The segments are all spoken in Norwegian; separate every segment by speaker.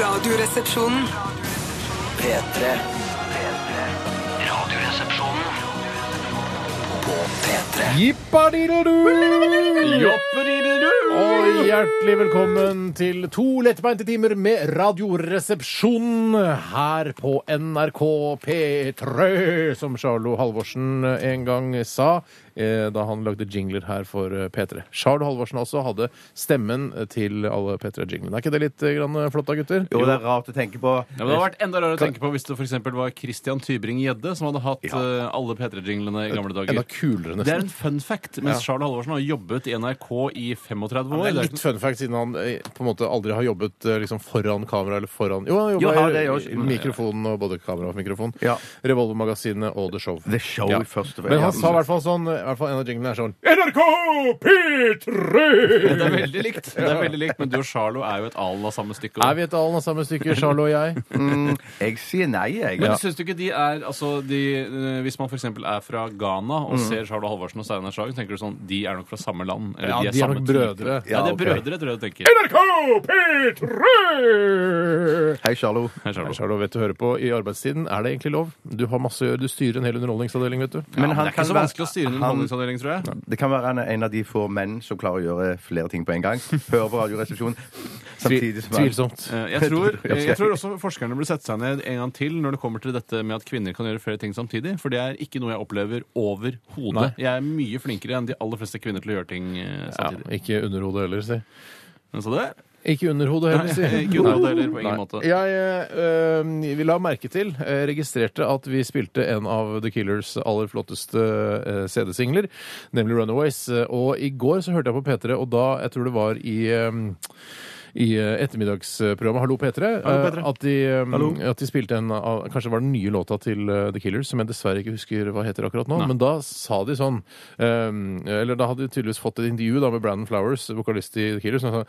Speaker 1: Radioresepsjonen.
Speaker 2: P3 Radioresepsjonen På P3
Speaker 3: Jippadiddle-du! Og
Speaker 4: Jopperideldu!
Speaker 3: hjertelig velkommen til to lettbeinte timer med Radioresepsjonen her på NRK P3, som Charlo Halvorsen en gang sa eh, da han lagde jingler her for eh, P3. Charlo Halvorsen også hadde stemmen til alle P3-jinglene. Er ikke det litt eh, grann flott da, gutter?
Speaker 4: Jo, det er rart å tenke på.
Speaker 5: Ja, men det hadde vært enda rarere å tenke på hvis det for eksempel var Christian Tybring-Gjedde som hadde hatt eh, alle P3-jinglene i gamle dager.
Speaker 3: Enda kulere,
Speaker 5: Det er
Speaker 3: nesten.
Speaker 5: en fun fact, mens Charles Halvorsen har jobbet i NRK i 35 år.
Speaker 3: Det er
Speaker 5: Det er
Speaker 3: litt fun fact, siden han eh, på en måte aldri har jobbet eh, liksom, foran kamera eller foran Jo, han
Speaker 4: Jo, har
Speaker 3: jobba
Speaker 4: det, jo.
Speaker 3: i mikrofonen og både kamera og mikrofon.
Speaker 4: Ja.
Speaker 3: Revolvermagasinet og The Show.
Speaker 4: The Show først og fremst.
Speaker 3: Men han
Speaker 4: Ja.
Speaker 3: sa i hvert fall sånn i hvert fall En av jinglene er sånn NRK P3!
Speaker 5: Det er veldig likt, det er veldig likt men du og Charlo er jo et alen av samme stykke.
Speaker 3: Er vi et alen av samme stykke, Charlo og jeg?
Speaker 4: Jeg sier nei, jeg.
Speaker 5: Men synes du ikke de er altså, de, eh, Hvis man f.eks. er fra Ghana og
Speaker 3: Mm.
Speaker 5: ser Charlo Halvorsen og Steinar Sagen, tenker du sånn De er nok fra samme land. eller
Speaker 3: Ja, de er
Speaker 5: samme
Speaker 3: nok
Speaker 5: type.
Speaker 3: brødre.
Speaker 5: Ja, de
Speaker 4: Ja,
Speaker 5: er
Speaker 4: ok.
Speaker 5: brødre, tror jeg du tenker.
Speaker 3: NRK P3!
Speaker 4: Hei, Charlo.
Speaker 5: Hei, Charlo.
Speaker 3: Charlo, vet du hører på i arbeidstiden. Er det egentlig lov? Du har masse å gjøre. Du styrer en hel underholdningsavdeling, vet du.
Speaker 5: Ja,
Speaker 4: Men
Speaker 5: men
Speaker 4: han
Speaker 5: det er
Speaker 4: kan
Speaker 5: ikke så
Speaker 4: være-
Speaker 5: vanskelig å styre en
Speaker 4: han-
Speaker 5: underholdningsavdeling, tror jeg.
Speaker 4: Det kan være han er en av de få menn som klarer å gjøre flere ting på en gang. Hører på Radioresepsjonen samtidig som han
Speaker 3: Tvilsomt.
Speaker 5: Eh, Jeg tror,
Speaker 4: Ja,
Speaker 5: jeg tror også forskerne burde sette seg ned en gang til når det kommer til dette med at kvinner kan gjøre flere ting samtidig. For det er ikke noe jeg opplever overhodet.
Speaker 3: Nei.
Speaker 5: Jeg er mye flinkere enn de aller fleste kvinner til å gjøre ting eh,
Speaker 3: Ja,
Speaker 5: samtidig.
Speaker 3: ikke underhodet heller, si.
Speaker 5: Men Så det, Eh,
Speaker 3: Ikke under hodet heller, si.
Speaker 5: Nei, ikke under hodet heller, på ingen
Speaker 3: Nei.
Speaker 5: måte.
Speaker 3: Jeg eh, øh, vi la merke til, eh, registrerte at vi spilte en av The Killers aller flotteste eh, CD-singler, nemlig Runaways. Eh, Og i går så hørte jeg på P3, og da, jeg tror det var i eh, i eh, ettermiddagsprogrammet Hallo P3,
Speaker 4: Hallo, P3.
Speaker 3: eh, At, de, eh, at de spilte en av Kanskje var den nye låta til eh, The Killers, som jeg dessverre ikke husker hva heter akkurat nå. Men da sa de sånn eh, Eller da hadde de tydeligvis fått et intervju da med Brandon Flowers, vokalist i The Killers. Og så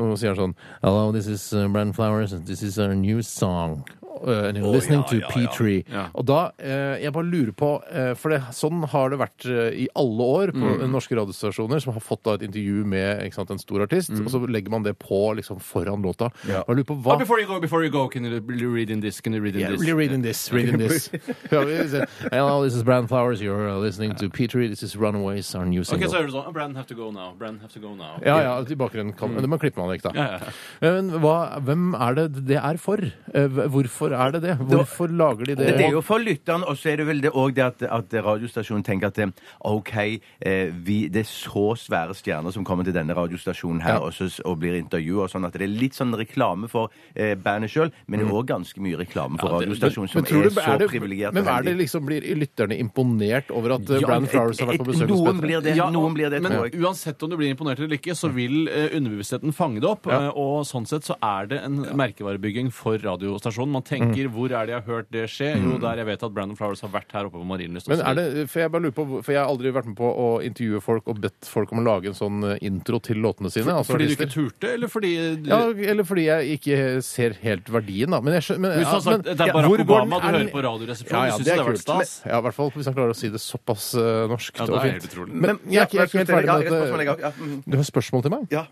Speaker 3: og så sier han sånn Hello, this is uh, Brandon Flowers, and this is our new song. Uh, and you're listening to P3. Og da, eh, jeg bare lurer på eh, For det, sånn har det vært eh, i alle år på
Speaker 5: Mm.
Speaker 3: norske radiostasjoner, som har fått da, et intervju med ikke sant, en stor
Speaker 5: Mm.
Speaker 3: artist, og så legger man det på liksom, foran låta.
Speaker 4: Ja.
Speaker 3: Og jeg lurer på
Speaker 5: Oh,
Speaker 3: hva
Speaker 5: before you go, before you go, can you read in this? Can you read in
Speaker 3: Yeah,
Speaker 5: this?
Speaker 3: really reading this, reading this. Ja, vi sier, Hello, this is Brandon Flowers. You're uh, listening to P3. This is Runaways, our new
Speaker 5: Ok,
Speaker 3: single.
Speaker 5: så er det sånn, oh, Brand have to go now. Brand have to go now.
Speaker 3: ja, ja, i bakgrunnen kan Men klippe man vekk, da.
Speaker 5: Mm. Ja, ja.
Speaker 3: Men hva, hvem er det det er for? Eh, Hvorfor er det det? Hvorfor lager de det?
Speaker 4: Det er jo for lytteren, og så er det vel det òg det at, at radiostasjonen tenker at eh, OK, eh, vi, det er så svære stjerner som kommer til denne radiostasjonen her
Speaker 3: Ja.
Speaker 4: og, så, og blir intervjua og sånn, at det er litt sånn reklame for eh, bandet sjøl, men det er òg ganske mye reklame for
Speaker 5: det-
Speaker 4: radiostasjonen som
Speaker 3: tror
Speaker 4: er,
Speaker 3: du-
Speaker 4: så
Speaker 3: det-
Speaker 4: privilegert.
Speaker 3: Men er det liksom, blir lytterne imponert over at eh,
Speaker 4: Ja,
Speaker 3: Brandon
Speaker 4: et-
Speaker 3: Flowers har vært på
Speaker 4: et-
Speaker 3: besøk hos
Speaker 4: noen
Speaker 3: Petter?
Speaker 4: blir det,
Speaker 5: Ja,
Speaker 4: noen blir det,
Speaker 5: men
Speaker 4: tror jeg.
Speaker 5: uansett om du blir imponert eller ikke, så vil eh, underbevisstheten fange det opp. eh, og sånn sett så er det en merkevarebygging for radiostasjonen. Man tenker
Speaker 3: Mm.
Speaker 5: hvor er det jeg har hørt det skje? Jo, der jeg vet at Brandon Flowers har vært her oppe på Marienlyst.
Speaker 3: Men er det, for jeg bare lurer på, for jeg har aldri vært med på å intervjue folk og bedt folk om å lage en sånn eh, intro til låtene sine. altså
Speaker 5: fordi du ikke
Speaker 3: artister.
Speaker 5: turte, eller fordi du,
Speaker 3: ja, eller fordi jeg ikke ser helt verdien, da. Men jeg skjønner men,
Speaker 5: Hvis du hadde
Speaker 3: ja,
Speaker 5: sagt
Speaker 3: men-
Speaker 5: det er
Speaker 3: ja,
Speaker 5: Barack
Speaker 3: hvor går den-
Speaker 5: Obama
Speaker 3: er
Speaker 5: du
Speaker 3: den-
Speaker 5: hører på Radioresepsjonen,
Speaker 3: Ja, ja,
Speaker 5: synes
Speaker 3: det
Speaker 5: du
Speaker 3: er
Speaker 5: det hadde
Speaker 3: kult.
Speaker 5: vært stas?
Speaker 3: Men- Ja, i hvert fall hvis han klarer å si det såpass eh, norsk
Speaker 5: Ja, det
Speaker 3: og
Speaker 5: er helt
Speaker 3: fint.
Speaker 5: utrolig.
Speaker 3: Men jeg er ikke, jeg er ikke helt ferdig med
Speaker 4: det.
Speaker 3: at det-
Speaker 5: mhm.
Speaker 3: Du har spørsmål til meg?
Speaker 4: Ja.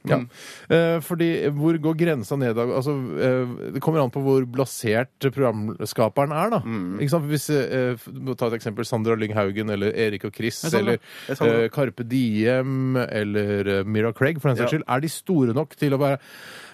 Speaker 3: Eh, fordi hvor går grensa ned? da? Altså, eh, det kommer an på hvor blasert programskaperen er, da.
Speaker 4: Mm.
Speaker 3: Ikke sant? Hvis, eh, f- må ta et eksempel Sandra Lyng Haugen eller Erik og Chris
Speaker 5: Sandra.
Speaker 3: eller
Speaker 4: er Sandra.
Speaker 3: eh, Carpe Diem eller eh, Mira Craig, for den saks
Speaker 4: Ja.
Speaker 3: skyld. Er de store nok til å bare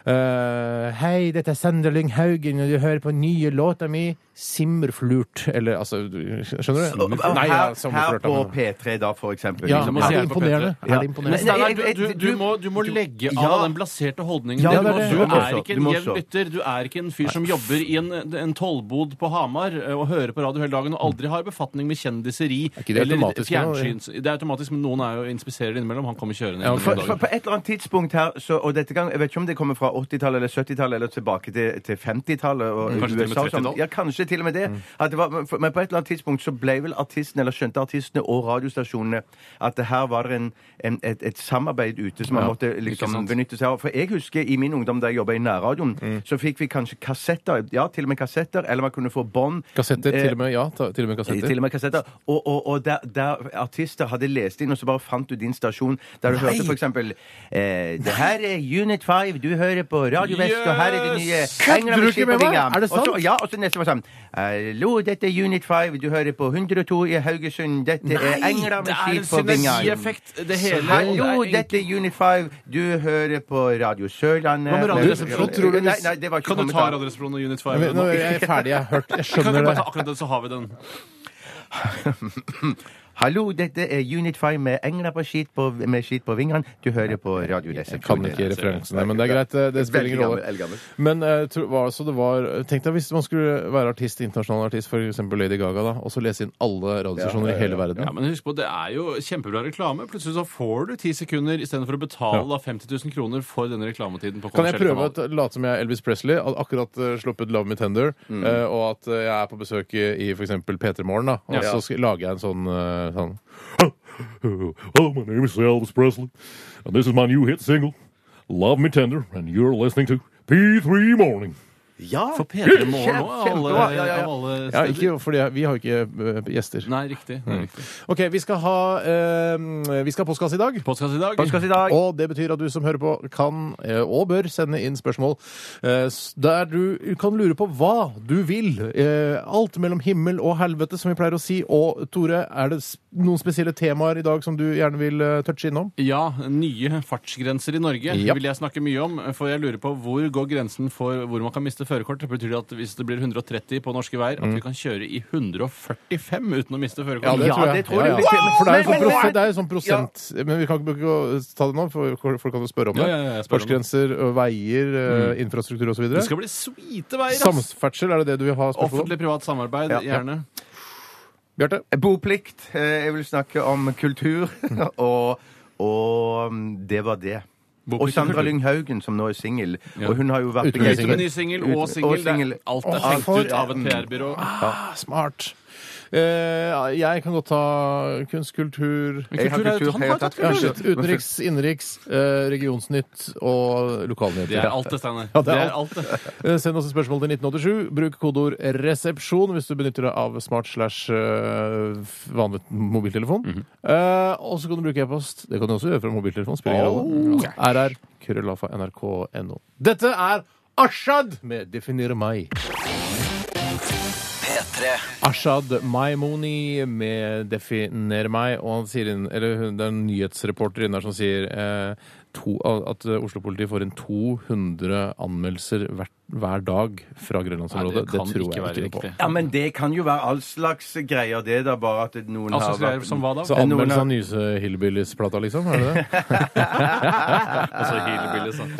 Speaker 3: eh, Hei, dette er Sandra Lyng Haugen, og du hører på nye låta mi, Simmerflurt. Eller altså du- Skjønner du?
Speaker 4: Og- og
Speaker 3: Nei, ja,
Speaker 4: her, her
Speaker 3: Sommerflurt, da,
Speaker 4: på
Speaker 3: men-
Speaker 4: P3 da, for eksempel.
Speaker 3: ja,
Speaker 4: liksom.
Speaker 5: må
Speaker 3: er det
Speaker 5: si her på
Speaker 3: imponerende? Er
Speaker 5: P3.
Speaker 4: Ja.
Speaker 3: det imponerende?
Speaker 4: Nei,
Speaker 5: Steinar,
Speaker 4: jeg- jeg-
Speaker 5: du, Altså, du, du, må, du må legge
Speaker 4: Ja.
Speaker 5: av den blaserte holdningen.
Speaker 4: Ja,
Speaker 5: din.
Speaker 3: det er det. Du
Speaker 5: du, må, du
Speaker 3: må
Speaker 5: er
Speaker 4: så.
Speaker 5: ikke
Speaker 4: Du
Speaker 5: en
Speaker 4: må
Speaker 5: jevn
Speaker 4: så.
Speaker 5: lytter. Du er ikke en fyr som jobber i en, en tollbod på Hamar eh, og hører på radio hele dagen og aldri har befatning med kjendiseri
Speaker 3: ikke det automatisk nå?
Speaker 5: fjernsyns... Det er automatisk, men noen er jo inspiserer innimellom. Han kommer kjørende.
Speaker 3: Ja,
Speaker 5: inn i
Speaker 3: for-
Speaker 5: noen
Speaker 4: For
Speaker 5: dager.
Speaker 4: på et eller annet tidspunkt her, så, og dette gang, jeg vet ikke om det kommer fra 80-tallet eller 70-tallet eller tilbake til, til 50-tallet og
Speaker 5: Mm, kanskje til og med Mm.
Speaker 4: USA og sånn.
Speaker 5: 30-tallet.
Speaker 4: Ja, kanskje til og med det. At det var, men for- men på et eller annet tidspunkt så ble vel artistene, eller skjønte artistene og radiostasjonene, at det her var det en, en, et, et samarbeid ute som man måtte liksom
Speaker 5: sant. Mm.
Speaker 4: benytte seg av. For jeg husker i min ungdom da jeg jobba i nærradioen, så fikk vi kanskje kassetter, ja, til og med kassetter, eller man kunne få bånd.
Speaker 3: Kassetter,
Speaker 4: Eh,
Speaker 3: til og med. Ja, ta- til og med kassetter.
Speaker 4: Til og med kassetter. Og, og, og der, der artister hadde lest inn, og så bare fant du din stasjon der du hørte for eksempel eh, Det her er Unit 5, du hører på Radio Vest, og her er det nye
Speaker 5: Yes!
Speaker 4: Engler
Speaker 3: Kødder du ikke med meg?
Speaker 4: Skippervinga.
Speaker 3: Er det sant?
Speaker 4: Og så- Ja, og så neste var sånn Hallo, dette er Unit 5, du hører på 102 i Haugesund, dette er Engler med
Speaker 5: det er en
Speaker 4: skip på vinga.
Speaker 5: synergieffekt. Det hele
Speaker 4: Hallo,
Speaker 5: er
Speaker 4: dette er Unit 5, du hører på Radio Sørlandet
Speaker 5: Hva med Radioresepsjonen?
Speaker 3: Tror du-
Speaker 4: Nei, nei, det var ikke
Speaker 5: Kan du ta
Speaker 4: kommentar.
Speaker 5: Radioresepsjonen og
Speaker 3: Nå
Speaker 5: Unit 5?
Speaker 3: nå er jeg ferdig, jeg har hørt Jeg
Speaker 5: Kan vi
Speaker 3: skjønner
Speaker 5: bare
Speaker 3: det.
Speaker 5: ta akkurat den, så har vi den?
Speaker 4: Hallo, dette er Unit 5 med Engler på skit på, med skit på vingene. Du hører på Radio
Speaker 3: Jeg kan ikke referansen der, men det er greit. Det spiller ingen
Speaker 4: Veldig gammel,
Speaker 3: rolle.
Speaker 4: eldgammel.
Speaker 3: Men eh, tro, hva, så det var, tenk deg hvis man skulle være artist, internasjonal artist, f.eks. Lady Gaga, da, og så lese inn alle radiostasjoner i hele verden.
Speaker 5: Ja, men husk på, Det er jo kjempebra reklame. Plutselig så får du ti sekunder istedenfor å betale da 50 000 kroner for denne reklametiden. på
Speaker 3: Kan jeg
Speaker 5: kommersielle
Speaker 3: prøve å t- late som jeg er Elvis Presley, at akkurat eh, sluppet 'Love Me Tender',
Speaker 5: Mm.
Speaker 3: eh, og at eh, jeg er på besøk i i for eksempel P3 Morgen, da, og
Speaker 5: Ja.
Speaker 3: så sk- lager jeg en sånn, eh, sånn Hello, my name is Elvis Presley, and this is my new hit single, 'Love Me Tender', and you're listening to P3 Morning.
Speaker 4: Ja!
Speaker 5: For P3 Morgen
Speaker 4: Kjempe-
Speaker 5: òg, alle,
Speaker 4: kjempebra, ja, ja, ja.
Speaker 5: av alle
Speaker 3: Ja,
Speaker 5: steder.
Speaker 3: ikke, fordi jeg- vi har jo ikke eh, gjester.
Speaker 5: Nei, riktig. det er
Speaker 4: Mm.
Speaker 5: riktig.
Speaker 3: Ok, vi skal ha, eh, vi skal ha postkasse i dag.
Speaker 5: Postkasse i dag.
Speaker 4: Hva skal vi i dag?
Speaker 3: Og det betyr at du som hører på, kan eh, og bør sende inn spørsmål eh, s- der du kan lure på hva du vil. Eh, Alt mellom himmel og helvete, som vi pleier å si. Og Tore, er det s- noen spesielle temaer i dag som du gjerne vil eh, touche innom?
Speaker 5: Ja, nye fartsgrenser i Norge
Speaker 3: Ja.
Speaker 5: vil jeg snakke mye om. For jeg lurer på hvor går grensen for hvor man kan miste førerkort? Betyr det at hvis det blir 130 på norske veier, at vi kan kjøre i 145 uten å miste førerkort?
Speaker 4: det- Mm. Ja, tror jeg.
Speaker 3: For det er jo
Speaker 4: Men-
Speaker 3: sånn,
Speaker 4: men-
Speaker 3: prosent, det er jo sånn prosent Men vi kan ikke bruke å eh, ta det nå, for folk kan jo spørre om
Speaker 5: Ja,
Speaker 3: det.
Speaker 5: ja, ja, jeg spør om det.
Speaker 3: Sportsgrenser, veier, eh, infrastruktur osv.
Speaker 5: Det skal bli svite veier, ass!
Speaker 3: Samferdsel, er det det du vil ha spørsmål om?
Speaker 5: Offentlig-privat samarbeid,
Speaker 4: Ja.
Speaker 5: gjerne.
Speaker 3: Bjarte?
Speaker 4: Boplikt. Eh, Jeg vil snakke om kultur. og, og mm, det var det.
Speaker 5: Boplikt
Speaker 4: Og
Speaker 5: og
Speaker 4: Sandra
Speaker 5: kultur.
Speaker 4: Lyng Haugen, som nå er singel.
Speaker 5: Ja.
Speaker 4: Og hun har jo vært
Speaker 3: Uten
Speaker 5: Ut med ny singel
Speaker 4: Ut-
Speaker 5: og
Speaker 4: og
Speaker 5: singel.
Speaker 4: singel.
Speaker 5: Det- Alt er
Speaker 3: Åh,
Speaker 5: tenkt
Speaker 3: for
Speaker 5: ut av et
Speaker 3: en-
Speaker 5: PR-byrå.
Speaker 3: Ah, smart. Eh, jeg kan godt ta kunst, kultur
Speaker 4: Jeg har
Speaker 5: Kultur er jo-
Speaker 4: kultur,
Speaker 5: han
Speaker 4: jeg har
Speaker 5: har tatt
Speaker 4: tatt
Speaker 5: kultur.
Speaker 3: Kanskje
Speaker 4: kultur.
Speaker 3: et utenriks, innenriks, eh, regionsnytt og lokalnyheter.
Speaker 5: Det er alt det, Steinar.
Speaker 3: Ja,
Speaker 5: Det er alt det.
Speaker 3: Eh, Send oss et spørsmål til 1987. Bruk kodeord 'resepsjon' hvis du benytter deg av smart slash eh, vanlig mobiltelefon.
Speaker 5: Mhm.
Speaker 3: Eh, og så kan du bruke e-post. Det kan du også gjøre fra mobiltelefon. Spiller ingen
Speaker 5: Oh.
Speaker 3: rolle. RR. Krøllafa. NRK.no. Dette er Ashad med 'Definere meg'.
Speaker 2: P3
Speaker 3: Ashad Maimoni med 'Definer meg', og han sier inn, eller hun, det er en nyhetsreporter inne der som sier eh, to, at eh, Oslo-politiet får inn 200 anmeldelser hvert, hver dag fra
Speaker 5: Nei,
Speaker 3: Grønlandsområdet.
Speaker 5: det
Speaker 3: Det,
Speaker 5: kan
Speaker 3: tror
Speaker 5: ikke
Speaker 3: jeg
Speaker 5: være
Speaker 3: ikke noe på.
Speaker 5: riktig.
Speaker 4: Ja, men det kan jo være all slags greier, det. da, Bare at noen
Speaker 5: Altså,
Speaker 4: har
Speaker 5: greier
Speaker 4: vært
Speaker 5: som hva da?
Speaker 3: Så
Speaker 4: Men noen
Speaker 3: anmeldelse
Speaker 4: har-
Speaker 3: av Nyse Hillbillies-plata, liksom? Er det det?
Speaker 5: Altså, hillbilly, sånn.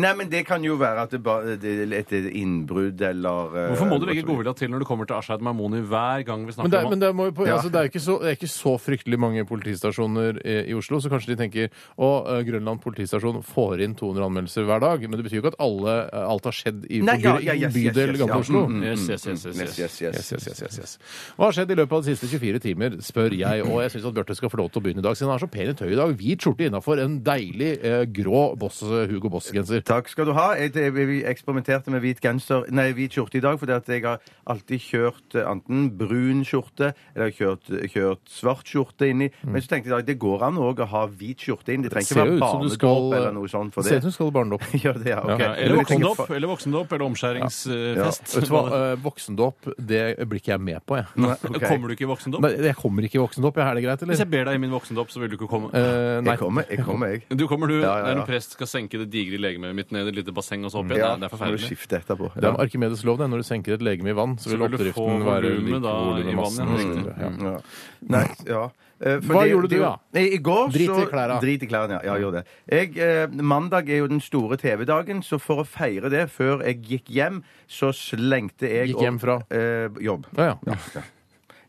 Speaker 4: Nei, men det kan jo være at det bare det er et innbrudd eller eh,
Speaker 5: Hvorfor må du legge godvilja til når du kommer til Ashaid Maimoni hver gang vi
Speaker 3: Men det,
Speaker 5: snakker
Speaker 3: er-
Speaker 5: om
Speaker 3: men det, er- må jo på,
Speaker 4: Ja.
Speaker 3: altså, det, er jo ikke så, det er ikke så fryktelig mange politistasjoner i, i Oslo, så kanskje de tenker at Grønland politistasjon får inn 200 anmeldelser hver dag. Men det betyr jo ikke at alle, eh, alt har skjedd i
Speaker 4: Nei, ja, ja,
Speaker 3: i
Speaker 4: yes, yes,
Speaker 3: bydel
Speaker 4: yes,
Speaker 3: Gamle
Speaker 4: ja.
Speaker 3: Oslo.
Speaker 4: Mm,
Speaker 5: Yes, yes, yes, yes, yes.
Speaker 4: Yes, yes, yes.
Speaker 3: Yes, yes, yes, yes, yes. Hva har skjedd i løpet av de siste 24 timer, spør jeg. Og jeg syns at Bjarte skal få lov til å begynne i dag, siden han har så pent tøy i dag. Hvit skjorte innafor en deilig eh, grå boss, Hugo Boss-genser.
Speaker 4: Takk skal du ha. Jeg, jeg, vi eksperimenterte med hvit genser Nei, hvit skjorte i dag, fordi at jeg har alltid kjørt eh, enten brun skjorte eller kjørt, kjørt svart skjorte inni. Men så tenkte jeg i dag, det går an òg å ha hvit skjorte inn. Det trenger ikke
Speaker 3: Mm. Ser jo
Speaker 4: være
Speaker 3: ut som du
Speaker 4: barnedåp
Speaker 3: skal
Speaker 4: eller noe sånt for
Speaker 3: Ser
Speaker 4: det.
Speaker 3: ut som du skal barne opp.
Speaker 4: Gjør det, ja, ok.
Speaker 5: Ja,
Speaker 4: Men
Speaker 5: eller
Speaker 4: jeg tenker
Speaker 5: voksendåp,
Speaker 4: fa-
Speaker 5: eller, voksendåp, eller omskjæringsfest.
Speaker 3: Vet du hva, eh, voksendåp, det blir ikke jeg med på, jeg.
Speaker 4: Nei, ok.
Speaker 5: Kommer du ikke i voksendåp?
Speaker 3: Men jeg kommer ikke i voksendåp, jeg. Er det greit,
Speaker 5: Hvis
Speaker 3: eller?
Speaker 5: jeg ber deg i min voksendåp, så vil du ikke komme.
Speaker 3: Eh, nei.
Speaker 4: Jeg kommer, jeg. kommer, jeg.
Speaker 5: Du kommer, du.
Speaker 4: Ja, ja, ja.
Speaker 5: Der en prest skal senke det digre legemet mitt ned i et lite basseng og så opp igjen. Nei, det er
Speaker 4: så må du
Speaker 5: forferdelig.
Speaker 4: skifte etterpå.
Speaker 3: Det er med Arkimedes lov, det. Når du senker et legeme i vann, så vil
Speaker 5: Så vil du få
Speaker 3: oppdriften være
Speaker 5: volumet
Speaker 3: lik
Speaker 5: da i Mm.
Speaker 3: volummassen. og
Speaker 5: vann, ja.
Speaker 3: så videre. Ja.
Speaker 4: Ja. Nei, ja. Eh, for
Speaker 3: Hva
Speaker 4: det-
Speaker 3: gjorde
Speaker 4: det-
Speaker 3: du, da?
Speaker 4: Nei, I går
Speaker 3: Drit i
Speaker 4: så-
Speaker 3: klærne.
Speaker 4: Drit i klærne, ja. ja jeg gjorde det. Jeg, eh, mandag er jo den store TV-dagen, så for å feire det, før jeg gikk hjem, så slengte jeg
Speaker 3: Gikk
Speaker 4: opp-
Speaker 3: hjem fra?
Speaker 4: Eh, jobb.
Speaker 3: Ja, ja.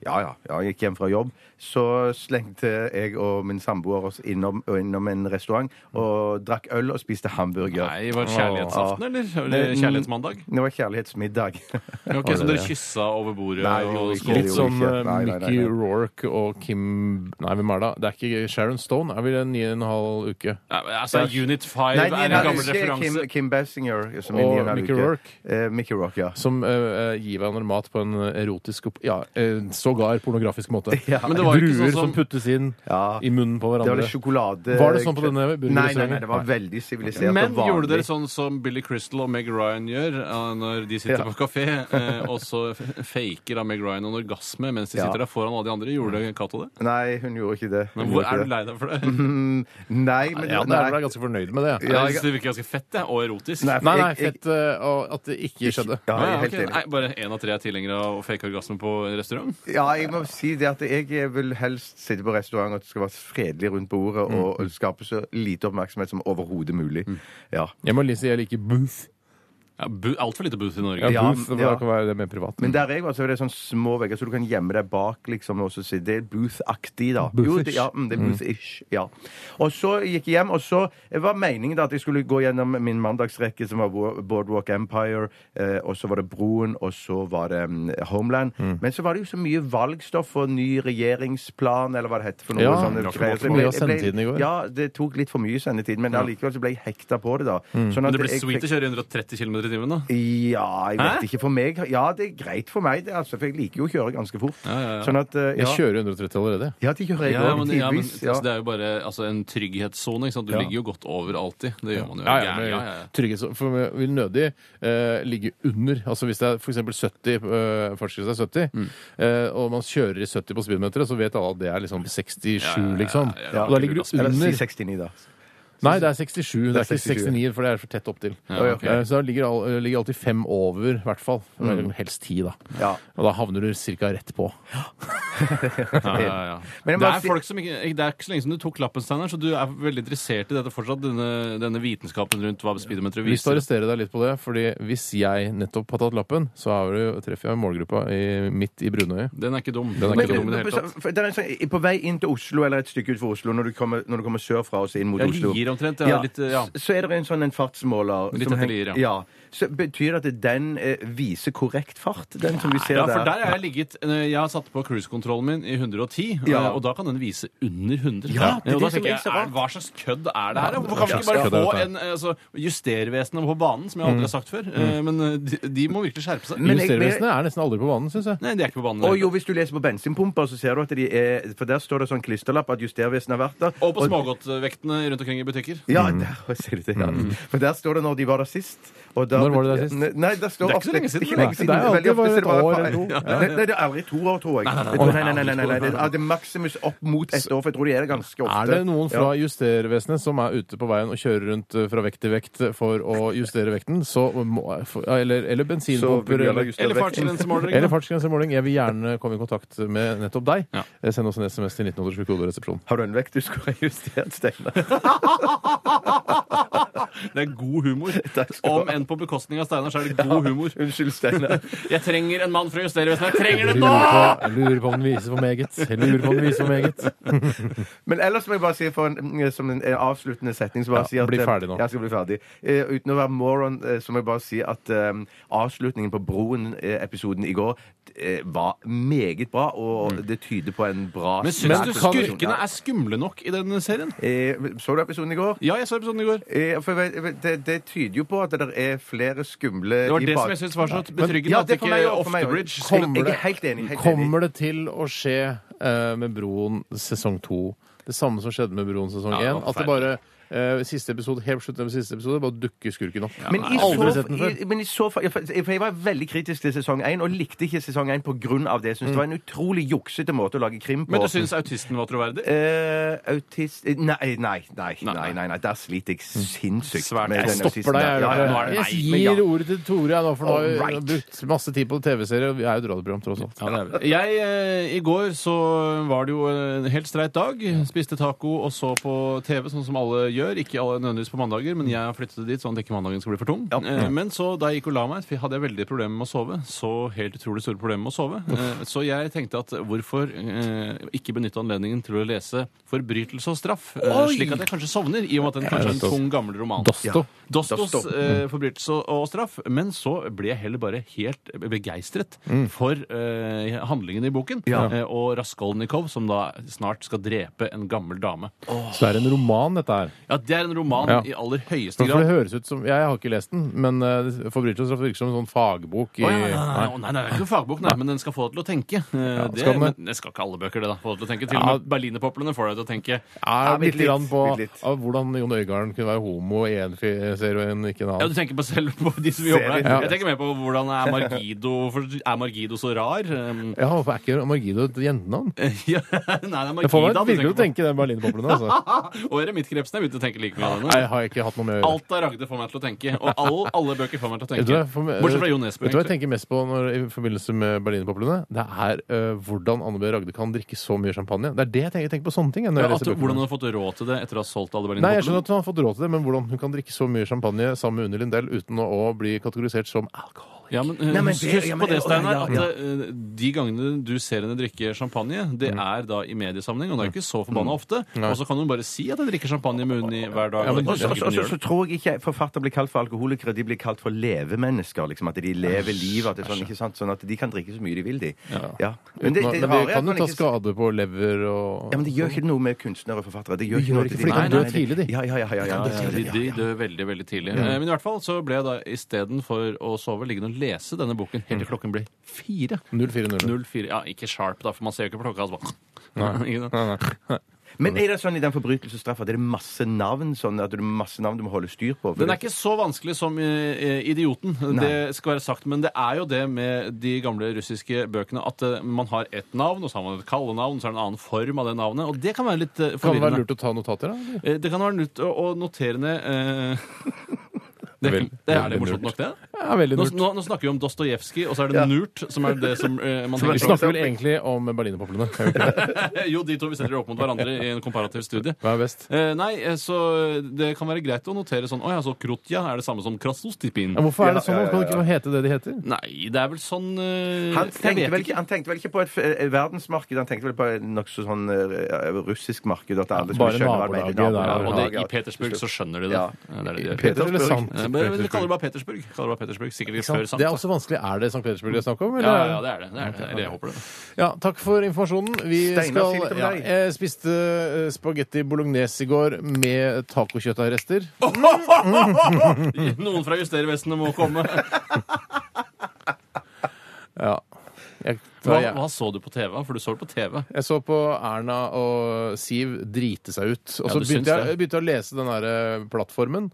Speaker 4: Ja, ja, ja. Jeg gikk hjem fra jobb. Så slengte jeg og min samboer oss innom, og innom en restaurant og drakk øl og spiste hamburger. Eh,
Speaker 5: Nei, var det kjærlighetsaften, eller? eller? Kjærlighetsmandag?
Speaker 4: Det var kjærlighetsmiddag.
Speaker 5: Ok, Så dere kyssa over bordet
Speaker 4: Nei, vi
Speaker 5: og
Speaker 4: gjorde ikke
Speaker 5: skål?
Speaker 4: det.
Speaker 3: Litt
Speaker 4: gjorde
Speaker 3: sånn
Speaker 4: vi ikke.
Speaker 3: eh,
Speaker 4: Nei, nei, nei,
Speaker 3: Mickey
Speaker 4: nei.
Speaker 3: Rourke og Kim Nei, hvem er det? da? Det er ikke Sharon Stone. Er vi det ni og en halv uke?
Speaker 5: Nei, men altså, Unit 5
Speaker 4: Nei,
Speaker 5: er
Speaker 4: Nina
Speaker 5: en gammel
Speaker 4: Luke, Kim,
Speaker 5: referanse.
Speaker 4: Kim Basinger. Som
Speaker 3: Og
Speaker 4: er Nina
Speaker 3: Mickey
Speaker 4: Luke.
Speaker 3: Rourke.
Speaker 4: Eh, Mickey Rourke, ja.
Speaker 3: Som eh, eh, gir hverandre mat på en erotisk opp... Ja, eh, så sågar pornografisk måte.
Speaker 4: Ja.
Speaker 5: Men det var jo ikke
Speaker 3: Druer
Speaker 5: sånn
Speaker 3: som
Speaker 5: som-
Speaker 3: puttes inn
Speaker 4: Ja.
Speaker 3: i munnen på
Speaker 4: Det var
Speaker 3: hverandre.
Speaker 4: litt sjokolade...
Speaker 3: Var det sånn på denne
Speaker 4: Nei, nei, nei,
Speaker 3: burgerrestauranten?
Speaker 4: det var veldig sivilisert
Speaker 5: Men
Speaker 4: og vanlig.
Speaker 5: gjorde dere sånn som Billy Crystal og Meg Ryan gjør eh, når de sitter
Speaker 4: Ja.
Speaker 5: på kafé, eh, og så f- faker da Meg Ryan en orgasme mens de
Speaker 4: Ja.
Speaker 5: sitter der foran alle de andre? Gjorde Cato det?
Speaker 4: Nei, hun gjorde ikke det. Hun
Speaker 5: Men hvor,
Speaker 4: gjorde ikke
Speaker 5: er du
Speaker 4: det.
Speaker 5: lei deg for det?
Speaker 4: Nei, men
Speaker 3: Ja, da er du ganske fornøyd med det.
Speaker 5: Jeg
Speaker 4: Ja,
Speaker 5: synes det virker ganske fett jeg, og erotisk.
Speaker 4: Nei,
Speaker 3: Nei, nei,
Speaker 4: Jeg- jeg-
Speaker 3: fett eh, og at det ikke skjedde.
Speaker 4: Ja,
Speaker 5: Ja,
Speaker 4: jeg
Speaker 5: ja,
Speaker 4: er helt
Speaker 5: ok.
Speaker 4: enig.
Speaker 5: Nei, bare én av tre er tilhengere av å fake orgasme på restaurant?
Speaker 4: Ja, jeg må si det at jeg eh, vil helst sitte på restaurant og det skal være fredelig rundt bordet
Speaker 3: Mm.
Speaker 4: og skape så lite oppmerksomhet som overhodet mulig. Ja.
Speaker 3: Jeg må si jeg liker booth.
Speaker 5: Ja, bu- Altfor lite booth i Norge.
Speaker 3: Ja,
Speaker 4: Ja,
Speaker 3: booth for
Speaker 4: ja.
Speaker 3: Da kan være det mer privat.
Speaker 4: Men der jeg var, så er det sånn små vegger, så du kan gjemme deg bak, liksom, og så si det er booth-aktig, da. Jo, det, ja, mm, det er booth-ish, ja. Og så gikk jeg hjem, og så eh, var meningen da at jeg skulle gå gjennom min mandagsrekke, som var Bo- Boardwalk Empire, eh, og så var det Broen, og så var det mm, Homeland. Men så var det jo så mye valgstoff og ny regjeringsplan, eller hva det heter for noe.
Speaker 3: Ja,
Speaker 4: sånne
Speaker 5: rakk
Speaker 4: greier. Så
Speaker 3: mye av
Speaker 4: jeg ble- jeg
Speaker 3: sendetiden i
Speaker 4: ble-
Speaker 3: går.
Speaker 4: Ja, det tok litt for mye sendetid, men allikevel så ble jeg hekta på det, da.
Speaker 3: Mm.
Speaker 4: Sånn
Speaker 5: Men
Speaker 4: at
Speaker 5: det blir
Speaker 4: jeg
Speaker 5: sweet å kjøre i 130 km i timen, da.
Speaker 4: ja, jeg
Speaker 5: Hæ?
Speaker 4: vet ikke. For meg Ja, det er greit for meg, det, altså, for jeg liker jo å kjøre ganske fort. Sånn at eh, ja.
Speaker 3: Jeg kjører 130 allerede.
Speaker 4: Ja, de kjører jeg
Speaker 5: Ja,
Speaker 4: òg,
Speaker 5: men, ja, men
Speaker 4: tidvis. Ja.
Speaker 5: altså, det er jo bare altså, en trygghetssone. ikke sant? Du ligger jo godt over alltid. Det gjør man jo.
Speaker 3: Ja, ja, men
Speaker 5: Gjerne, ja, ja, ja.
Speaker 3: trygghet så- For jeg vil nødig eh, ligge under. Altså Hvis det er f.eks. 70, eh, fartsgrensa er 70, eh, og man kjører i 70 på speedometeret, så vet alle at det er liksom 67,
Speaker 5: Ja, ja, ja, ja,
Speaker 3: liksom.
Speaker 5: ja, ja.
Speaker 3: Og da ligger du
Speaker 4: Eller si
Speaker 3: under.
Speaker 4: 69, da.
Speaker 3: Nei, det er 67. Det er ikke
Speaker 4: 67,
Speaker 3: 69, for det er for tett opptil.
Speaker 5: Ja, ok.
Speaker 3: Eh, Så da ligger, all- ligger alltid fem over, i hvert fall. Eller Helst ti, da.
Speaker 4: Ja.
Speaker 3: Og da havner du ca. rett på.
Speaker 5: Ja, ja, ja.
Speaker 4: Men jeg
Speaker 5: det
Speaker 4: må
Speaker 5: er
Speaker 4: si-
Speaker 5: folk som ikke, det er ikke så lenge som du tok lappen, Steinar, så du er veldig interessert i dette fortsatt, denne, denne vitenskapen rundt hva speedometeret
Speaker 3: Lyst til å
Speaker 5: viser.
Speaker 3: arrestere deg litt på det, fordi hvis jeg nettopp har tatt lappen, så er det, treffer jeg målgruppa i, midt i brunøyet.
Speaker 5: Den er ikke dum.
Speaker 3: Den er
Speaker 5: Men-
Speaker 4: Men,
Speaker 3: ikke dum
Speaker 5: i det
Speaker 4: men,
Speaker 5: hele tatt.
Speaker 4: så- for det er en sånn, på vei inn til Oslo, eller et stykke utenfor Oslo, når du kommer, når du kommer sørfra og så inn mot
Speaker 5: Ja,
Speaker 4: Oslo
Speaker 5: Lier omtrent. Ja, litt, ja.
Speaker 4: s- Så er det en sånn en fartsmåler
Speaker 5: Litt
Speaker 4: som
Speaker 5: etter
Speaker 4: heng-
Speaker 5: Lier,
Speaker 4: ja.
Speaker 5: ja.
Speaker 4: Så betyr det at den eh, viser korrekt fart, den som vi ser
Speaker 5: Ja, for der har jeg ligget eh, Jeg har satt på cruisekontrollen min i 110,
Speaker 4: Ja.
Speaker 5: eh, og da kan den vise under 100.
Speaker 4: Ja, det er
Speaker 5: Eh, og da
Speaker 4: det som
Speaker 5: tenker
Speaker 4: er så
Speaker 5: jeg,
Speaker 4: rart.
Speaker 5: er, Hva slags kødd er det her? Hvorfor
Speaker 3: hva
Speaker 5: kan vi
Speaker 3: slags
Speaker 5: ikke bare
Speaker 3: kødd er
Speaker 5: få
Speaker 3: dette?
Speaker 5: en eh, altså, Justervesenet på banen, som jeg aldri har sagt før. eh, Men eh, de, de må virkelig skjerpe seg.
Speaker 4: Men jeg-
Speaker 3: Justervesenet er nesten aldri på banen, syns jeg.
Speaker 5: Nei, de er ikke på banen.
Speaker 4: Og jo, hvis du leser på bensinpumper, så ser du at de er For der står det sånn klisterlapp at Justervesenet har vært der.
Speaker 5: Og på smågodtvektene rundt omkring i butikker.
Speaker 4: Ja, der sier du det, ja. For der står det når de var der sist. og da-
Speaker 3: Når var de der sist?
Speaker 4: Ne- Nei, der står
Speaker 5: Det er ikke så
Speaker 4: ofte-
Speaker 5: lenge siden,
Speaker 4: ikke
Speaker 5: da.
Speaker 4: lenge siden.
Speaker 3: Det er alltid
Speaker 4: Veldig ofte
Speaker 3: bare
Speaker 4: så er det
Speaker 3: et år
Speaker 4: par-
Speaker 3: eller to.
Speaker 4: Nei, Nei, det er aldri to år, tror jeg. Jeg tror- Nei, nei, nei, nei, nei, nei, nei. Ja, Det er maksimus opp mot ett år, for jeg tror de er det ganske ofte.
Speaker 3: Er det noen
Speaker 4: Ja.
Speaker 3: fra Justervesenet som er ute på veien og kjører rundt eh, fra vekt til vekt for å justere vekten, så må Eller, eller
Speaker 4: Så vil
Speaker 3: bensinpumper
Speaker 4: vi gjerne
Speaker 3: eller
Speaker 4: justere
Speaker 5: Eller
Speaker 4: vekten.
Speaker 5: fartsgrensemålere.
Speaker 3: eller fartsgrensemåling. Jeg vil gjerne komme i kontakt med nettopp deg.
Speaker 5: Ja.
Speaker 3: Eh, Send oss en SMS til 1987 koderesepsjon.
Speaker 4: Har du en vekt du skulle ha justert, Steinar?
Speaker 5: Det er god humor. Om enn på bekostning av Steinar, så er det god humor.
Speaker 4: Unnskyld, Steinar.
Speaker 5: Jeg trenger en mann fra Justervesenet. Jeg trenger
Speaker 3: Jeg
Speaker 5: den nå!
Speaker 3: Lurer på, jeg lurer på om den viser for meget. Jeg Lurer på om den viser for meget.
Speaker 4: Men ellers må jeg bare si for en, mm, som en, en avsluttende setning så bare
Speaker 3: Ja,
Speaker 4: si at,
Speaker 3: bli ferdig nå.
Speaker 4: Jeg skal bli ferdig. Eh, uten å være moron, eh, så må jeg bare si at eh, avslutningen på Broen-episoden i går eh, var meget bra, og
Speaker 3: Mm.
Speaker 4: det tyder på en bra
Speaker 5: Men syns du skurkene er skumle nok i den serien?
Speaker 4: eh, Så du episoden i går?
Speaker 5: Ja, jeg så episoden i går.
Speaker 4: Eh, for jeg vet- det, det tyder jo på at det er flere skumle
Speaker 5: Det var
Speaker 4: i
Speaker 5: det
Speaker 4: bak-
Speaker 5: som jeg syntes var så betryggende.
Speaker 4: Ja,
Speaker 5: at
Speaker 4: det for meg
Speaker 5: ikke
Speaker 4: også, for meg også.
Speaker 5: Oftebridge
Speaker 4: Kom-
Speaker 5: skulle
Speaker 3: Kommer
Speaker 4: Jeg
Speaker 3: det-
Speaker 4: er helt enig. Helt enig.
Speaker 3: Kommer det til å skje eh, med Broen sesong to? Det samme som skjedde med Broen sesong én.
Speaker 5: Ja, det var
Speaker 3: At det bare eh, siste episode, helt på slutten av siste episode bare dukker skurken opp.
Speaker 4: Men i,
Speaker 3: Aldri
Speaker 4: så,
Speaker 3: sett den før.
Speaker 4: i, men i så fall ja, for, for jeg var veldig kritisk til sesong 1, og likte ikke sesong 1 på grunn av
Speaker 3: Mm.
Speaker 4: det. Jeg synes det var en utrolig juksete måte å lage krim på.
Speaker 5: Men du syns autisten var troverdig?
Speaker 4: Eh, autist... Nei, nei, nei, nei, nei, nei. Der sliter jeg sinnssykt.
Speaker 5: Svært.
Speaker 4: med
Speaker 5: Jeg
Speaker 3: Stopper
Speaker 4: den autisten
Speaker 3: deg. Mm.
Speaker 4: der.
Speaker 3: Jeg,
Speaker 4: Ja, ja, ja.
Speaker 5: nå er det
Speaker 3: jeg
Speaker 5: meg, men
Speaker 3: gir
Speaker 5: ja.
Speaker 3: ordet til Tore, jeg nå, for nå har jeg
Speaker 4: Alright.
Speaker 3: brukt masse tid på TV-serier. Vi er jo et radioprogram, tross alt.
Speaker 5: Jeg, eh, I går så var det jo en helt streit dag. Spiste taco og så på TV, sånn som alle gjør. Ikke alle nødvendigvis på mandager, men jeg flyttet dit sånn at ikke mandagen skal bli for tung. Eh, Men så da jeg gikk og la meg, hadde jeg veldig problemer med å sove. Så helt utrolig store problemer med å sove. Eh, Så jeg tenkte at hvorfor eh, ikke benytte anledningen til å lese 'Forbrytelse og straff', eh, slik at jeg kanskje sovner, i og med at den kanskje er en tung, gammel roman.
Speaker 3: Dosto.
Speaker 5: Dostos
Speaker 4: Dosto.
Speaker 3: Mm.
Speaker 5: eh, forbrytelse og- og straff. Men så ble jeg heller bare helt begeistret
Speaker 3: Mm.
Speaker 5: for eh, handlingen i boken.
Speaker 4: Ja.
Speaker 5: Eh, og Raskolnikov, som da snart skal drepe en gammel dame.
Speaker 3: Så det er en roman, dette her.
Speaker 5: Ja, det er en roman
Speaker 3: Ja.
Speaker 5: i aller høyeste
Speaker 3: For det
Speaker 5: grad.
Speaker 3: høres ut som Jeg har ikke lest den, men uh, Forbrytelse og straff virker som en sånn fagbok i
Speaker 5: Å, ja, nei, nei, nei,
Speaker 3: Nei.
Speaker 5: nei, nei, det er ikke en fagbok, nei, men den skal få deg til å tenke. Eh, det,
Speaker 3: skal den det?
Speaker 5: men, det skal ikke alle bøker, det. da, få deg til å tenke. Til
Speaker 3: Ja.
Speaker 5: og med berlinerpoplene får deg til å tenke.
Speaker 3: Ja,
Speaker 4: Ja,
Speaker 3: litt,
Speaker 4: bitte litt,
Speaker 3: grann på
Speaker 4: bitte litt.
Speaker 3: av hvordan Jon Øigarden kunne være homo i en fi- serie og en ikke en
Speaker 5: Ja, du
Speaker 3: annen.
Speaker 5: tenker på selv på de som jobber der.
Speaker 4: Serien.
Speaker 5: Jeg tenker mer på hvordan er Margido for Er Margido så rar? Um,
Speaker 3: Ja, hvorfor er ikke Margido et jentenavn?
Speaker 5: ja, nei, det er
Speaker 3: Det får meg
Speaker 5: Margida du
Speaker 3: virkelig
Speaker 5: tenker
Speaker 3: til å
Speaker 5: på.
Speaker 3: tenke den berlinerpoplene. Altså.
Speaker 5: Og eremittkrepsen er ute og tenker like mye av
Speaker 3: Nei,
Speaker 5: henne.
Speaker 3: har jeg ikke hatt noe med å gjøre.
Speaker 5: Alt av Ragde får meg til å tenke, og all, alle bøker får meg til å
Speaker 3: Vet du
Speaker 5: tenke.
Speaker 3: hva, for meg-
Speaker 5: Bortsett fra Jo Nesbø.
Speaker 3: Vet du hva jeg
Speaker 5: egentlig.
Speaker 3: tenker mest på når, i forbindelse med berlinerpoplene? Det er øh, hvordan Anne B. Ragde kan drikke så mye champagne. Det er det jeg tenker, jeg tenker på sånne ting. jeg, Når
Speaker 5: Ja,
Speaker 3: jeg
Speaker 5: at,
Speaker 3: leser
Speaker 5: hvordan
Speaker 3: bøkene.
Speaker 5: hun har fått råd til det etter å ha solgt alle
Speaker 3: Nei, jeg skjønner
Speaker 5: berlinerpoplene.
Speaker 3: at hun har fått råd til det, men hvordan hun kan drikke så mye champagne sammen med Unni Lindell uten å, å bli kategorisert som alkohol.
Speaker 5: Ja, men, eh,
Speaker 4: Nei, men det-
Speaker 5: husk
Speaker 4: ja,
Speaker 5: på
Speaker 4: men-
Speaker 5: det,
Speaker 4: ja,
Speaker 5: Steinar,
Speaker 4: ja,
Speaker 5: at
Speaker 4: ja.
Speaker 5: eh, de gangene du ser henne drikke champagne, det
Speaker 3: Mm.
Speaker 5: er da i mediesammenheng, og det er jo ikke så forbanna ofte. Og så kan hun bare si at hun drikker champagne med Unni hver dag.
Speaker 3: Ja, men- altså,
Speaker 4: Og så-
Speaker 5: og så sikkert hun
Speaker 4: så
Speaker 5: gjør
Speaker 4: så
Speaker 5: det.
Speaker 4: tror jeg ikke forfattere blir kalt for alkoholikere. De blir kalt for levemennesker. liksom, At de lever livet. At det er sånn, ikke sant? sånn at de kan drikke så mye de vil, de. Ja. Men det,
Speaker 3: Nå-
Speaker 4: det
Speaker 3: men
Speaker 4: rare
Speaker 3: det
Speaker 4: er at
Speaker 3: kan jo
Speaker 4: man
Speaker 3: ta
Speaker 4: ikke-
Speaker 3: skade på lever og
Speaker 4: Ja, men Det gjør ikke noe med kunstnere og forfattere. Det gjør
Speaker 3: Det
Speaker 4: ikke
Speaker 3: gjør
Speaker 4: noe
Speaker 3: ikke,
Speaker 4: til
Speaker 3: for de kan
Speaker 4: Nei,
Speaker 3: dø
Speaker 4: nei,
Speaker 3: tidlig, de.
Speaker 4: Ja, ja, ja, ja, ja,
Speaker 5: Ja,
Speaker 3: altså,
Speaker 5: ja, de,
Speaker 4: ja,
Speaker 5: de
Speaker 4: ja.
Speaker 5: dør veldig
Speaker 3: Mm.
Speaker 5: veldig tidlig. Eh, Men i hvert fall så ble jeg da istedenfor å sove liggende og lese denne boken
Speaker 3: Mm.
Speaker 5: helt til klokken ble fire.
Speaker 3: 040.
Speaker 5: 04, ja, Ikke sharp, da, for man ser jo ikke på klokka. Altså. Ikke sant?
Speaker 4: Men er det sånn i den forbrytelsesstraffa at det er masse navn sånn at det er masse navn du må holde styr på? For
Speaker 5: Den er
Speaker 4: det-
Speaker 5: ikke så vanskelig som eh, Idioten, det skal være sagt. Men det er jo det med de gamle russiske bøkene at eh, man har ett navn, og så har man et kallenavn, så er det en annen form av det navnet. Og det kan være litt eh,
Speaker 3: Kan det
Speaker 5: forvirrende.
Speaker 3: være lurt å ta notater, da? eller?
Speaker 5: Eh, Det kan være lurt å å notere ned eh, det,
Speaker 3: Vel,
Speaker 5: det er
Speaker 3: veldig
Speaker 5: det morsomt
Speaker 3: lurt.
Speaker 5: nok, det?
Speaker 3: Ja, veldig
Speaker 5: Nå,
Speaker 3: lurt.
Speaker 5: nå, nå snakker vi om Dostojevskij, og så er det Nurt som er det som eh, man
Speaker 3: Vi
Speaker 5: tenker
Speaker 3: snakker vel egentlig om berlinerpoplene. Er vi ikke det?
Speaker 5: Jo, de to vi setter opp mot hverandre i en komparativ studie.
Speaker 3: Hva er best?
Speaker 5: Eh, nei, eh, så det kan være greit å notere sånn Å ja, så Krotja er det samme som Krasostipin.
Speaker 3: Ja, hvorfor er det
Speaker 4: Ja,
Speaker 3: sånn?
Speaker 4: ja, ja,
Speaker 3: Kan det ikke hete det de heter?
Speaker 5: Nei, det er vel sånn eh,
Speaker 4: Han
Speaker 5: jeg
Speaker 4: tenkte,
Speaker 5: vet
Speaker 4: vel ikke, han tenkte vel ikke på et eh, verdensmarked, han tenkte vel på et nokså sånn eh, russisk marked. At alle
Speaker 3: Bare
Speaker 4: skulle skjønne hva det
Speaker 3: nabolaget,
Speaker 4: mente.
Speaker 3: da,
Speaker 5: Ja, og det, I
Speaker 4: Nabolaget,
Speaker 5: Petersburg så skjønner de det.
Speaker 4: Ja.
Speaker 5: Ja, det, er det de gjør.
Speaker 3: Peter eller
Speaker 4: Petersburg.
Speaker 3: Sant?
Speaker 5: Eh, men- men Dere kaller det bare Petersburg. Kaller det bare Petersburg. Sikkert litt før
Speaker 3: Sant?
Speaker 5: sant.
Speaker 3: Det er
Speaker 5: da.
Speaker 3: også vanskelig. Er det St. Petersburg det er snakk om?
Speaker 5: Ja, ja, det er det. det, er det. Eller jeg håper det.
Speaker 3: Ja, takk for informasjonen. Vi
Speaker 4: Steinar, si litt
Speaker 3: skal,
Speaker 4: om
Speaker 3: ja,
Speaker 4: deg.
Speaker 3: jeg spiste eh, spagetti bolognese i går med tacokjøttarrester.
Speaker 5: Noen fra justervesenet må komme.
Speaker 3: Ja. Jeg,
Speaker 5: Hva,
Speaker 3: jeg,
Speaker 5: hva så du på TV? For du så det på TV.
Speaker 3: jeg så på Erna og Siv drite seg ut. Og
Speaker 5: Ja,
Speaker 3: så
Speaker 5: du syns
Speaker 3: begynte jeg
Speaker 5: det.
Speaker 3: begynte jeg å lese den der eh, plattformen,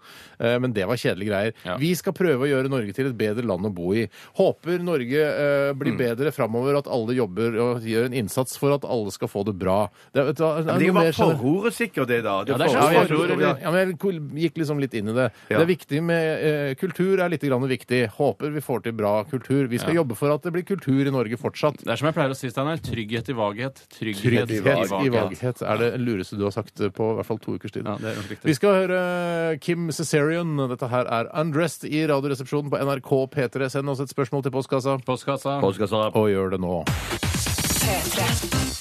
Speaker 3: eh, men det var kjedelige greier.
Speaker 5: Ja.
Speaker 3: Vi skal prøve å gjøre Norge til et bedre land å bo i. Håper Norge eh, blir
Speaker 5: Mm.
Speaker 3: bedre framover, at alle jobber og gjør en innsats for at alle skal få det bra. Det, er- vet du hva, det
Speaker 4: Det er
Speaker 3: noe
Speaker 4: jo bare
Speaker 3: mer generelt.
Speaker 4: forordet, sikkert, det, da.
Speaker 5: Ja, det er
Speaker 3: Ja,
Speaker 5: sånn
Speaker 3: jeg,
Speaker 5: forord,
Speaker 3: ja, ja, men jeg kul- gikk liksom litt inn i det.
Speaker 4: Ja.
Speaker 3: Det er viktig med eh, Kultur er litt grann viktig. Håper vi får til bra kultur. Vi skal jobbe for at det blir kultur i Norge fortsatt.
Speaker 5: Det er som jeg pleier å si, Steinar. Trygghet i vaghet. Trygghet,
Speaker 3: Trygghet
Speaker 5: i
Speaker 3: i
Speaker 5: vaghet.
Speaker 3: vaghet er det lureste du har sagt eh, på i hvert fall to ukers tid.
Speaker 5: Ja, det er nok riktig.
Speaker 3: Vi skal høre Kim Cesarion. Dette her er Undressed i Radioresepsjonen på NRK P3. Send oss et spørsmål til postkassa.
Speaker 5: Postkassa.
Speaker 3: Og gjør det nå.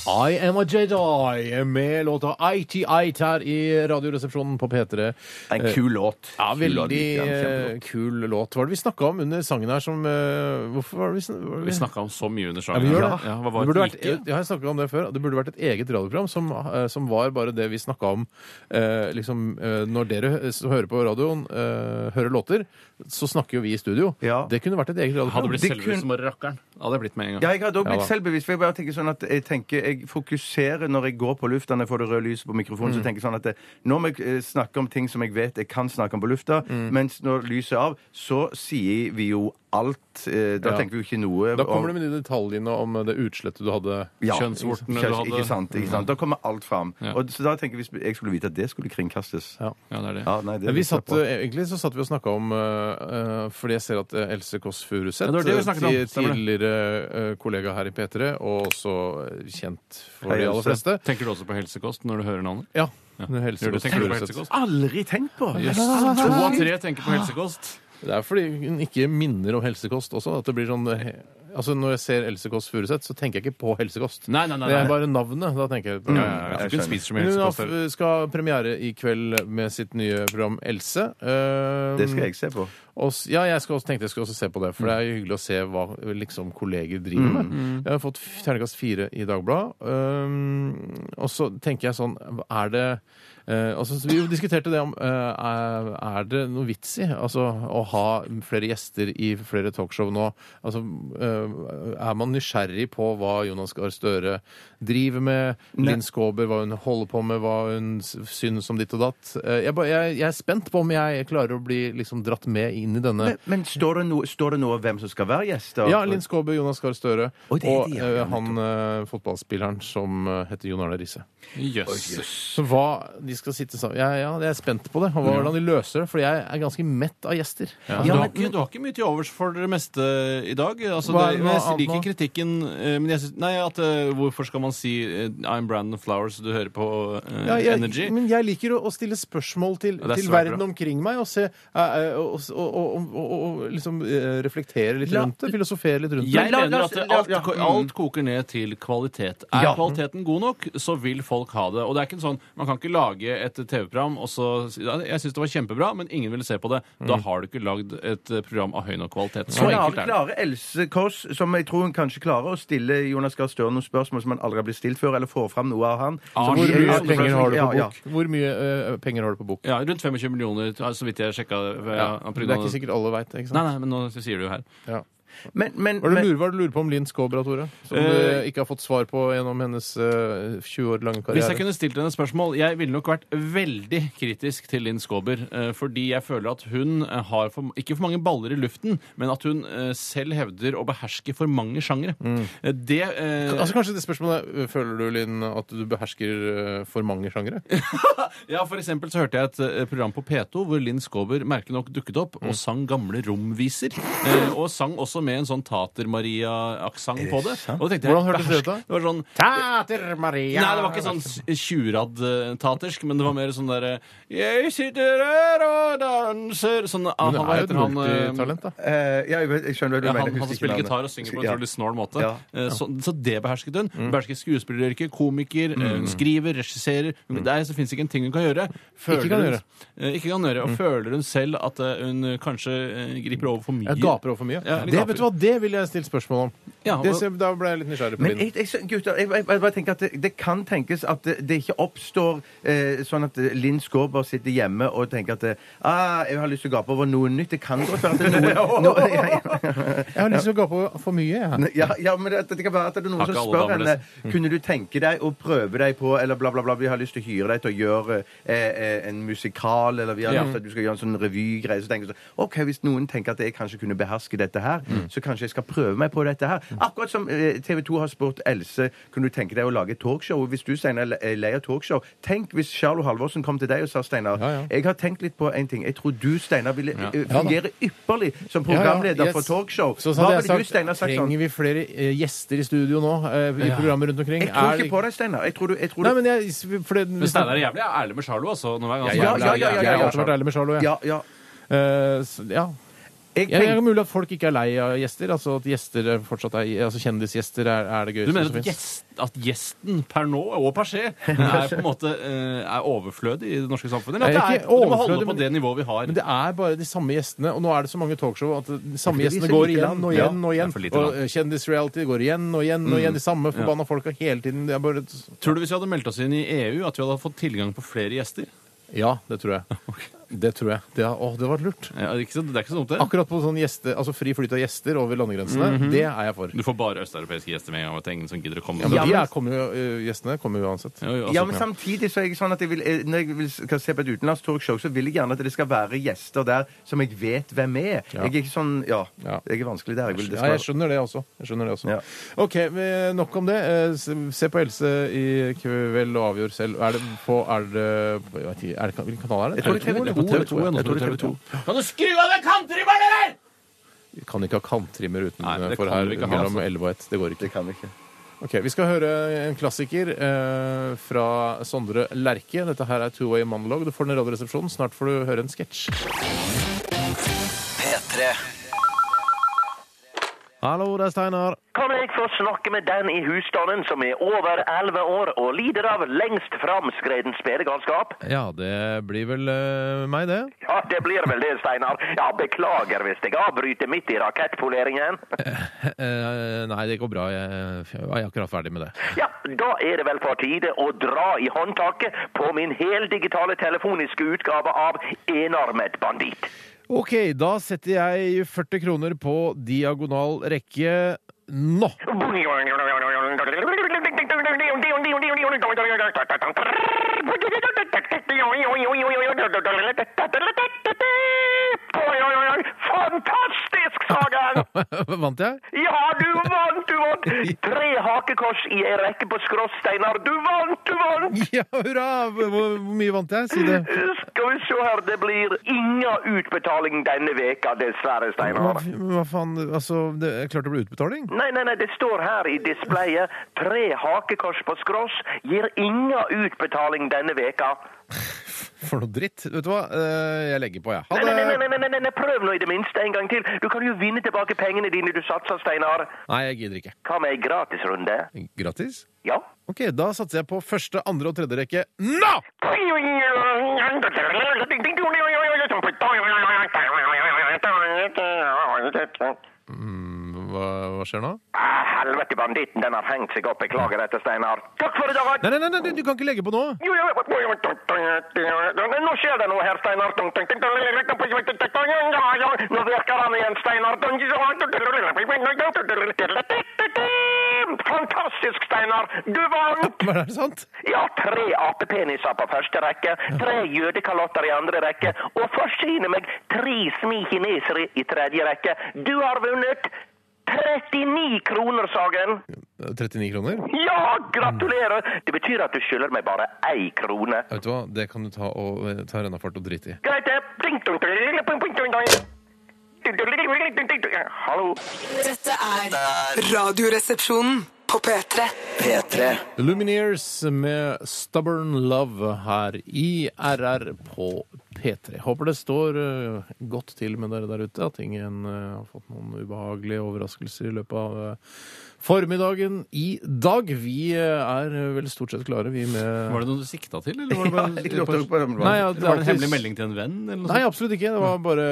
Speaker 3: I am a Jedi med låta IT-IT her i Radioresepsjonen på P3.
Speaker 4: En kul låt.
Speaker 3: Ja,
Speaker 4: Kul låt,
Speaker 3: veldig
Speaker 4: ja, kjempelåt.
Speaker 3: eh, kul låt. Hva var det vi snakka om under sangen her som eh, Hvorfor var det vi, sn var det
Speaker 5: Vi snakka om så mye under
Speaker 3: ja,
Speaker 5: sangen.
Speaker 3: vi gjør det.
Speaker 5: Ja, hva
Speaker 3: det
Speaker 5: var
Speaker 3: burde
Speaker 5: det
Speaker 3: vært, e- ja, jeg har snakket om det før. Det burde vært et eget radioprogram som, eh, som var bare det vi snakka om eh, liksom, eh, Når dere hø- som hører på radioen, eh, hører låter, så snakker jo vi i studio.
Speaker 4: Ja.
Speaker 3: Det kunne vært et eget
Speaker 5: Hadde
Speaker 3: radioprogram.
Speaker 5: blitt
Speaker 4: Det
Speaker 5: selvbevisst som bare rakkeren. Hadde jeg blitt med en gang.
Speaker 4: Ja, jeg hadde også blitt
Speaker 3: Ja da.
Speaker 4: selvbevisst. for Jeg bare tenker sånn at jeg tenker, jeg fokuserer når jeg går på lufta, når jeg får det røde lyset på mikrofonen,
Speaker 3: Mm.
Speaker 4: så tenker jeg sånn at det, nå må jeg eh, snakke om ting som jeg vet jeg kan snakke om på lufta,
Speaker 3: Mm.
Speaker 4: mens når lyset er av, så sier vi jo alt. eh, Da
Speaker 3: Ja.
Speaker 4: tenker vi jo ikke noe
Speaker 3: Da kommer du med de detaljene om eh, det utslettet du hadde.
Speaker 5: kjønnsvortene
Speaker 4: kjønns-
Speaker 5: du hadde.
Speaker 4: Ikke sant, ikke sant. Da kommer alt fram.
Speaker 5: Ja.
Speaker 4: Og, så da tenker jeg, hvis jeg skulle vite at det skulle kringkastes
Speaker 3: Ja.
Speaker 5: Ja, det er det.
Speaker 4: Ja, nei, det
Speaker 3: Vi
Speaker 4: visste jeg
Speaker 3: satt,
Speaker 4: på.
Speaker 3: eh, egentlig så satt vi og snakka om eh, eh, Fordi jeg ser at eh, Else Kåss Furuseth,
Speaker 5: Ja, det var det vi
Speaker 3: eh,
Speaker 5: snakket om,
Speaker 3: ti-
Speaker 5: stemmer det.
Speaker 3: tidligere eh, kollega her i P3, og også eh, kjent for
Speaker 4: Hei,
Speaker 3: de aller
Speaker 4: Else.
Speaker 3: fleste
Speaker 5: Tenker du også på helsekost når du hører navnet?
Speaker 3: Ja.
Speaker 5: Ja.
Speaker 3: Else
Speaker 5: Gjør du,
Speaker 3: Kåss
Speaker 5: tenker du på
Speaker 3: Furuseth.
Speaker 5: helsekost? Ah.
Speaker 4: Aldri tenkt på!
Speaker 5: Yes. To av tre tenker på helsekost.
Speaker 3: Det er fordi hun ikke minner om helsekost også. At det blir sånn eh, Altså Når jeg ser Else Kåss Furuseth, så tenker jeg ikke på helsekost.
Speaker 5: Nei, nei, nei,
Speaker 3: Det er
Speaker 5: nei.
Speaker 3: bare navnet. Da tenker jeg på
Speaker 5: Ja, ja, ja. Jeg altså, tror ikke hun
Speaker 4: skjønner.
Speaker 5: spiser så mye
Speaker 3: Hun har,
Speaker 5: helsekost. heller.
Speaker 3: f- skal ha premiere i kveld med sitt nye program Else. Eh,
Speaker 4: Det skal jeg se på.
Speaker 3: Og, s- ja, jeg skal også, tenkte jeg skulle også se på det, for det er jo hyggelig å se hva liksom, kolleger driver
Speaker 5: Mm,
Speaker 3: med. Jeg har fått Ehm, f- terningkast fire i Dagbladet. Um, og så tenker jeg sånn Er det Eh, altså, så vi jo diskuterte det om eh, er er det noe vits i altså, å ha flere gjester i flere talkshow nå. Altså, eh, er man nysgjerrig på hva Jonas Gahr Støre driver med? Linn Skåber, hva hun holder på med, hva hun s- syns om ditt og datt? Eh, jeg, ba- jeg, jeg er spent på om jeg klarer å bli liksom, dratt med inn i denne
Speaker 4: Men, men står, det noe, står det noe om hvem som skal være gjester?
Speaker 3: ja, Linn Skåber, Jonas Gahr Støre
Speaker 4: Oi,
Speaker 3: og
Speaker 4: det er de, ja.
Speaker 3: eh, han eh, fotballspilleren som eh, heter Jon Arne Riise.
Speaker 5: Jøss.
Speaker 3: Så hva de skal sitte sammen Ja, ja, jeg er spent på det. Og hvordan de løser det. For jeg er ganske mett av gjester. Altså,
Speaker 5: du,
Speaker 4: Ja,
Speaker 5: har
Speaker 4: men-
Speaker 5: ikke, du har ikke mye til overs for det meste i dag. Altså,
Speaker 3: Hva-
Speaker 5: det,
Speaker 3: hva
Speaker 5: jeg
Speaker 3: annet
Speaker 5: liker
Speaker 3: nå?
Speaker 5: kritikken, eh, men jeg synes, nei, at, eh, hvorfor skal man si eh, I'm Brandon Flowers, du hører på eh,
Speaker 3: Ja, jeg,
Speaker 5: Energy?
Speaker 3: men jeg liker å, å stille spørsmål til,
Speaker 5: Ja, det er
Speaker 3: til
Speaker 5: svært
Speaker 3: verden
Speaker 5: bra.
Speaker 3: omkring meg og, se, eh, eh, og, og, og, og, og liksom eh, reflektere litt
Speaker 4: La-
Speaker 3: rundt det. Filosofere litt rundt
Speaker 5: Jeg
Speaker 4: la- la
Speaker 5: mener
Speaker 4: oss-
Speaker 5: at det-
Speaker 4: la-
Speaker 5: alt,
Speaker 4: ja,
Speaker 5: ko-
Speaker 4: mm.
Speaker 5: alt koker ned til kvalitet. Er
Speaker 4: Ja.
Speaker 5: kvaliteten god nok, så vil folk ha det. Og det er ikke en sånn, Man kan ikke lage et TV-program og så si «Ja, Jeg syns det var kjempebra, men ingen ville se på det.
Speaker 4: Mm.
Speaker 5: Da har du ikke lagd et eh, program av høy nok kvalitet. Så
Speaker 4: Klarer,
Speaker 5: enkelt er det.
Speaker 4: klarer Else Kåss, som jeg tror hun kanskje klarer, å stille Jonas Gahr Støre noen spørsmål som han aldri har blitt stilt før, eller får fram noe av han?
Speaker 5: Ah,
Speaker 4: Så
Speaker 3: Hvor
Speaker 5: Ja,
Speaker 3: mye
Speaker 5: ja,
Speaker 3: penger har du på
Speaker 4: Ja, ja.
Speaker 3: bok? Hvor mye eh, penger har du på bok?
Speaker 5: Ja, Rundt 25 millioner, så vidt jeg sjekka.
Speaker 3: Det er ikke sikkert alle veit det. ikke sant?
Speaker 5: Nei, nei, men nå sier du jo her.
Speaker 3: Ja.
Speaker 4: Men, men,
Speaker 3: Hva er det du
Speaker 4: men,
Speaker 3: lurer, hva er det du lurer på om Linn Skåber, Tore? Som
Speaker 5: Eh,
Speaker 3: du ikke har fått svar på gjennom hennes eh, 20 år lange
Speaker 5: Hvis
Speaker 3: karriere.
Speaker 5: jeg kunne stilt henne et spørsmål Jeg ville nok vært veldig kritisk til Linn Skåber. eh, Fordi jeg føler at hun eh, har for, ikke for mange baller i luften, men at hun eh, selv hevder å beherske for mange sjangere. Eh, Det eh,
Speaker 3: Altså Kanskje det spørsmålet er, Føler du, Linn, at du behersker eh, for mange sjangere?
Speaker 5: Ja, for eksempel så hørte jeg et eh, program på P2 hvor Linn Skåber merkelig nok dukket opp
Speaker 3: Mm.
Speaker 5: og sang gamle romviser. eh, Og sang også med en sånn Tater-Maria-aksent på det. Og da tenkte jeg,
Speaker 3: Hvordan hørtes det ut da?
Speaker 5: behersk- Det var sånn
Speaker 3: Tater Maria
Speaker 5: Nei, det var ikke sånn s- tjuradd-tatersk, men det var mer sånn derre Jeg sitter her og danser Sånn ah,
Speaker 3: Men
Speaker 5: han,
Speaker 3: hun
Speaker 5: hva
Speaker 3: er jo et
Speaker 5: heter han eh,
Speaker 3: multitalent, da.
Speaker 4: eh, ja, jeg, vet- jeg skjønner hva du
Speaker 5: ja,
Speaker 4: mener.
Speaker 5: han, han
Speaker 4: Husker ikke
Speaker 5: spiller
Speaker 4: navnet.
Speaker 5: gitar og synger på en
Speaker 4: Ja.
Speaker 5: utrolig snål måte.
Speaker 4: Ja.
Speaker 5: Eh, Så, så det behersket hun.
Speaker 3: Mm.
Speaker 5: Behersket skuespilleryrket, komiker, eh, hun skriver, regisserer. Hun- Der så fins ikke en ting hun kan gjøre.
Speaker 3: Mm. Ikke kan
Speaker 5: hun-
Speaker 3: gjøre. Mm.
Speaker 5: eh, Ikke kan gjøre. Og føler hun selv at eh, hun eh, kanskje eh, griper over for mye?
Speaker 3: Jeg gaper over for mye.
Speaker 5: Ja, eller
Speaker 3: det,
Speaker 5: gaper.
Speaker 3: vet du hva, det ville jeg stilt spørsmål om.
Speaker 5: Ja,
Speaker 3: det,
Speaker 5: og-
Speaker 3: ser- da ble jeg litt nysgjerrig på
Speaker 4: Men
Speaker 3: Linn.
Speaker 4: jeg, jeg, gutter, jeg, jeg, jeg bare tenker at det, det kan tenkes at det, det ikke oppstår eh, sånn at eh, Linn Skåber sitter hjemme og tenker at eh, ah, jeg har lyst til å gape over noe nytt. Det kan godt være at det er noe, noe ja, ja.
Speaker 3: Jeg har lyst til å gape over for mye, jeg.
Speaker 4: Ja, ja, men det, det kan være at det er noen
Speaker 5: Har ikke
Speaker 4: som
Speaker 5: alle
Speaker 4: spør
Speaker 5: damer
Speaker 4: henne
Speaker 3: Mm.
Speaker 4: Kunne du tenke deg å prøve deg på Eller bla bla bla, vi har lyst til å hyre deg til å gjøre eh, eh, en musikal Eller vi har
Speaker 5: Ja.
Speaker 4: lyst til at du skal gjøre en sånn revygreie Så tenker du sånn, ok, hvis noen tenker at jeg kanskje kunne beherske dette her
Speaker 3: Mm.
Speaker 4: Så kanskje jeg skal prøve meg på dette her Akkurat som eh, TV 2 har spurt Else Kunne du tenke deg å lage et talkshow? Og Hvis du, Steinar, le- er lei av talkshow Tenk hvis Charlo Halvorsen kom til deg og sa Steinar
Speaker 3: Ja, ja.
Speaker 4: Jeg har tenkt litt på en ting Jeg tror du, Steinar, ville eh,
Speaker 3: Ja da.
Speaker 4: fungere ypperlig Som
Speaker 3: Ja, ja,
Speaker 4: programleder
Speaker 3: yes.
Speaker 4: for talkshow
Speaker 3: Så
Speaker 4: Hva
Speaker 3: hadde jeg
Speaker 4: ville du,
Speaker 3: sagt,
Speaker 4: Steinar, sagt sånn?
Speaker 3: trenger vi flere eh, gjester i studio nå? eh, I programmet rundt omkring?
Speaker 4: Jeg tror
Speaker 3: Er det-
Speaker 4: ikke på deg, Steinar. Jeg tror du, jeg tror
Speaker 3: Nei,
Speaker 4: du...
Speaker 3: men jeg, for det,
Speaker 5: Men Steinar er jævlig ærlig med Charlo, altså. Nå er han
Speaker 4: Ja, ja, ja, ja, ja,
Speaker 3: Jeg har
Speaker 4: ja.
Speaker 3: alltid vært ærlig med Charlo, jeg.
Speaker 4: Ja, ja.
Speaker 3: Eh, s- ja.
Speaker 4: Jeg
Speaker 3: Jeg, jeg er
Speaker 4: tenker...
Speaker 3: mulig at folk ikke er lei av gjester. Altså at gjester er fortsatt er, altså Kjendisgjester er, er det
Speaker 5: Du
Speaker 3: gøyeste
Speaker 5: mener
Speaker 3: som
Speaker 5: at,
Speaker 3: fins.
Speaker 5: gjest, at gjesten per nå, og per se, er på en måte eh, er overflødig i det norske samfunnet? Eller
Speaker 3: Nei,
Speaker 5: at det
Speaker 3: ikke
Speaker 5: er, du må
Speaker 3: overflødig,
Speaker 5: holde på
Speaker 3: men-
Speaker 5: det nivået vi har?
Speaker 3: Men det er bare de samme gjestene, og nå er det så mange talkshow at de samme
Speaker 4: Det er fordi
Speaker 3: gjestene
Speaker 4: det er
Speaker 3: går
Speaker 4: lite
Speaker 3: igjen
Speaker 4: land.
Speaker 3: og
Speaker 5: Ja,
Speaker 3: igjen og
Speaker 5: det er
Speaker 3: igjen.
Speaker 5: for lite
Speaker 3: Og eh, kjendisreality går igjen og igjen og igjen. De samme forbanna folka hele tiden. Det er bare
Speaker 5: Tror du hvis vi hadde meldt oss inn i EU, at vi hadde fått tilgang på flere gjester?
Speaker 3: Ja, det tror jeg. Det tror jeg. Det, har- å, det var lurt.
Speaker 5: Ja, det er ikke så, det er ikke så dumt, det.
Speaker 3: Akkurat på sånn gjeste, altså fri flyt av gjester over landegrensene, det er jeg for.
Speaker 5: Du får bare østeuropeiske gjester med en gang. og det er ingen som gidder å komme.
Speaker 3: Ja, men
Speaker 4: Ja,
Speaker 3: de
Speaker 4: men-
Speaker 3: er, kommer jo, eh, gjestene kommer jo uansett.
Speaker 5: Jo, jo, altså,
Speaker 4: Ja, men samtidig så er jeg sånn at jeg vil, eh, når jeg vil, skal se på et utenlandsk talkshow, så vil jeg gjerne at det skal være gjester der som jeg vet hvem er. Jeg er ikke sånn Ja.
Speaker 3: Ja.
Speaker 4: Jeg er vanskelig der. Jeg vil det
Speaker 3: Ja,
Speaker 4: skal
Speaker 3: jeg skjønner det også. Jeg skjønner det også.
Speaker 4: Ja.
Speaker 3: OK, men nok om det. Eh, se- Se på Else i kveld og avgjør selv. Er det på Er det, på- jeg vet ikke, er det Hvilken kanal er det?
Speaker 4: Jeg
Speaker 3: Er
Speaker 4: tror det er
Speaker 3: eller?
Speaker 4: TV2,
Speaker 3: På TV2, ja.
Speaker 4: jeg tror det er
Speaker 3: Jeg tror det er TV2.
Speaker 5: Kan du skru av den kantrimmer, dere?!
Speaker 3: Vi kan ikke ha kantrimmer
Speaker 5: Nei, det
Speaker 3: utenfor
Speaker 5: kan
Speaker 3: her
Speaker 5: vi ikke ha,
Speaker 3: mellom
Speaker 5: altså.
Speaker 3: 11 og 1. Det går
Speaker 4: Det
Speaker 3: ikke.
Speaker 4: kan vi ikke.
Speaker 3: Ok, Vi skal høre en klassiker eh, fra Sondre Lerche. Dette her er Two Way Monologue. Du får den i Radioresepsjonen. Snart får du høre en sketsj.
Speaker 2: P3.
Speaker 5: I
Speaker 3: Hallo, det er Steinar.
Speaker 1: Kan jeg få snakke med den i husstanden som er over 11 år og lider av lengst framskreden spedegalskap?
Speaker 3: Ja, det blir vel eh, meg, det.
Speaker 1: Ja, det blir vel det, Steinar. Ja, beklager hvis jeg avbryter midt i rakettpoleringen.
Speaker 3: Eh, nei, det går bra. Jeg, jeg er akkurat ferdig med det.
Speaker 1: Ja, da er det vel på tide å dra i håndtaket på min heldigitale telefoniske utgave av Enarmet banditt.
Speaker 3: Ok, da setter jeg 40 kroner på diagonal rekke nå.
Speaker 1: Fantastisk, Sagen!
Speaker 3: Vant jeg?
Speaker 1: Ja, du vant, du vant! Tre hakekors i ei rekke på skrått, Steinar. Du vant, du vant!
Speaker 3: Ja, hurra! Hvor, hvor mye vant jeg? Si det.
Speaker 1: Skal vi se her, det blir ingen utbetaling denne veka, dessverre,
Speaker 3: Hva,
Speaker 1: Steinar.
Speaker 3: hva faen? Altså, det er klart det blir utbetaling?
Speaker 1: Nei, nei, nei, det står her i displayet tre hakekors på skross gir ingen utbetaling denne veka.
Speaker 3: For noe dritt. Vet du hva? Eh, Jeg legger på, jeg.
Speaker 1: Nei,
Speaker 3: Ja.
Speaker 1: nei, nei,
Speaker 3: Ha
Speaker 1: nei,
Speaker 3: det!
Speaker 1: nei, nei, nei, nei, prøv nå i det minste en gang til. Du kan jo vinne tilbake pengene dine du satser, Steinar.
Speaker 3: Nei, jeg gidder ikke.
Speaker 1: Hva med ei gratisrunde?
Speaker 3: Gratis?
Speaker 1: Ja.
Speaker 3: Ok, da satser jeg på første, andre og tredje rekke nå!
Speaker 1: Ah,
Speaker 3: Hva, hva skjer nå?
Speaker 1: helvete, banditten den har hengt seg opp. Beklager dette, Steinar. Takk for i dag!
Speaker 3: Nei, nei, nei, nei, du kan ikke legge på nå!
Speaker 1: Nå skjer det noe her, Steinar. Nå virker han igjen, Steinar. Fantastisk, Steinar. Du vant!
Speaker 3: Men er det sant?
Speaker 1: Ja, tre apepeniser på første rekke, tre jødekalotter i andre rekke, og forsyne meg tre smi kinesere i tredje rekke. Du har vunnet 39 kroner, Sagen.
Speaker 3: 39 kroner?
Speaker 1: Ja, gratulerer! Det betyr at du skylder meg bare ei krone.
Speaker 3: Vet du hva, det kan du ta, og, eh, ta rennafart og drite i.
Speaker 1: Greit, det. Ding, dong, dong, dong, dong, dong, dong, dong. Hallo?
Speaker 6: Dette er Radioresepsjonen på P3.
Speaker 2: P3
Speaker 3: Lumineers med 'Stubborn Love' her i RR på P3. Håper det står eh, godt til med dere der ute, at ingen eh, har fått noen ubehagelige overraskelser i løpet av eh, formiddagen i dag. Vi eh, er vel stort sett klare, vi med
Speaker 5: Var det noe du sikta til, eller var det bare
Speaker 4: Jeg lurte også på det, men
Speaker 3: Nei, ja,
Speaker 5: Var det en
Speaker 3: alltid-
Speaker 5: hemmelig melding til en venn? Eller noe
Speaker 3: Nei,
Speaker 5: sånt?
Speaker 3: absolutt ikke. Det var bare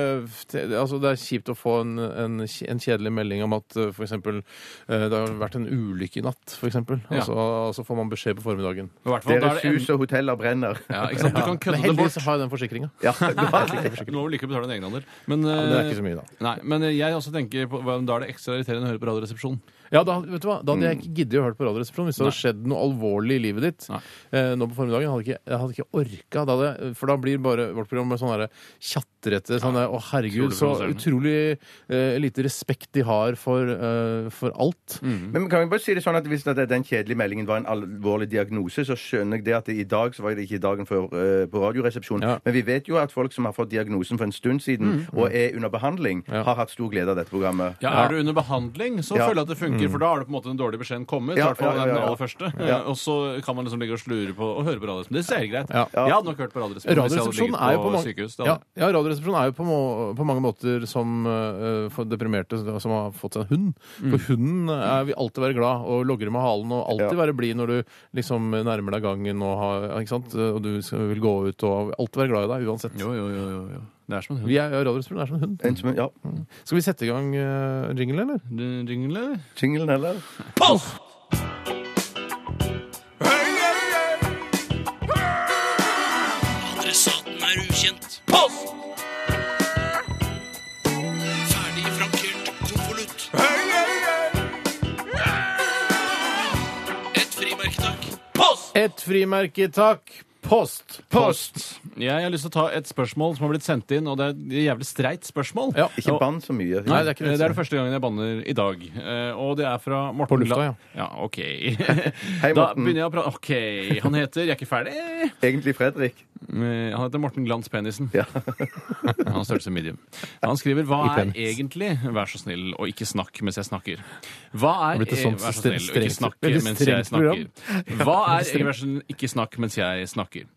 Speaker 3: altså, Det er kjipt å få en, en, kj- en kjedelig melding om at eh, for eksempel eh, det har vært en ulykke i natt, f.eks.
Speaker 5: Ja.
Speaker 3: Altså, altså får man beskjed på formiddagen.
Speaker 5: I hvert fall, da er
Speaker 4: Deres
Speaker 5: det en-
Speaker 4: hus og hoteller brenner.
Speaker 5: Ja, ikke sant? Du kan kødde
Speaker 3: Men
Speaker 5: det
Speaker 3: heldigvis
Speaker 5: bort.
Speaker 3: har jeg den forsikringa.
Speaker 4: Ja, det var det.
Speaker 5: Du må vel like å betale en egenandel. Men, eh,
Speaker 3: men det er ikke så mye, da.
Speaker 5: Nei, men eh, jeg også tenker på, da er det ekstra irriterende å høre på Radioresepsjonen.
Speaker 3: Ja, da, vet du hva? da hadde jeg ikke giddet å høre på Radioresepsjonen hvis det hadde skjedd noe alvorlig i livet ditt.
Speaker 5: Mm. Nei.
Speaker 3: Eh, nå på formiddagen hadde jeg ikke, jeg hadde ikke orka. Da hadde, for da blir bare vårt program bare sånn derre tjatrete sånn der, Å, herregud,
Speaker 5: Utrolig
Speaker 3: så
Speaker 5: provoserende.
Speaker 3: utrolig eh, lite respekt de har for, eh, for alt.
Speaker 5: Mm.
Speaker 4: Men kan vi bare si det sånn at Hvis at den kjedelige meldingen var en alvorlig diagnose, så skjønner jeg det at det i dag så var det ikke dagen før eh, på Radioresepsjonen.
Speaker 3: Ja. Mm.
Speaker 4: Men vi vet jo at folk som har fått diagnosen for en stund siden og er under behandling, har hatt stor glede av dette programmet.
Speaker 5: Ja, Er du under behandling, så
Speaker 4: Ja.
Speaker 5: føler jeg at det
Speaker 3: Mm.
Speaker 5: funker, for da har du på en måte den dårlige beskjeden kommet.
Speaker 4: Ja,
Speaker 5: i hvert fall
Speaker 4: ja, ja,
Speaker 5: den
Speaker 4: ja.
Speaker 5: aller første.
Speaker 4: Ja.
Speaker 5: Og så kan man liksom ligge og slure på og høre på Radioresepsjonen. Det ser greit.
Speaker 3: Ja.
Speaker 5: Jeg hadde nok hørt på Radioresepsjonen hvis jeg hadde
Speaker 3: Radioresepsjonen
Speaker 5: ligget
Speaker 3: er jo
Speaker 5: på,
Speaker 3: på mange,
Speaker 5: sykehus. Det
Speaker 3: ja,
Speaker 5: hadde-
Speaker 3: ja, radioresepsjonen er jo på, må, på mange måter som eh, for deprimerte som har fått seg en hund.
Speaker 5: Mm.
Speaker 3: For hunden er, vil alltid være glad og logre med halen og alltid være blid når du liksom nærmer deg gangen og, har, ikke sant? og du skal, vil gå ut og alltid være glad i deg uansett.
Speaker 5: Jo, jo, jo, jo, jo. Det er som en hund.
Speaker 3: Vi er, ja, radioresepsjonen er som en hund.
Speaker 4: En som- Ja.
Speaker 3: Skal vi sette i gang uh, jingle, eller?
Speaker 5: Du- Jingle?
Speaker 4: Jinglen, eller?
Speaker 7: Adressaten er ukjent. Post! Ferdig frankert konvolutt. Et frimerketak. Post!
Speaker 3: Et frimerke, takk! Post!
Speaker 5: Post! Jeg har lyst til å ta et spørsmål som har blitt sendt inn, og det er et jævlig streit spørsmål.
Speaker 3: Ja.
Speaker 4: Ikke bann så mye.
Speaker 3: Nei, det
Speaker 5: det
Speaker 3: er ikke det.
Speaker 5: er det første gangen jeg banner i dag. Eh, Og det er fra Morten
Speaker 3: På lufta,
Speaker 5: La-
Speaker 3: ja.
Speaker 5: ja. OK.
Speaker 4: Hei,
Speaker 5: da
Speaker 4: Morten.
Speaker 5: begynner jeg å prate OK. Han heter Jeg er ikke ferdig. Eh,
Speaker 4: Egentlig Fredrik.
Speaker 5: Han heter Morten Glans Penisen.
Speaker 4: Ja.
Speaker 5: Han har størrelse medium. Han skriver Hva
Speaker 3: I
Speaker 5: er
Speaker 3: penis.
Speaker 5: egentlig Vær så snill og ikke snakk mens jeg snakker. Hva er e-
Speaker 3: Det har blitt et sånt
Speaker 5: Vær så snill og
Speaker 3: strengt-
Speaker 5: ikke snakk
Speaker 3: veldig
Speaker 5: mens jeg
Speaker 3: strengt
Speaker 5: snakker.
Speaker 3: program.
Speaker 5: Hva er Vær så snill, ikke snakk mens jeg snakker.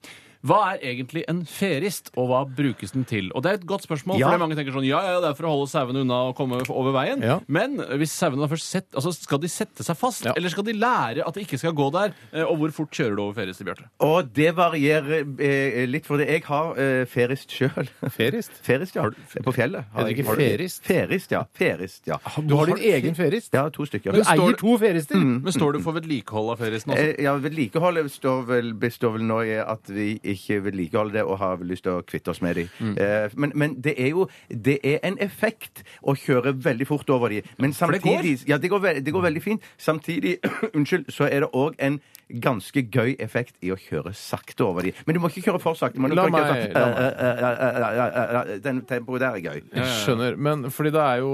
Speaker 5: Hva er egentlig en ferist, og hva brukes den til? Og det er et godt spørsmål,
Speaker 4: Ja.
Speaker 5: for mange tenker sånn ja, ja, det er for å holde sauene unna og komme over veien.
Speaker 3: Ja.
Speaker 5: Men hvis sauene da først sett, altså, skal de sette seg fast,
Speaker 3: Ja.
Speaker 5: eller skal de lære at de ikke skal gå der? Eh, Og hvor fort kjører du over ferist til Bjarte?
Speaker 4: Og det varierer eh, litt, for det. jeg har eh, ferist sjøl.
Speaker 3: Ferist?
Speaker 4: Ferist, ja. På fjellet. har
Speaker 3: Heter det
Speaker 4: jeg-
Speaker 3: ikke ferist?
Speaker 4: Ferist, ja. Ferist, ja.
Speaker 3: Ah, Du har din egen ferist?
Speaker 4: Ja, to stykker.
Speaker 3: Du
Speaker 5: står Mm.
Speaker 3: eier
Speaker 5: det-
Speaker 3: to ferister?
Speaker 5: Men står du for vedlikehold av feristen også?
Speaker 3: Altså-
Speaker 4: Eh, Ja, Vedlikeholdet står vel, består vel nå i at vi ikke vedlikeholder det og har lyst til å kvitte oss med de.
Speaker 3: Mm.
Speaker 4: Eh, men, men det er jo det er en effekt å kjøre veldig fort over de. Men
Speaker 5: det går?
Speaker 4: samtidig Ja, det går, ve det går veldig fint. Samtidig unnskyld, så er det òg en ganske gøy effekt i å kjøre sakte over de. Men du må ikke kjøre for sakte. men du
Speaker 3: La
Speaker 4: kan ikke-
Speaker 3: meg- la meg.
Speaker 4: Eh, eh, eh, eh, eh, eh, Den tempoet der er gøy.
Speaker 3: Jeg skjønner. Men fordi det er jo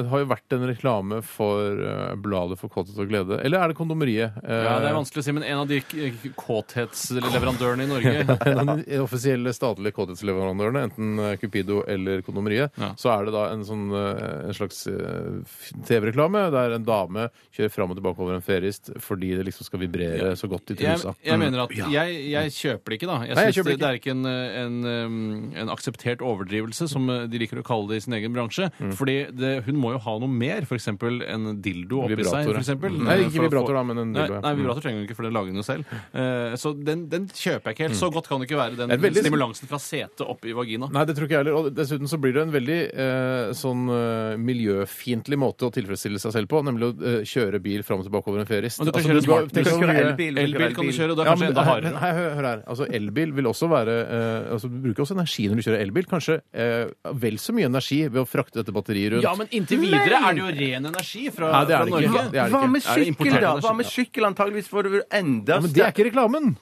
Speaker 3: Det har jo vært en reklame for eh, bladet for kåthet og glede. Eller er det Kondomeriet? Eh,
Speaker 5: Ja, Det er vanskelig å si, men en av de k- kåthetsleverandørene i Norge
Speaker 3: En av de offisielle statlige kåthetsleverandørene, enten eh, Cupido eller Kondomeriet,
Speaker 5: Ja.
Speaker 3: så er det da en, sånn, eh, en slags eh, f- TV-reklame der en dame kjører fram og tilbake over en ferist fordi det liksom skal vibrere så godt i
Speaker 5: jeg,
Speaker 3: trusa. Mm.
Speaker 5: jeg mener at jeg, jeg kjøper det ikke, da. Jeg
Speaker 3: Nei, jeg
Speaker 5: synes
Speaker 3: kjøper det
Speaker 5: det, det er ikke en, en, um, en akseptert overdrivelse, som uh, de liker å kalle det i sin egen bransje.
Speaker 3: Mm.
Speaker 5: Fordi det, hun må jo ha noe mer, f.eks. en dildo oppi
Speaker 3: Vibrator,
Speaker 5: seg.
Speaker 3: ja.
Speaker 5: For eksempel,
Speaker 3: Mm. Nei,
Speaker 5: eh,
Speaker 3: ikke
Speaker 5: for å
Speaker 3: vibrator,
Speaker 5: få-
Speaker 3: da, men en dildo, ja. Mm.
Speaker 5: Nei, nei, vibrator trenger hun ikke, for det lager hun jo selv. Eh, så den, den kjøper jeg ikke helt. Så godt kan det ikke være, den
Speaker 3: Det er Mm. veldig-
Speaker 5: stimulansen fra setet opp i vagina.
Speaker 3: Nei, det tror ikke jeg heller. Og dessuten så blir det en veldig eh, sånn eh, miljøfiendtlig måte å tilfredsstille seg selv på, nemlig å eh, kjøre bil fram og tilbake over en ferist. Altså,
Speaker 5: Men du kan kjøre
Speaker 3: går-
Speaker 5: smart.
Speaker 3: tenk
Speaker 4: Du
Speaker 3: så
Speaker 4: kan kjøre
Speaker 3: mye-
Speaker 4: elbil, du
Speaker 5: Elbil kan du kjøre, og det er
Speaker 3: Ja,
Speaker 5: kanskje
Speaker 3: men,
Speaker 5: enda
Speaker 3: her,
Speaker 5: hardere.
Speaker 3: men her, hør, hør her. Altså, elbil vil også være eh, altså, Du bruker også energi når du kjører elbil. Kanskje eh, vel så mye energi ved å frakte dette batteriet rundt.
Speaker 5: Ja, men inntil videre er det jo ren energi fra,
Speaker 3: Nei, det er
Speaker 5: fra
Speaker 3: det ikke.
Speaker 5: Norge.
Speaker 3: Det er det
Speaker 4: Hva
Speaker 3: ikke.
Speaker 4: med
Speaker 5: Er det
Speaker 4: sykkel,
Speaker 5: importert
Speaker 4: da?
Speaker 5: energi?
Speaker 4: Hva med sykkel? Antageligvis får du enda
Speaker 3: Ja, men det er ikke reklamen!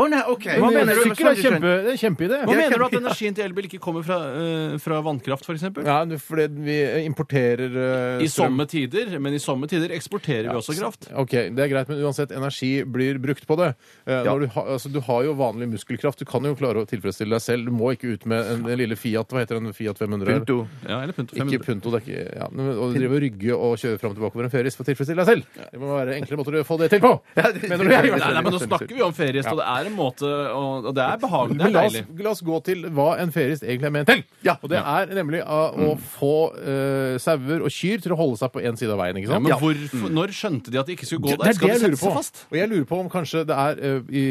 Speaker 4: Å nei, OK.
Speaker 3: Men
Speaker 4: mener du?
Speaker 3: Sykkel er
Speaker 4: Sånn,
Speaker 3: kjempe, det er en kjempeidé.
Speaker 5: Hva
Speaker 4: Jeg
Speaker 5: mener du
Speaker 4: kjemper-
Speaker 5: at energien til elbil ikke kommer fra, eh, fra vannkraft, f.eks.?
Speaker 3: Ja, fordi vi importerer eh,
Speaker 5: I
Speaker 3: strøm.
Speaker 5: somme tider, men i somme tider eksporterer vi også kraft.
Speaker 3: Ok, Det er greit, men uansett, energi blir brukt på det. Eh, når du, ha, altså, du har jo vanlig muskelkraft. Du kan jo klare å tilfredsstille deg selv. Du må ikke ut med en, en lille Fiat. Hva heter den? Fiat 500?
Speaker 4: Punto.
Speaker 5: Ja, eller punto
Speaker 3: Ikke
Speaker 5: 500.
Speaker 3: Punto. Det er ikke, ja, men å drive og rygge og kjøre fram og tilbake over en ferieris for å tilfredsstille deg selv. Det må være enklere måter å få det til på!
Speaker 4: det-
Speaker 3: Mener du?
Speaker 5: Nei, nei, men Nå snakker vi om feriest, og det er en måte og, og det er behagelig. Det
Speaker 3: Men
Speaker 5: er
Speaker 3: la oss,
Speaker 5: deilig.
Speaker 3: la oss gå til hva en ferist egentlig er ment til. Og det er nemlig av
Speaker 5: Mm.
Speaker 3: å få eh, sauer og kyr til å holde seg på én side av veien. ikke
Speaker 5: Ja,
Speaker 3: sant?
Speaker 5: Mm. men hvorfor, når skjønte de at de ikke skulle gå
Speaker 3: Det
Speaker 5: der?
Speaker 3: er
Speaker 5: Skal
Speaker 3: det
Speaker 5: de
Speaker 3: jeg
Speaker 5: sette
Speaker 3: lurer på.
Speaker 5: seg fast?
Speaker 3: Og jeg lurer på om kanskje det er eh, i,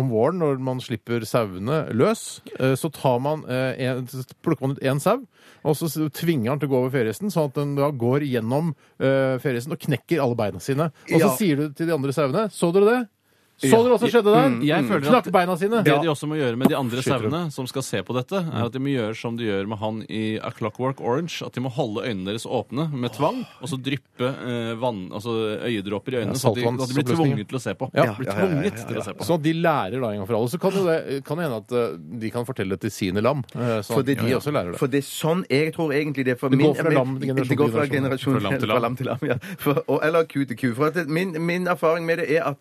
Speaker 3: om våren, når man slipper sauene løs, eh, så tar man eh, en, så plukker man ut én sau, og så s- tvinger han til å gå over feriehesten, sånn at den da går gjennom uh, feriehesten og knekker alle beina sine. Og så
Speaker 4: Ja.
Speaker 3: sier du til de andre sauene Så dere det? Så dere hva som skjedde der?
Speaker 5: Mm, jeg føler at-
Speaker 3: Knakk beina sine.
Speaker 5: Det de også må gjøre med de andre
Speaker 3: Skyter opp.
Speaker 5: sauene som skal se på dette, er at de må gjøre som de gjør med han i A Clockwork Orange. At de må holde øynene deres åpne med tvang, og så dryppe eh, vann, altså øyedråper i
Speaker 3: Ja,
Speaker 5: øynene. så at de, at de blir
Speaker 3: saltvannsoppløsningen.
Speaker 5: tvunget til å se på.
Speaker 3: Ja.
Speaker 5: Blir tvunget til å se på.
Speaker 3: Sånn at de lærer da en gang for alle. Så kan jo det kan det hende at eh, de kan fortelle det til sine lam. eh, Sånn at
Speaker 4: Fordi
Speaker 3: de også lærer det.
Speaker 4: For det er sånn jeg tror egentlig det er for
Speaker 3: Det går
Speaker 4: min-
Speaker 3: fra
Speaker 4: min-
Speaker 3: lam til generasjon
Speaker 4: Det går fra
Speaker 3: til generasjon.
Speaker 4: generasjon
Speaker 5: Fra lam til
Speaker 4: fra
Speaker 5: lam.
Speaker 4: lam til lam, ja. For, og, eller ku til ku. For at det- min, min erfaring med det er at,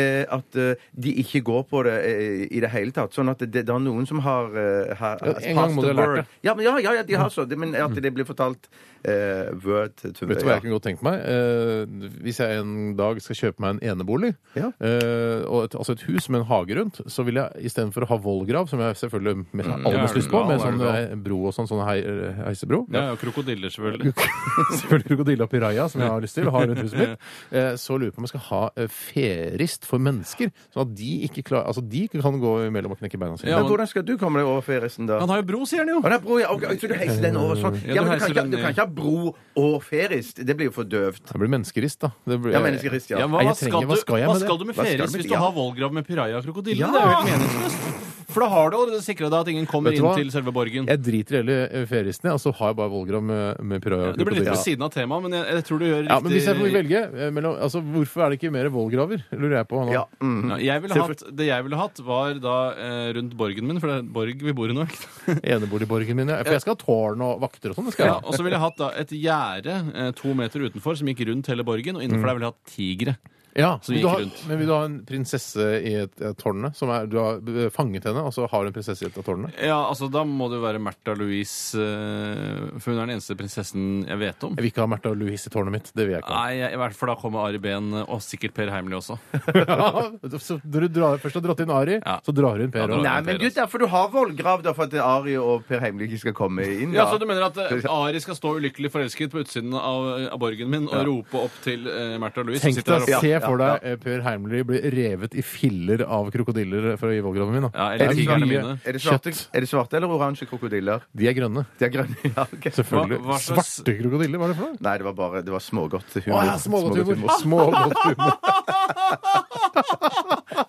Speaker 4: eh, at eh, de ikke går på det eh, i det hele tatt. Sånn at det, det er noen som har, eh, har
Speaker 3: Ja,
Speaker 4: has
Speaker 3: en gang
Speaker 4: passed
Speaker 3: må
Speaker 4: the
Speaker 3: de ha lært
Speaker 4: word.
Speaker 3: det. Mm.
Speaker 4: Ja, men, ja, ja, ja, de har så det, men at det blir fortalt eh, word to
Speaker 3: Vet du hva jeg kunne godt tenkt meg? Eh, hvis jeg en dag skal kjøpe meg en enebolig,
Speaker 4: Ja.
Speaker 3: eh, og et, altså et hus med en hage rundt, så vil jeg istedenfor å ha vollgrav, som jeg selvfølgelig mest,
Speaker 4: Mm.
Speaker 3: har aller
Speaker 5: Ja,
Speaker 3: mest
Speaker 5: er du
Speaker 3: lyst på,
Speaker 5: gal,
Speaker 3: med
Speaker 5: er
Speaker 3: sånn
Speaker 5: du gal?
Speaker 3: eh, bro og sånn, sånn hei, heisebro
Speaker 5: Ja, ja, krokodiller, selvfølgelig.
Speaker 3: Selvfølgelig krokodilla piraya, som jeg har lyst til å ha rundt huset mitt. Eh, så lurer jeg på om jeg skal ha eh, ferist for mennesker, sånn at de ikke klarer Altså, de kan gå imellom og knekke beina sine.
Speaker 5: Ja,
Speaker 4: Men
Speaker 5: men-
Speaker 4: hvordan skal du komme deg over feriesten, da?
Speaker 5: Han har jo bro, sier han jo.
Speaker 4: Å, nei, bro, ja, ok, så du heiser den over sånn?
Speaker 5: Ja,
Speaker 4: Ja,
Speaker 5: du
Speaker 4: men du
Speaker 5: heiser
Speaker 4: kan, ikke,
Speaker 5: den
Speaker 4: du kan
Speaker 5: ned.
Speaker 4: ikke ha bro og ferist. Det blir jo for døvt.
Speaker 3: Det blir menneskerist, da. Det blir,
Speaker 4: Ja, menneskerist, ja.
Speaker 5: Ja, hva,
Speaker 3: Nei, jeg
Speaker 5: hva, skal
Speaker 3: trenger-
Speaker 5: du,
Speaker 3: hva skal jeg
Speaker 5: hva
Speaker 3: med det?
Speaker 5: skal du med
Speaker 4: Hva skal
Speaker 5: Feris
Speaker 4: du med-
Speaker 5: hvis du
Speaker 4: ja.
Speaker 5: har vollgrav med piraja og krokodille?
Speaker 4: Ja.
Speaker 5: Det er jo helt meningsløst. For da har du allerede sikra deg at ingen kommer
Speaker 3: Vet du
Speaker 5: inn
Speaker 3: hva?
Speaker 5: til selve borgen.
Speaker 3: Jeg driter i hele eh, feristen, jeg, og så har jeg bare vollgrav med, med piraya. og
Speaker 5: Det blir litt
Speaker 3: krokodilla.
Speaker 5: ved siden av temaet, men jeg, jeg tror du gjør riktig
Speaker 3: Ja, men hvis jeg får velge eh, mellom, altså, Hvorfor er det ikke mer vollgraver? Lurer jeg på. Nå.
Speaker 4: Ja. mhm.
Speaker 5: Ja, mm. jeg ville hatt, det jeg ville hatt, var da eh, rundt borgen min, for det er borg vi bor i nå. ikke sant?
Speaker 3: Eneboligborgen min. Ja. For jeg skal ha tårn og vakter og sånn. det skal jeg
Speaker 5: Ja,
Speaker 3: ha.
Speaker 5: og Mm. så ville jeg hatt da et gjerde eh, to meter utenfor som gikk rundt hele borgen, og innenfor der ville jeg hatt tigre.
Speaker 3: Ja,
Speaker 5: som
Speaker 3: vil du
Speaker 5: gikk
Speaker 3: ha,
Speaker 5: rundt.
Speaker 3: men vil du ha en prinsesse i et, et tårnet? Som er, du har eh, fanget henne, og så har du en prinsesse i et av tårnene?
Speaker 5: Ja, altså Da må det jo være Märtha Louise, eh, for hun er den eneste prinsessen jeg vet om.
Speaker 3: Jeg vil ikke ha Märtha Louise i tårnet mitt. Det vil jeg ikke ha.
Speaker 5: Nei, jeg, i hvert fall da kommer Ari Behn, eh, og sikkert Per Heimly også.
Speaker 3: Ja, så når du drar, først har dratt inn Ari,
Speaker 5: Ja.
Speaker 3: så drar hun
Speaker 5: Ja,
Speaker 3: Per
Speaker 5: da-
Speaker 3: òg.
Speaker 4: Nei, men gud, derfor du har vollgrav, da, for at Ari og Per Heimly ikke skal komme inn.
Speaker 5: Ja,
Speaker 4: da.
Speaker 5: Så du mener at eh, Ari skal stå ulykkelig forelsket på utsiden av, av borgen min og rope opp til eh, Märtha Louise? som
Speaker 3: Tenk
Speaker 5: sitter
Speaker 3: deg,
Speaker 5: der oppe?
Speaker 3: Se for deg eh, Per Heimly bli revet i filler av krokodiller for å gi vollgraven min. da.
Speaker 5: Ja,
Speaker 3: Det
Speaker 5: eller
Speaker 3: er
Speaker 5: tigerne
Speaker 3: mye
Speaker 5: mine.
Speaker 4: er, det svarte,
Speaker 3: Kjøtt.
Speaker 4: er det svarte eller oransje krokodiller?
Speaker 3: De er grønne.
Speaker 4: De er grønne. Ja, ok.
Speaker 3: Selvfølgelig.
Speaker 5: Hva- hva slags-
Speaker 3: Svarte krokodiller, hva er det for noe?
Speaker 4: Nei, det var bare det var smågodt humor.
Speaker 3: Å ja, smågodt humor.
Speaker 4: humor.
Speaker 3: Smågodt humor.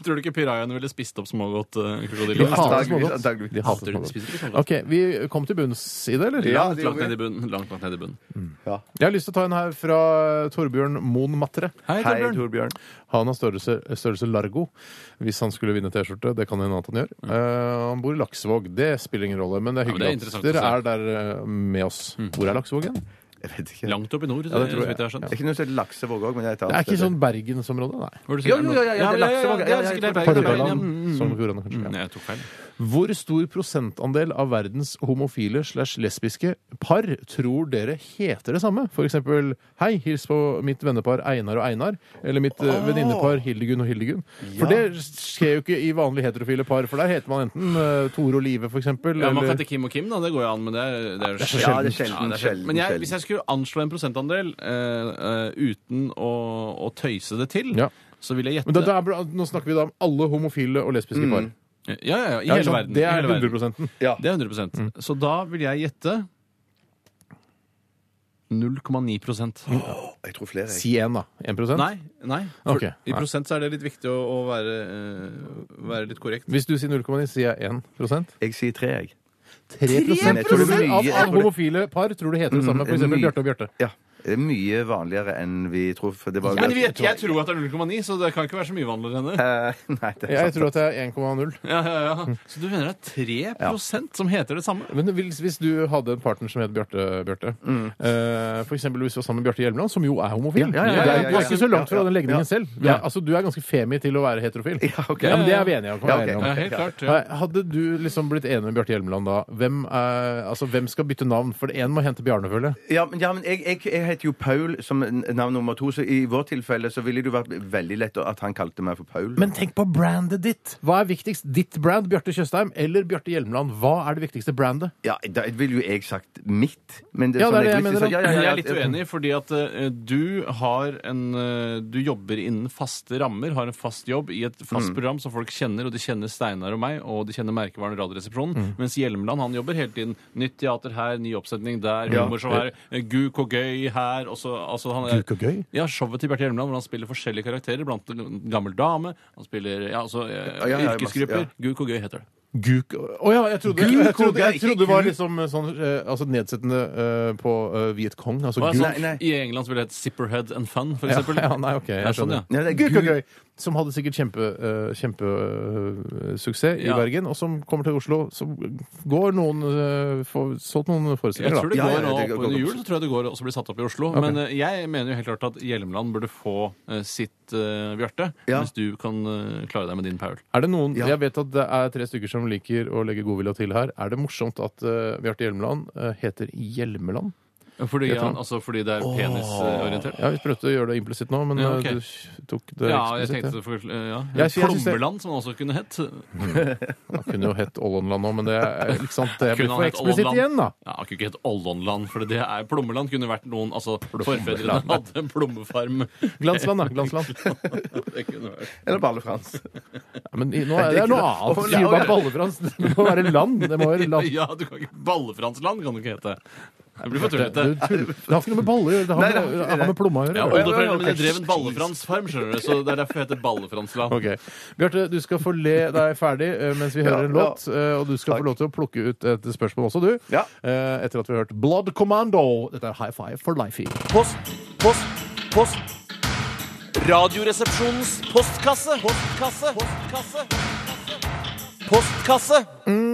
Speaker 5: Tror du ikke pirajaene ville spist opp smågodt eh,
Speaker 3: De
Speaker 5: krokodiller?
Speaker 3: hater
Speaker 4: antageligvis,
Speaker 3: smågodt.
Speaker 4: antageligvis.
Speaker 3: De hater
Speaker 5: De
Speaker 3: smågodt.
Speaker 5: spiser ikke smågodt.
Speaker 3: OK, vi kom til bunns i det, eller?
Speaker 4: Ja,
Speaker 5: Langt,
Speaker 4: det
Speaker 5: langt
Speaker 4: gjorde vi.
Speaker 5: ned i bunnen. Langt, langt ned i bunnen.
Speaker 3: Jeg har lyst til å ta en her fra Torbjørn Moen Matre.
Speaker 5: Hei,
Speaker 4: Hei,
Speaker 5: Torbjørn.
Speaker 4: Torbjørn.
Speaker 3: Han har størrelse, størrelse largo hvis han skulle vinne T-skjorte. Det kan hende at han gjør. Eh, han bor i Laksevåg. Det spiller ingen rolle, men det er
Speaker 5: Mm. Ja, men det
Speaker 3: hyggelig
Speaker 5: er
Speaker 3: at
Speaker 5: interessant
Speaker 3: dere
Speaker 5: å Mm.
Speaker 3: er der eh, med oss. Hvor er Laksevåg igjen?
Speaker 4: Jeg vet ikke.
Speaker 5: Langt opp i nord, eh,
Speaker 3: det tror
Speaker 5: så
Speaker 3: jeg.
Speaker 5: vidt jeg har skjønt.
Speaker 4: Det er ikke noe som heter laksevåg òg, men jeg tar
Speaker 3: Det er ikke sånn Bergensområdet, nei.
Speaker 5: Hvor er det
Speaker 4: Jo,
Speaker 5: sikkert
Speaker 4: jo,
Speaker 5: noe-
Speaker 4: jo, ja, ja, det er
Speaker 5: men-
Speaker 4: Laksevåg.
Speaker 5: det
Speaker 4: Ja,
Speaker 5: er
Speaker 4: ja, jeg
Speaker 5: sikkert
Speaker 4: tror-
Speaker 5: det. Bergen, Bergen, ja.
Speaker 3: Hordaland.
Speaker 5: Mm, mm,
Speaker 3: Sogn og Fjordane, kanskje.
Speaker 5: mm.
Speaker 3: ja.
Speaker 5: Nei, Jeg tok feil.
Speaker 3: Hvor stor prosentandel av verdens homofile slash lesbiske par tror dere heter det samme? For eksempel Hei, hils på mitt vennepar Einar og Einar. Eller mitt oh. venninnepar Hildegunn og Hildegunn. For det skjer jo ikke i vanlige heterofile par, for der heter man enten eh, Tore og Live, for eksempel.
Speaker 5: Ja, Man kan
Speaker 3: eller...
Speaker 5: hete Kim og Kim, da. Det går jo an. Men det er, det er, jo
Speaker 4: sjeldent. Ja, det er sjelden, sjelden,
Speaker 5: Men jeg,
Speaker 4: sjelden.
Speaker 5: hvis jeg skulle anslå en prosentandel eh, eh, uten å, å tøyse det til,
Speaker 3: Ja.
Speaker 5: så vil jeg
Speaker 3: Men
Speaker 5: gjette
Speaker 3: da, da er, bra- nå snakker vi da om alle homofile og lesbiske par.
Speaker 5: Ja, ja, ja, Mm. i
Speaker 3: Ja, ikke
Speaker 5: hele
Speaker 3: sant?
Speaker 5: verden.
Speaker 3: Det
Speaker 5: i
Speaker 3: er
Speaker 5: hele verden.
Speaker 3: 100
Speaker 5: Det er 100 Så da vil jeg gjette 0,9
Speaker 4: Jeg tror flere. jeg.
Speaker 3: Si én, da. 1
Speaker 5: Nei. nei. For
Speaker 3: Ok,
Speaker 5: I
Speaker 3: nei.
Speaker 5: prosent så er det litt viktig å, å være, eh, være litt korrekt.
Speaker 3: Hvis du sier 0,9, sier jeg 1 3
Speaker 4: Jeg sier tre, jeg.
Speaker 3: 3
Speaker 4: Men jeg
Speaker 3: tror
Speaker 4: tror det
Speaker 3: du
Speaker 4: er mye-
Speaker 3: av
Speaker 4: jeg
Speaker 3: alle
Speaker 4: tror det-
Speaker 3: homofile par tror du heter det samme? For eksempel
Speaker 4: mye.
Speaker 3: Bjarte og Bjarte.
Speaker 4: Ja. Det er mye vanligere enn vi tror. For det var
Speaker 5: Men vi, jeg tror at det er 0,9, så det kan ikke være så mye vanligere enn det.
Speaker 4: Eh, Nei, det er
Speaker 3: Jeg
Speaker 4: sant.
Speaker 3: tror at det er 1,0.
Speaker 5: Ja, ja, ja. Så du mener det er 3 som heter det samme?
Speaker 3: Men hvis, hvis du hadde en partner som het Bjarte, Bjarte eh, For eksempel hvis du var sammen med Bjarte Hjelmeland, som jo er homofil
Speaker 4: ja, ja, ja,
Speaker 3: Det er-
Speaker 4: ja,
Speaker 3: Du er
Speaker 4: ja,
Speaker 3: ikke så
Speaker 4: ja,
Speaker 3: langt fra
Speaker 4: ja,
Speaker 3: den legningen
Speaker 4: ja.
Speaker 3: selv. Du er,
Speaker 4: Ja.
Speaker 3: altså, du er ganske femi til å være heterofil.
Speaker 4: Ja, ok.
Speaker 3: men det er vi enige om.
Speaker 4: Ja,
Speaker 3: vi er
Speaker 4: ok.
Speaker 3: enige om.
Speaker 5: Ja, helt klart. Ja.
Speaker 3: Nei, Hadde du liksom blitt enig med Bjarte Hjelmeland da? Hvem, er, altså, hvem skal bytte navn? For én må hente Bjarne, føler jeg.
Speaker 4: Ja, men, ja, men jeg, jeg, jeg heter jo Paul som n- navn nummer to, så i vårt tilfelle så ville det jo vært veldig lett at han kalte meg for Paul.
Speaker 3: Men tenk på brandet ditt! Hva er viktigst? Ditt brand, Bjarte Tjøstheim, eller Bjarte Hjelmeland? Hva er det viktigste brandet?
Speaker 4: Ja, da ville jo jeg sagt mitt. Men det,
Speaker 3: Ja,
Speaker 4: sånn
Speaker 3: det er det jeg
Speaker 4: likte-
Speaker 3: mener,
Speaker 4: så- ja, ja, ja,
Speaker 5: Jeg er litt uenig, fordi at eh, du har en eh, Du jobber innen faste rammer, har en fast jobb i et fast program som folk kjenner, og de kjenner Steinar og meg, og de kjenner merkevaren Radioresepsjonen, mens Hjelmeland han jobber hele tiden. Nytt teater her, ny oppsetning der, humor som her, eh, guk og gøy her, og så altså, han er,
Speaker 3: Guk og gøy?
Speaker 5: Ja, showet til Bjarte Hjelmeland, hvor han spiller forskjellige karakterer, blant annet en gammel dame, han spiller ja, altså, eh,
Speaker 4: Ja, ja, ja,
Speaker 5: yrkesgrupper.
Speaker 4: masse,
Speaker 5: Guk og gøy heter det.
Speaker 3: Guk Å ja, jeg trodde,
Speaker 4: Guk
Speaker 3: jeg trodde,
Speaker 4: og gøy,
Speaker 3: jeg trodde det var
Speaker 4: ikke
Speaker 3: liksom sånn eh, altså nedsettende eh, på eh, Viet Cong. Altså
Speaker 5: Og
Speaker 3: guk.
Speaker 5: altså,
Speaker 4: nei.
Speaker 5: I England så ville det hett Zipperhead and Fun, for
Speaker 3: Ja,
Speaker 5: eksempel.
Speaker 3: ja, nei, ok,
Speaker 5: Det
Speaker 3: jeg
Speaker 5: er sånn,
Speaker 3: skjønner.
Speaker 5: ja.
Speaker 4: Ja, det er
Speaker 3: Guk og
Speaker 4: gul-
Speaker 3: gøy, som hadde sikkert kjempesuksess kjempe, eh, suksess i
Speaker 5: Ja.
Speaker 3: Bergen, og som kommer til Oslo. Så går noen eh, får solgt noen
Speaker 5: Jeg
Speaker 3: forestillinger,
Speaker 5: tror det
Speaker 4: Ja, ja,
Speaker 5: går
Speaker 4: ja,
Speaker 5: nå
Speaker 4: det
Speaker 5: opp
Speaker 4: går
Speaker 5: under
Speaker 4: godt.
Speaker 5: jul, så tror jeg det går også blir satt opp i Oslo. Men eh, jeg mener jo helt klart at Hjelmeland burde få eh, sitt eh, Bjarte,
Speaker 4: Ja.
Speaker 5: hvis du kan eh, klare deg med din Paul.
Speaker 3: da. Er det noen,
Speaker 4: Ja.
Speaker 3: Jeg vet at det er tre stykker som liker å legge godvilja til her. Er det morsomt at eh, Bjarte Hjelmeland eh, heter Hjelmeland?
Speaker 5: Fordi,
Speaker 3: Jeg tror
Speaker 5: han, altså, fordi det er penisorientert.
Speaker 3: Ja, Vi prøvde å gjøre det implisitt nå, men
Speaker 5: Ja,
Speaker 3: eh,
Speaker 5: ok.
Speaker 3: du tok det
Speaker 5: Ja, jeg
Speaker 3: eksplisitt.
Speaker 5: tenkte det for, eh, ja.
Speaker 3: Jeg sy- jeg synes det-
Speaker 5: Plommeland, som han også kunne hett.
Speaker 3: Han kunne jo hett Ålånland nå, men det er ikke sant. Det blir
Speaker 5: Kunne han
Speaker 3: for
Speaker 5: hett
Speaker 3: eksplisitt
Speaker 5: Ålånland?
Speaker 3: igjen, da.
Speaker 5: Ja, han kunne ikke hett Ollonland, for det er Plommeland kunne vært noen altså, Forfedrene hadde en plommefarm.
Speaker 3: Glansland, da. Glansland.
Speaker 5: det kunne vært.
Speaker 4: Eller Balle Frans.
Speaker 3: Ja, men i- nå er det er noe annet. Du sier jo bare Ballefrans. Det må være land. Det må være land.
Speaker 5: Ja, du kan ikke Ballefransland kan du ikke hete. Det blir for
Speaker 3: Det,
Speaker 5: tullete.
Speaker 3: det tull- det har ikke noe med baller å gjøre. Det har,
Speaker 4: Nei,
Speaker 3: med,
Speaker 4: det har
Speaker 3: det
Speaker 4: ikke
Speaker 3: har med plomma å gjøre.
Speaker 5: Ja,
Speaker 3: eller?
Speaker 5: Oldeforeldrene mine drev en ballefransfarm, skjønner du, så det er derfor jeg heter Ballefransland.
Speaker 3: Ok. Bjarte, du skal få le deg ferdig eh, mens vi hører en
Speaker 4: ja.
Speaker 3: låt. eh, Og du skal
Speaker 4: Takk.
Speaker 3: få lov til å plukke ut et spørsmål også, du.
Speaker 4: Ja.
Speaker 3: Eh, Etter at vi har hørt Blood Commando. Dette er High Five for Lifey.
Speaker 7: Post, post, post. Radioresepsjonens postkasse. Postkasse. Postkasse. Postkasse.
Speaker 3: Mhm.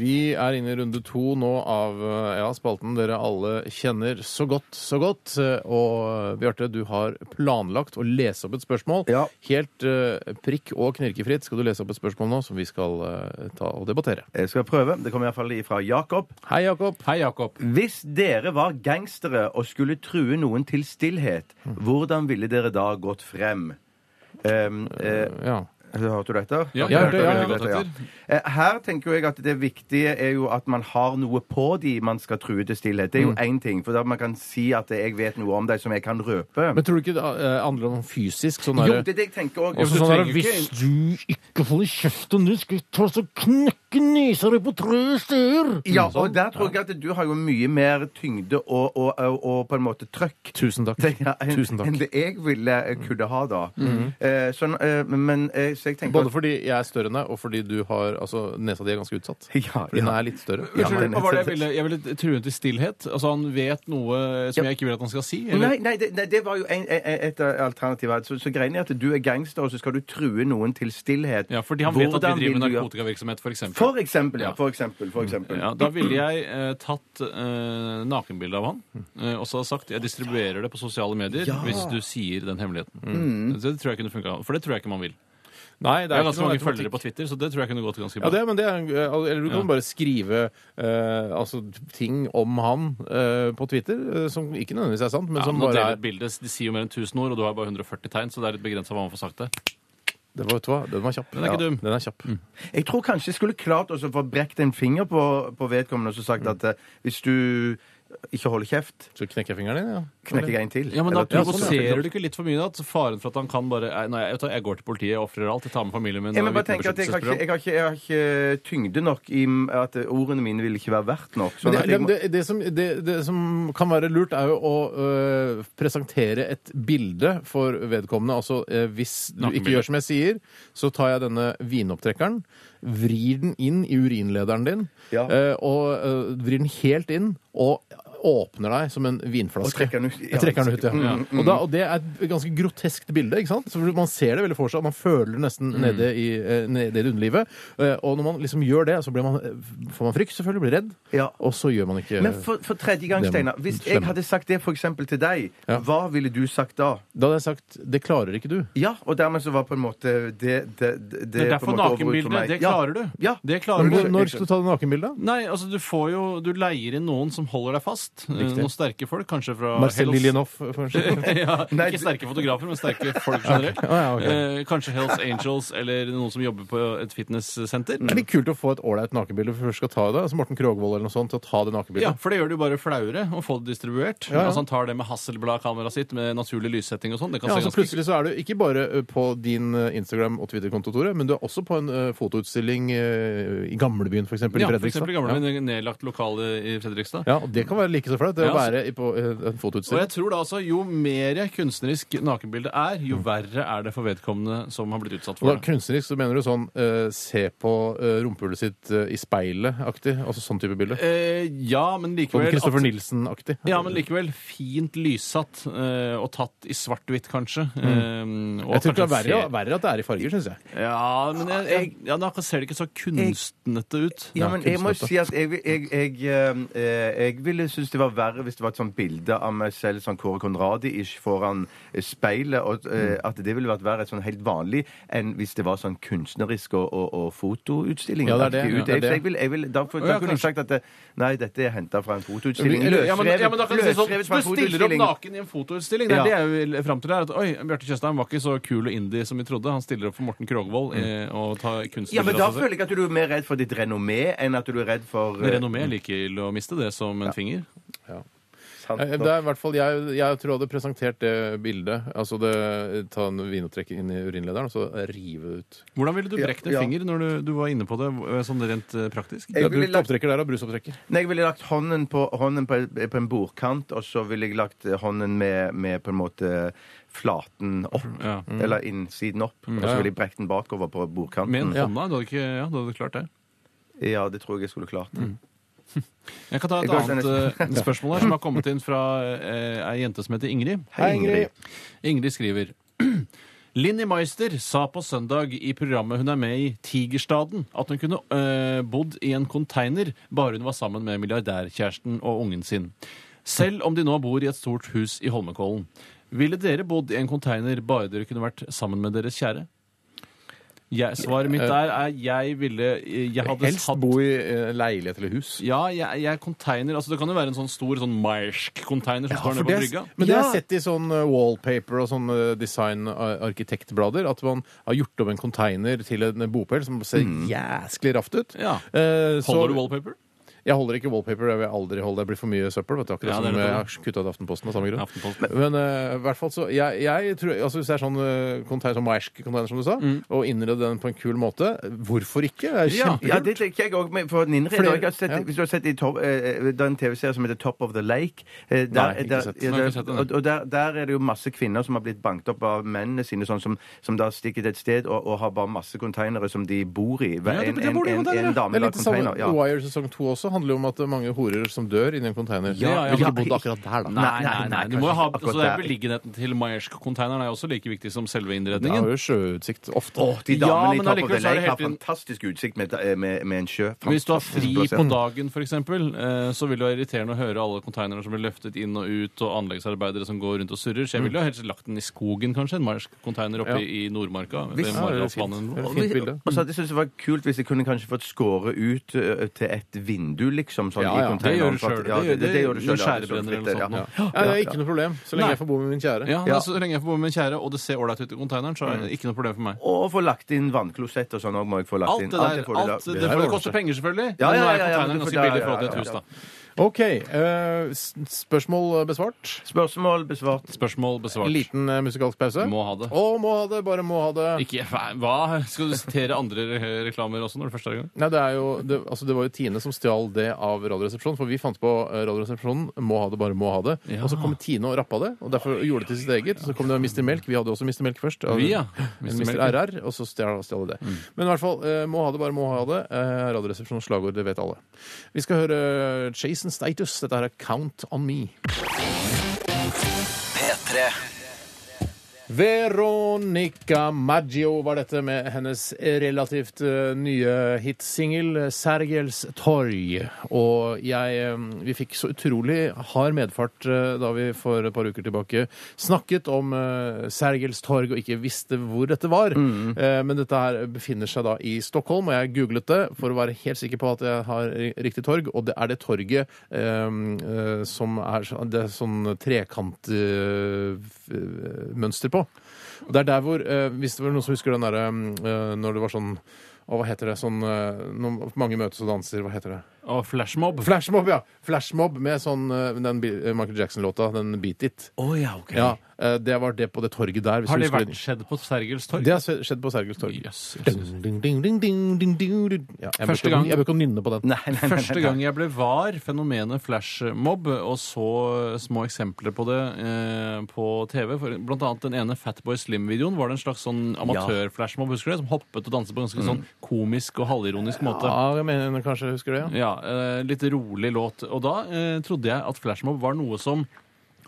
Speaker 3: Vi er inne i runde to nå av eh, ja, spalten dere alle kjenner så godt, så godt. Eh, Og eh, Bjarte, du har planlagt å lese opp et spørsmål.
Speaker 4: Ja.
Speaker 3: Helt eh, prikk og knirkefritt skal du lese opp et spørsmål nå som vi skal eh, ta og debattere.
Speaker 4: Jeg skal prøve. Det kommer iallfall fra Jakob.
Speaker 3: Hei, Jakob.
Speaker 5: Hei, Jakob.
Speaker 4: Hvis dere var gangstere og skulle true noen til stillhet,
Speaker 3: Mm.
Speaker 4: hvordan ville dere da gått frem? Um, eh,
Speaker 3: Ja.
Speaker 4: hørte du dette?
Speaker 5: Ja,
Speaker 3: jeg hørte veldig
Speaker 4: veldig
Speaker 5: godt etter.
Speaker 4: Eh, Her tenker jo jeg at det viktige er jo at man har noe på de man skal true til stillhet. Det er jo én ting, for da man kan si at jeg vet noe om deg som jeg kan røpe.
Speaker 3: Men tror du ikke det eh, handler om fysisk? Sånn
Speaker 4: jo,
Speaker 3: derre-
Speaker 4: det er det jeg tenker òg.
Speaker 3: Og så sånn
Speaker 5: trenger
Speaker 3: der, Hvis du ikke holder kjeften din, skal jeg ta så knekke nesa di på tre steder!
Speaker 4: Ja, og der tror jeg at du har jo mye mer tyngde og, og, og, og på en måte trøkk.
Speaker 3: Tusen takk.
Speaker 4: Det- ja, enn-
Speaker 3: Tusen takk.
Speaker 4: Enn det jeg ville kunne ha, da. eh, sånn, eh, men eh, så jeg tenker
Speaker 3: Både fordi jeg er større enn deg, og fordi du har, altså, nesa di er ganske utsatt.
Speaker 4: Ja,
Speaker 3: Fordi
Speaker 4: ja.
Speaker 3: den er litt større.
Speaker 4: Ja,
Speaker 5: Unnskyld,
Speaker 4: men-
Speaker 5: hva var det jeg ville? Jeg ville true ham til stillhet. Altså, han vet noe som jeg ikke vil at han skal si. Eller?
Speaker 4: Nei, nei, det, nei, det var jo en, e- e- et alternativ her. Så, så greien er at du er gangster, og så skal du true noen til stillhet.
Speaker 5: Ja, fordi han vet at
Speaker 4: Hvordan
Speaker 5: vi driver
Speaker 4: vil
Speaker 5: med
Speaker 4: du gjøre-
Speaker 5: narkotikavirksomhet, for eksempel.
Speaker 4: For eksempel, ja.
Speaker 5: Ja.
Speaker 4: For eksempel, for eksempel.
Speaker 5: Ja, da ville jeg eh, tatt eh, nakenbilde av han eh, og så sagt jeg distribuerer det på sosiale medier hvis du sier den hemmeligheten. Mm. Så Det tror jeg kunne funka, for det tror jeg ikke man vil.
Speaker 3: Nei, det
Speaker 5: Jeg
Speaker 3: er
Speaker 5: har ganske
Speaker 3: ikke noe
Speaker 5: mange
Speaker 3: automatikk.
Speaker 5: følgere på Twitter, så det tror jeg kunne gått ganske
Speaker 3: Ja,
Speaker 5: bra.
Speaker 3: det, er- men det er, eh, eller du kan
Speaker 5: Ja.
Speaker 3: bare skrive eh, altså, ting om han eh, på Twitter, eh, som ikke nødvendigvis er sant, men
Speaker 5: Ja,
Speaker 3: som
Speaker 5: nå
Speaker 3: bare er
Speaker 5: deler bildet, De sier jo mer enn 1000 ord, og du har bare 140 tegn, så det er litt begrensa hva man får sagt der.
Speaker 3: det var, vet du hva, Den var kjapp.
Speaker 5: Den er ikke
Speaker 3: Ja,
Speaker 5: dum.
Speaker 3: Den er Mm. kjapp.
Speaker 4: Jeg tror kanskje jeg skulle klart også å få brekt en finger på, på vedkommende og så
Speaker 5: Mm.
Speaker 4: sagt at eh, hvis du ikke holder kjeft,
Speaker 3: Så knekker jeg fingeren din, ja.
Speaker 4: knekker jeg en til.
Speaker 5: Ja, men da
Speaker 4: Eller- Ja, sånn, ja.
Speaker 5: provoserer du ikke litt for mye da? Så faren for at han kan bare Nei, nei, jeg, vet hva, jeg går til politiet, jeg ofrer alt, jeg tar med familien min
Speaker 4: Jeg, må
Speaker 5: og
Speaker 4: bare tenke at jeg, har ikke,
Speaker 5: vitnebeskyttelsesprogram.
Speaker 4: jeg, har ikke, jeg har ikke eh, tyngde nok i m- at eh, ordene mine vil ikke være verdt nok. Sånn
Speaker 3: Men
Speaker 4: at
Speaker 3: det,
Speaker 4: jeg må,
Speaker 3: det, det, som, det, det som kan være lurt, er jo å øh, presentere et bilde for vedkommende. Altså øh, hvis du ikke
Speaker 5: Nakenbilde.
Speaker 3: gjør som jeg sier, så tar jeg denne vinopptrekkeren, vrir den inn i urinlederen din,
Speaker 4: Ja.
Speaker 3: øh, og øh, vrir den helt inn, og åpner deg som en vinflaske.
Speaker 4: Og trekker den ut. Ja, Mm,
Speaker 3: Jeg trekker den ut, ja. Mm, Og, da, og det er et ganske groteskt bilde, ikke sant? Så man ser det veldig for seg, og man føler det nesten
Speaker 4: Mm.
Speaker 3: nede, i, eh, nede i det underlivet. Eh, Og når man liksom gjør det, så blir man, eh, får man frykt, selvfølgelig, blir redd.
Speaker 4: Ja.
Speaker 3: Og så gjør man ikke
Speaker 4: men for, for tredje gang,
Speaker 3: Det må-
Speaker 4: Steinar, hvis jeg
Speaker 3: skjønner.
Speaker 4: hadde sagt det for eksempel til deg,
Speaker 3: Ja.
Speaker 4: hva ville du sagt da?
Speaker 3: Da hadde jeg sagt 'det klarer ikke du'.
Speaker 4: Ja, og dermed så var på en måte det Det, det, det,
Speaker 5: Det er
Speaker 4: på en
Speaker 5: derfor
Speaker 4: måte overgjort for
Speaker 5: nakenbildet,
Speaker 4: meg.
Speaker 5: det
Speaker 4: Ja.
Speaker 5: klarer du.
Speaker 4: Ja.
Speaker 5: Det klarer du.
Speaker 3: Når, når skal du ta det nakenbildet?
Speaker 5: Nei, altså du får jo Du leier inn noen som holder deg fast. Eh, Noen sterke folk, kanskje fra
Speaker 3: Marcel
Speaker 5: Hells-
Speaker 3: Liljenhoff, kanskje?
Speaker 5: ja,
Speaker 4: Nei,
Speaker 5: ikke
Speaker 4: det-
Speaker 5: sterke fotografer, men sterke folk generelt.
Speaker 3: Ah, ja, ok.
Speaker 5: eh, kanskje Hells Angels eller noen som jobber på et fitnesssenter.
Speaker 3: Det blir kult å få et ålreit nakenbilde for først skal ta det. Altså Morten Krogvold eller noe sånt til å ta det
Speaker 5: Ja, altså
Speaker 3: nakenbildet.
Speaker 5: for det gjør det jo bare flauere å få det distribuert.
Speaker 3: ja.
Speaker 5: Altså Han tar det med Hasselblad-kameraet sitt med naturlig lyssetting og sånn. Det kan
Speaker 3: Ja,
Speaker 5: se
Speaker 3: altså
Speaker 5: ganske
Speaker 3: Plutselig så er du ikke bare ø, på din ø, Instagram- og Twitter-konto, Tore, men du er også på en ø, fotoutstilling ø, i gamlebyen, f.eks.
Speaker 5: Ja,
Speaker 3: i
Speaker 5: for
Speaker 3: Fredrikstad.
Speaker 5: eksempel i gamle nedlagt lokale i Fredrikstad.
Speaker 3: Ja, og Det kan være like så flaut, det
Speaker 5: Ja,
Speaker 3: å
Speaker 5: altså-
Speaker 3: være i- på ø, en
Speaker 5: Og jeg
Speaker 3: fotoutstilling.
Speaker 5: tror da altså, Jo mer kunstnerisk nakenbildet er,
Speaker 3: Mm.
Speaker 5: jo verre er det for vedkommende som har blitt utsatt
Speaker 3: Og da
Speaker 5: for det.
Speaker 3: Kunstnerisk så mener du sånn ø, se på ø, rumpehullet sitt ø, i speilet-aktig? Altså sånn type bilde?
Speaker 5: Eh, ja, men
Speaker 3: Sånn
Speaker 5: likevel
Speaker 3: Christopher
Speaker 5: at-
Speaker 3: Nielsen-aktig?
Speaker 5: Ja, men likevel fint lyssatt eh, og tatt i svart-hvitt, kanskje. Eh, og
Speaker 3: Mm. Jeg tror ikke det er
Speaker 5: kanskje
Speaker 3: verre,
Speaker 5: ser-
Speaker 3: verre at det er i farger, syns jeg.
Speaker 5: Ja, men jeg, jeg, ja, da ser det ikke så kunstnete ut.
Speaker 4: Ja, men jeg må
Speaker 3: kunststøtte.
Speaker 4: si at jeg, vil- jeg, jeg, eh, eh, jeg ville synes det var verre hvis det var et sånt bilde av meg selv sånn Kåre Conradi-ish foran eh, speilet, og
Speaker 5: Mm.
Speaker 4: eh, at det ville vært verre sånn helt vanlig enn hvis det var sånn kunstnerisk og, og, og fotoutstilling.
Speaker 3: Ja, det er det,
Speaker 4: Ut.
Speaker 3: ja, det er
Speaker 4: Jeg, så
Speaker 3: det.
Speaker 4: jeg vil, jeg vil, da for,
Speaker 5: Å,
Speaker 4: da
Speaker 5: ja,
Speaker 4: kunne jeg
Speaker 5: kanskje.
Speaker 4: sagt at det, nei, dette er hentet fra en fotoutstilling.
Speaker 3: Eller-
Speaker 5: Ja, men, ja, men da kan du si sånn,
Speaker 4: løsrevet fra en
Speaker 5: du stiller opp
Speaker 4: fotoutstilling.
Speaker 5: naken i en fotoutstilling. Det er
Speaker 4: Ja.
Speaker 5: det jeg vil fram til her. At, oi, Bjarte Tjøstheim var ikke så kul og indie som vi trodde. Han stiller opp for Morten Krogvold eh, og tar
Speaker 4: Mm. Ja, men
Speaker 5: kunstnerbilder
Speaker 4: da
Speaker 5: av seg selv.
Speaker 4: føler jeg at du er mer redd for ditt renommé enn at du er redd for eh,
Speaker 5: Men Renommé er like ille å miste det som en finger.
Speaker 4: sant
Speaker 3: Eh,
Speaker 4: nok.
Speaker 3: Det er i hvert fall, jeg, jeg tror jeg hadde presentert det bildet. Altså det, ta en vinopptrekker inn i urinlederen og så rive det ut.
Speaker 5: Hvordan ville du brekt en
Speaker 4: ja.
Speaker 5: finger når du, du var inne på det, eh, sånn rent eh, praktisk?
Speaker 4: Jeg
Speaker 3: Jeg
Speaker 4: ville
Speaker 3: brukte
Speaker 4: lagt-
Speaker 3: opptrekker der og brusopptrekker.
Speaker 4: Nei, jeg ville lagt hånden på, hånden på, på en bordkant, og så ville jeg lagt hånden med, med på en måte flaten opp.
Speaker 5: Ja.
Speaker 4: Eller innsiden opp. Og
Speaker 3: Mm. ja,
Speaker 4: så
Speaker 3: ja.
Speaker 4: ville jeg brekt den bakover på
Speaker 5: Med
Speaker 4: bordkanten.
Speaker 5: en hånda? Du hadde ikke, ja, du hadde klart det.
Speaker 4: Ja, det tror jeg jeg skulle klart.
Speaker 3: Mm.
Speaker 5: Jeg kan ta et
Speaker 4: Jeg går
Speaker 5: annet eh, spørsmål her, som har kommet inn fra eh, ei jente som heter Ingrid.
Speaker 3: Hei, Ingrid.
Speaker 5: Ingrid skriver Linni Meister sa på søndag i programmet hun er med i, Tigerstaden, at hun kunne øh, bodd i en konteiner bare hun var sammen med milliardærkjæresten og ungen sin. Selv om de nå bor i et stort hus i Holmenkollen. Ville dere bodd i en konteiner bare dere kunne vært sammen med deres kjære? Jeg, svaret mitt der er jeg ville eh, jeg hadde
Speaker 3: Helst
Speaker 5: hatt-
Speaker 3: bo i eh, leilighet eller hus.
Speaker 5: ja, jeg, jeg container altså Det kan jo være en sånn stor sånn Maersk container som står nede
Speaker 3: for
Speaker 5: på
Speaker 3: det-
Speaker 5: brygga.
Speaker 3: Men det har
Speaker 4: Ja.
Speaker 3: jeg sett i sånn eh, wallpaper og sånn eh, design-arkitektblader, at man har gjort om en container til en bopel som ser jæsklig raft ut.
Speaker 5: Ja.
Speaker 3: Eh, så-
Speaker 5: Holder du wallpaper?
Speaker 3: Jeg holder ikke wallpaper, jeg vil aldri holde det. blir for mye søppel. vet du, akkurat
Speaker 5: Ja, det er
Speaker 3: som
Speaker 5: det.
Speaker 3: jeg har kutta ut Aftenposten av samme grunn.
Speaker 5: Aftenposten.
Speaker 3: Men eh, i hvert fall så, jeg, jeg tror, altså Hvis det er sånn uh, container som Maersk container, som du sa, og innrede den på en kul måte, hvorfor ikke? Det er
Speaker 5: Mm. Ja.
Speaker 3: kjempekult.
Speaker 4: Ja, det tenker jeg òg. For den innreder
Speaker 3: Flere-
Speaker 4: jeg har sett,
Speaker 3: ja.
Speaker 4: Hvis du har sett i top, eh, det er en TV-serie som heter Top of the Lake eh, der,
Speaker 3: Nei, ikke
Speaker 4: der,
Speaker 3: sett.
Speaker 4: ja,
Speaker 5: Nei, ikke sett
Speaker 4: der,
Speaker 5: den.
Speaker 4: og, og der, der er det jo masse kvinner som har blitt banket opp av mennene sine, sånn som, som da stikker til et sted og, og har bare masse konteinere som de bor i. Hver-
Speaker 5: Ja, de-
Speaker 4: en,
Speaker 5: de
Speaker 4: en,
Speaker 5: bor i
Speaker 4: en,
Speaker 5: containere.
Speaker 4: en dame
Speaker 3: Det er
Speaker 4: vil ha
Speaker 5: sånn
Speaker 3: litt det samme.
Speaker 4: container. Ja.
Speaker 3: sånn Wire sesong to også handler jo om at det er mange horer som dør inni en container.
Speaker 5: Ja, ja,
Speaker 3: Jeg ville
Speaker 5: ja.
Speaker 3: ikke bodd akkurat der, da.
Speaker 5: Nei, nei, nei. Du må jo ha,
Speaker 4: kanskje ikke
Speaker 5: altså, det er
Speaker 4: akkurat der.
Speaker 5: Beliggenheten til Maersk-containeren er jo også like viktig som selve
Speaker 3: Jeg har
Speaker 5: innredningen.
Speaker 3: jo sjøutsikt ofte.
Speaker 4: Åh, de
Speaker 5: Ja,
Speaker 4: damene i Top of
Speaker 5: men allikevel
Speaker 4: the
Speaker 5: så er det
Speaker 4: Lake har
Speaker 5: helt inn-
Speaker 4: fantastisk utsikt med, eh, med, med en sjø.
Speaker 5: Hvis du har fri
Speaker 4: Fantastisk
Speaker 5: på
Speaker 4: plassert.
Speaker 5: dagen, f.eks., så vil det være irriterende å høre alle konteinerne som blir løftet inn og ut, og anleggsarbeidere som går rundt og surrer. Så jeg ville jo helst lagt den i skogen, kanskje. En Maersk-container
Speaker 3: Ja.
Speaker 5: oppe i i Nordmarka.
Speaker 4: Hvis-
Speaker 5: ved
Speaker 4: Ja,
Speaker 3: det er
Speaker 5: Maridalsvannet
Speaker 3: fint.
Speaker 5: eller noe.
Speaker 3: Det er et fint bilde.
Speaker 4: Og så hadde jeg syntes det var kult hvis jeg kunne kanskje fått skåret ut ø, til et vindu, liksom. Sånn,
Speaker 3: Ja, ja,
Speaker 4: i
Speaker 5: det gjør
Speaker 4: containeren.
Speaker 5: du selv.
Speaker 4: Ja,
Speaker 5: Det gjør-
Speaker 4: det, det gjør du selv.
Speaker 5: det-
Speaker 4: ja,
Speaker 5: noen
Speaker 4: det er
Speaker 5: skjærebrenner
Speaker 4: sånn fritt,
Speaker 5: eller noe
Speaker 4: ja.
Speaker 3: Ja, det er ikke noe problem, så lenge
Speaker 5: Nei.
Speaker 3: jeg får bo med min kjære.
Speaker 5: Ja,
Speaker 4: Ja. Mm.
Speaker 5: Så lenge jeg får bo med min kjære, og det ser ålreit ut i konteineren, så er det ikke noe problem for meg.
Speaker 4: Og få lagt inn vannklosett og sånn òg, må jeg få lagt
Speaker 5: Alt
Speaker 4: inn.
Speaker 5: det der,
Speaker 4: får du
Speaker 5: alt,
Speaker 4: lagt-
Speaker 5: det,
Speaker 3: Ja,
Speaker 5: for
Speaker 3: det
Speaker 5: det koster
Speaker 3: ordner
Speaker 5: penger, selvfølgelig.
Speaker 4: Ja, ja, ja,
Speaker 5: men nå er
Speaker 4: ja, men
Speaker 5: konteineren
Speaker 4: det får-
Speaker 5: ganske billig i
Speaker 4: ja,
Speaker 5: forhold til
Speaker 4: ja,
Speaker 5: et hus,
Speaker 4: ja, ja.
Speaker 5: da.
Speaker 3: OK. eh, s- spørsmål besvart.
Speaker 4: Spørsmål besvart.
Speaker 5: Spørsmål besvart.
Speaker 3: En liten eh, musikalsk pause.
Speaker 5: Må ha det.
Speaker 3: Å, må ha det, bare må ha det.
Speaker 5: Ikke, hva? Skal du sitere andre re reklamer også når du først er i gang?
Speaker 3: Nei, det, er jo, det, altså det var jo Tine som stjal det av Radioresepsjonen. For vi fant på eh, Radioresepsjonen. Må ha det, bare må ha det.
Speaker 5: Ja.
Speaker 3: Og så kom Tine og rappa det, og derfor gjorde det til sitt eget. Så kom det Mr. Melk. Vi hadde også Mr. Melk først.
Speaker 5: Vi, ja. Mm.
Speaker 3: Mr.
Speaker 5: Mr.
Speaker 3: Mr.
Speaker 5: Melk.
Speaker 3: RR, og så stjal stjal det. Men i hvert fall, eh, må ha det, bare må ha det. Eh, Radioresepsjonens slagord, det vet alle. Vi skal høre eh, Jason Status. Dette her er Count On Me.
Speaker 2: P3
Speaker 3: Veronica Maggio var dette med hennes relativt eh, nye hitsingel 'Sergels torg'. Og jeg eh, Vi fikk så utrolig hard medfart eh, da vi for et par uker tilbake snakket om eh, Sergels torg og ikke visste hvor dette var. Eh, Men dette her befinner seg da i Stockholm, og jeg googlet det for å være helt sikker på at jeg har ri- riktig torg, og det er det torget eh, eh, som er så- det er sånn eh, trekantmønster på. Og Det er der hvor, eh, hvis det var noen som husker den derre eh, når det var sånn å, hva heter det? Sånn, eh, når mange møtes og danser, hva heter det?
Speaker 5: Og flashmob.
Speaker 3: Flashmob, ja! Flashmob med sånn, eh, den Bi- eh, Michael Jackson-låta, den Beat It.
Speaker 4: Å ja, OK.
Speaker 3: Ja, eh, det var det på det torget der. hvis
Speaker 5: Har
Speaker 3: du
Speaker 5: det
Speaker 3: husker
Speaker 5: vært skjedd på Sergels torg?
Speaker 3: Det har skje- skjedd på Sergels torg.
Speaker 5: Jøss, jøss, jøss.
Speaker 3: Ding, ding, ding, ding, ding, ding, ding, ding. Ja, jeg
Speaker 5: Første
Speaker 3: bør ikke-
Speaker 5: gang-
Speaker 3: Jeg bør ikke nynne på den.
Speaker 4: Nei, nei, nei, nei,
Speaker 5: Første gang jeg ble var fenomenet flashmob, og så små eksempler på det eh, på TV. For, blant annet den ene Fatboy Slim-videoen var det en slags sånn amatør-flashmob, husker du det? Som hoppet og danset på en ganske sånn komisk og halvironisk måte.
Speaker 3: Ja, jeg mener kanskje jeg husker det, ja.
Speaker 5: Ja, eh, litt rolig låt. Og da eh, trodde jeg at flashmob var noe som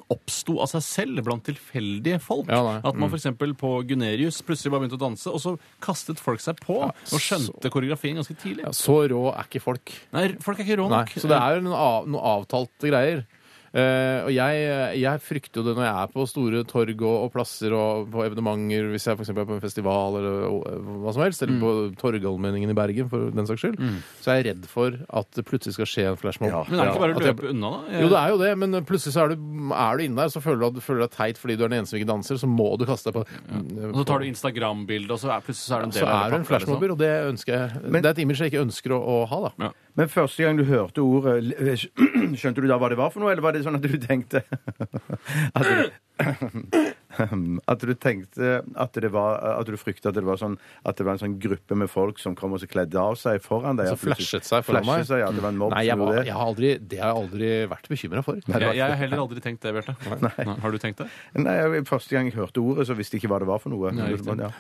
Speaker 5: oppsto av seg selv blant tilfeldige folk.
Speaker 3: Ja, nei. Mm.
Speaker 5: at man f.eks. på Gunerius plutselig bare begynte å danse, og så kastet folk seg på og skjønte koreografien ganske tidlig.
Speaker 3: ja. Så rå er ikke folk.
Speaker 5: Nei, folk er ikke rå
Speaker 3: Nei,
Speaker 5: nok.
Speaker 3: så det er jo noen, av, noen avtalte greier. Eh, og jeg, jeg frykter jo det når jeg er på store torg og, og plasser og på evenementer, hvis jeg for eksempel er på en festival eller og, hva som helst,
Speaker 5: Mm.
Speaker 3: eller på Torgallmenningen i Bergen for den saks skyld, så er jeg redd for at det plutselig skal skje en flashmob.
Speaker 4: Ja.
Speaker 5: Eh, Men er det ikke bare
Speaker 3: At
Speaker 5: å
Speaker 3: jeg-
Speaker 5: løpe unna, da?
Speaker 3: Jo, det er jo det, men plutselig så er du, er du inne der, så føler du at du føler deg teit fordi du er den eneste som ikke danser, så må du kaste deg på Mm,
Speaker 5: Og så tar du Instagram-bilde, og så er, plutselig så er du en del
Speaker 3: Så
Speaker 5: av
Speaker 3: er du en
Speaker 5: pakka, liksom.
Speaker 3: flashmobber, og det ønsker jeg
Speaker 4: Men-
Speaker 3: Det er et image jeg ikke ønsker å, å ha, da.
Speaker 5: Ja.
Speaker 4: Men første gang du hørte ordet, l- eh, skj- skjønte du da hva det var for noe, eller var det sånn at du tenkte at du, at du tenkte at det var At du frykta at det var sånn At det var en sånn gruppe med folk som kom og så kledde av seg foran deg.
Speaker 3: Så
Speaker 4: at du-
Speaker 3: flashet seg foran meg.
Speaker 4: Flashet seg, ja, det var en mobb
Speaker 3: Nei, jeg,
Speaker 4: som gjorde
Speaker 3: var,
Speaker 4: det.
Speaker 3: jeg har aldri, det har jeg aldri vært bekymra for.
Speaker 5: Jeg, jeg har heller aldri tenkt det, Bjarte. Nei, Har du tenkt det?
Speaker 4: Nei, jeg, første gang jeg hørte ordet, så visste jeg ikke hva det var for noe.
Speaker 5: Nei, riktig.
Speaker 4: ja.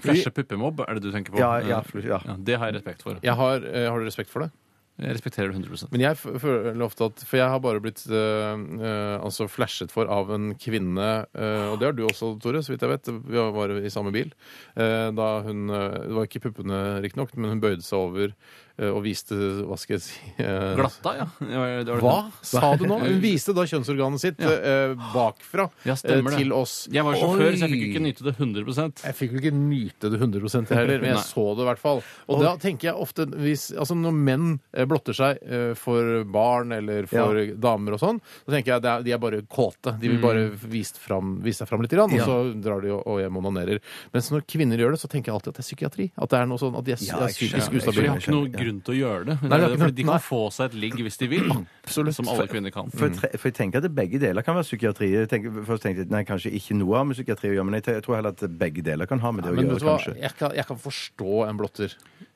Speaker 5: Flashe puppemobb er det du tenker på?
Speaker 4: Ja, ja, fl- ja.
Speaker 5: Det har jeg respekt for.
Speaker 3: Jeg har, eh, har du respekt for det?
Speaker 5: Jeg respekterer det 100
Speaker 3: Men jeg f- føler ofte at For jeg har bare blitt øh, øh, altså flashet for av en kvinne, øh, og det har du også, Tore, så vidt jeg vet. Vi var- var i samme bil. eh, da hun øh, Det var ikke puppene, riktignok, men hun bøyde seg over øh, og viste Hva skal jeg si? eh,
Speaker 5: Glatta, ja. Det var- det var det.
Speaker 3: Hva sa du nå? Hun viste da kjønnsorganet sitt eh, bakfra
Speaker 5: Ja, stemmer
Speaker 3: eh,
Speaker 5: det.
Speaker 3: til oss.
Speaker 5: Jeg var sjåfør, så jeg
Speaker 3: Oi!
Speaker 5: fikk jo ikke nyte det 100
Speaker 3: Jeg fikk vel ikke nyte det 100 jeg heller, men jeg
Speaker 5: Nei.
Speaker 3: så det i hvert fall. Og da tenker jeg ofte hvis, altså Når menn eh, blotter seg eh, for barn eller for damer og sånn, så tenker jeg at de er bare kåte. De vil bare
Speaker 5: Mm.
Speaker 3: vise, fram, vise seg fram litt, grann, og så drar de og- og hjem og onanerer. Mens når kvinner gjør det, så tenker jeg alltid at det er psykiatri. At det er noe sånn at de er,
Speaker 4: Ja,
Speaker 3: er
Speaker 4: jeg skjønner,
Speaker 3: psykisk
Speaker 4: jeg
Speaker 5: For de
Speaker 3: ustabile.
Speaker 5: har ikke noen grunn til å gjøre det. Eh,
Speaker 3: Nei, det er ikke
Speaker 5: Fordi de
Speaker 3: noe-
Speaker 5: kan få seg et ligg hvis de vil. Som alle kvinner kan.
Speaker 4: For, jeg tre- for jeg tenker at begge deler kan være psykiatri. Jeg tenker, først tenkte jeg nei, kanskje ikke noe har med psykiatri å gjøre, men jeg, te- jeg tror heller at begge deler kan ha med det å
Speaker 3: Men
Speaker 4: gjøre,
Speaker 3: vet du hva,
Speaker 4: kanskje.
Speaker 3: jeg kan, jeg kan forstå en blotter.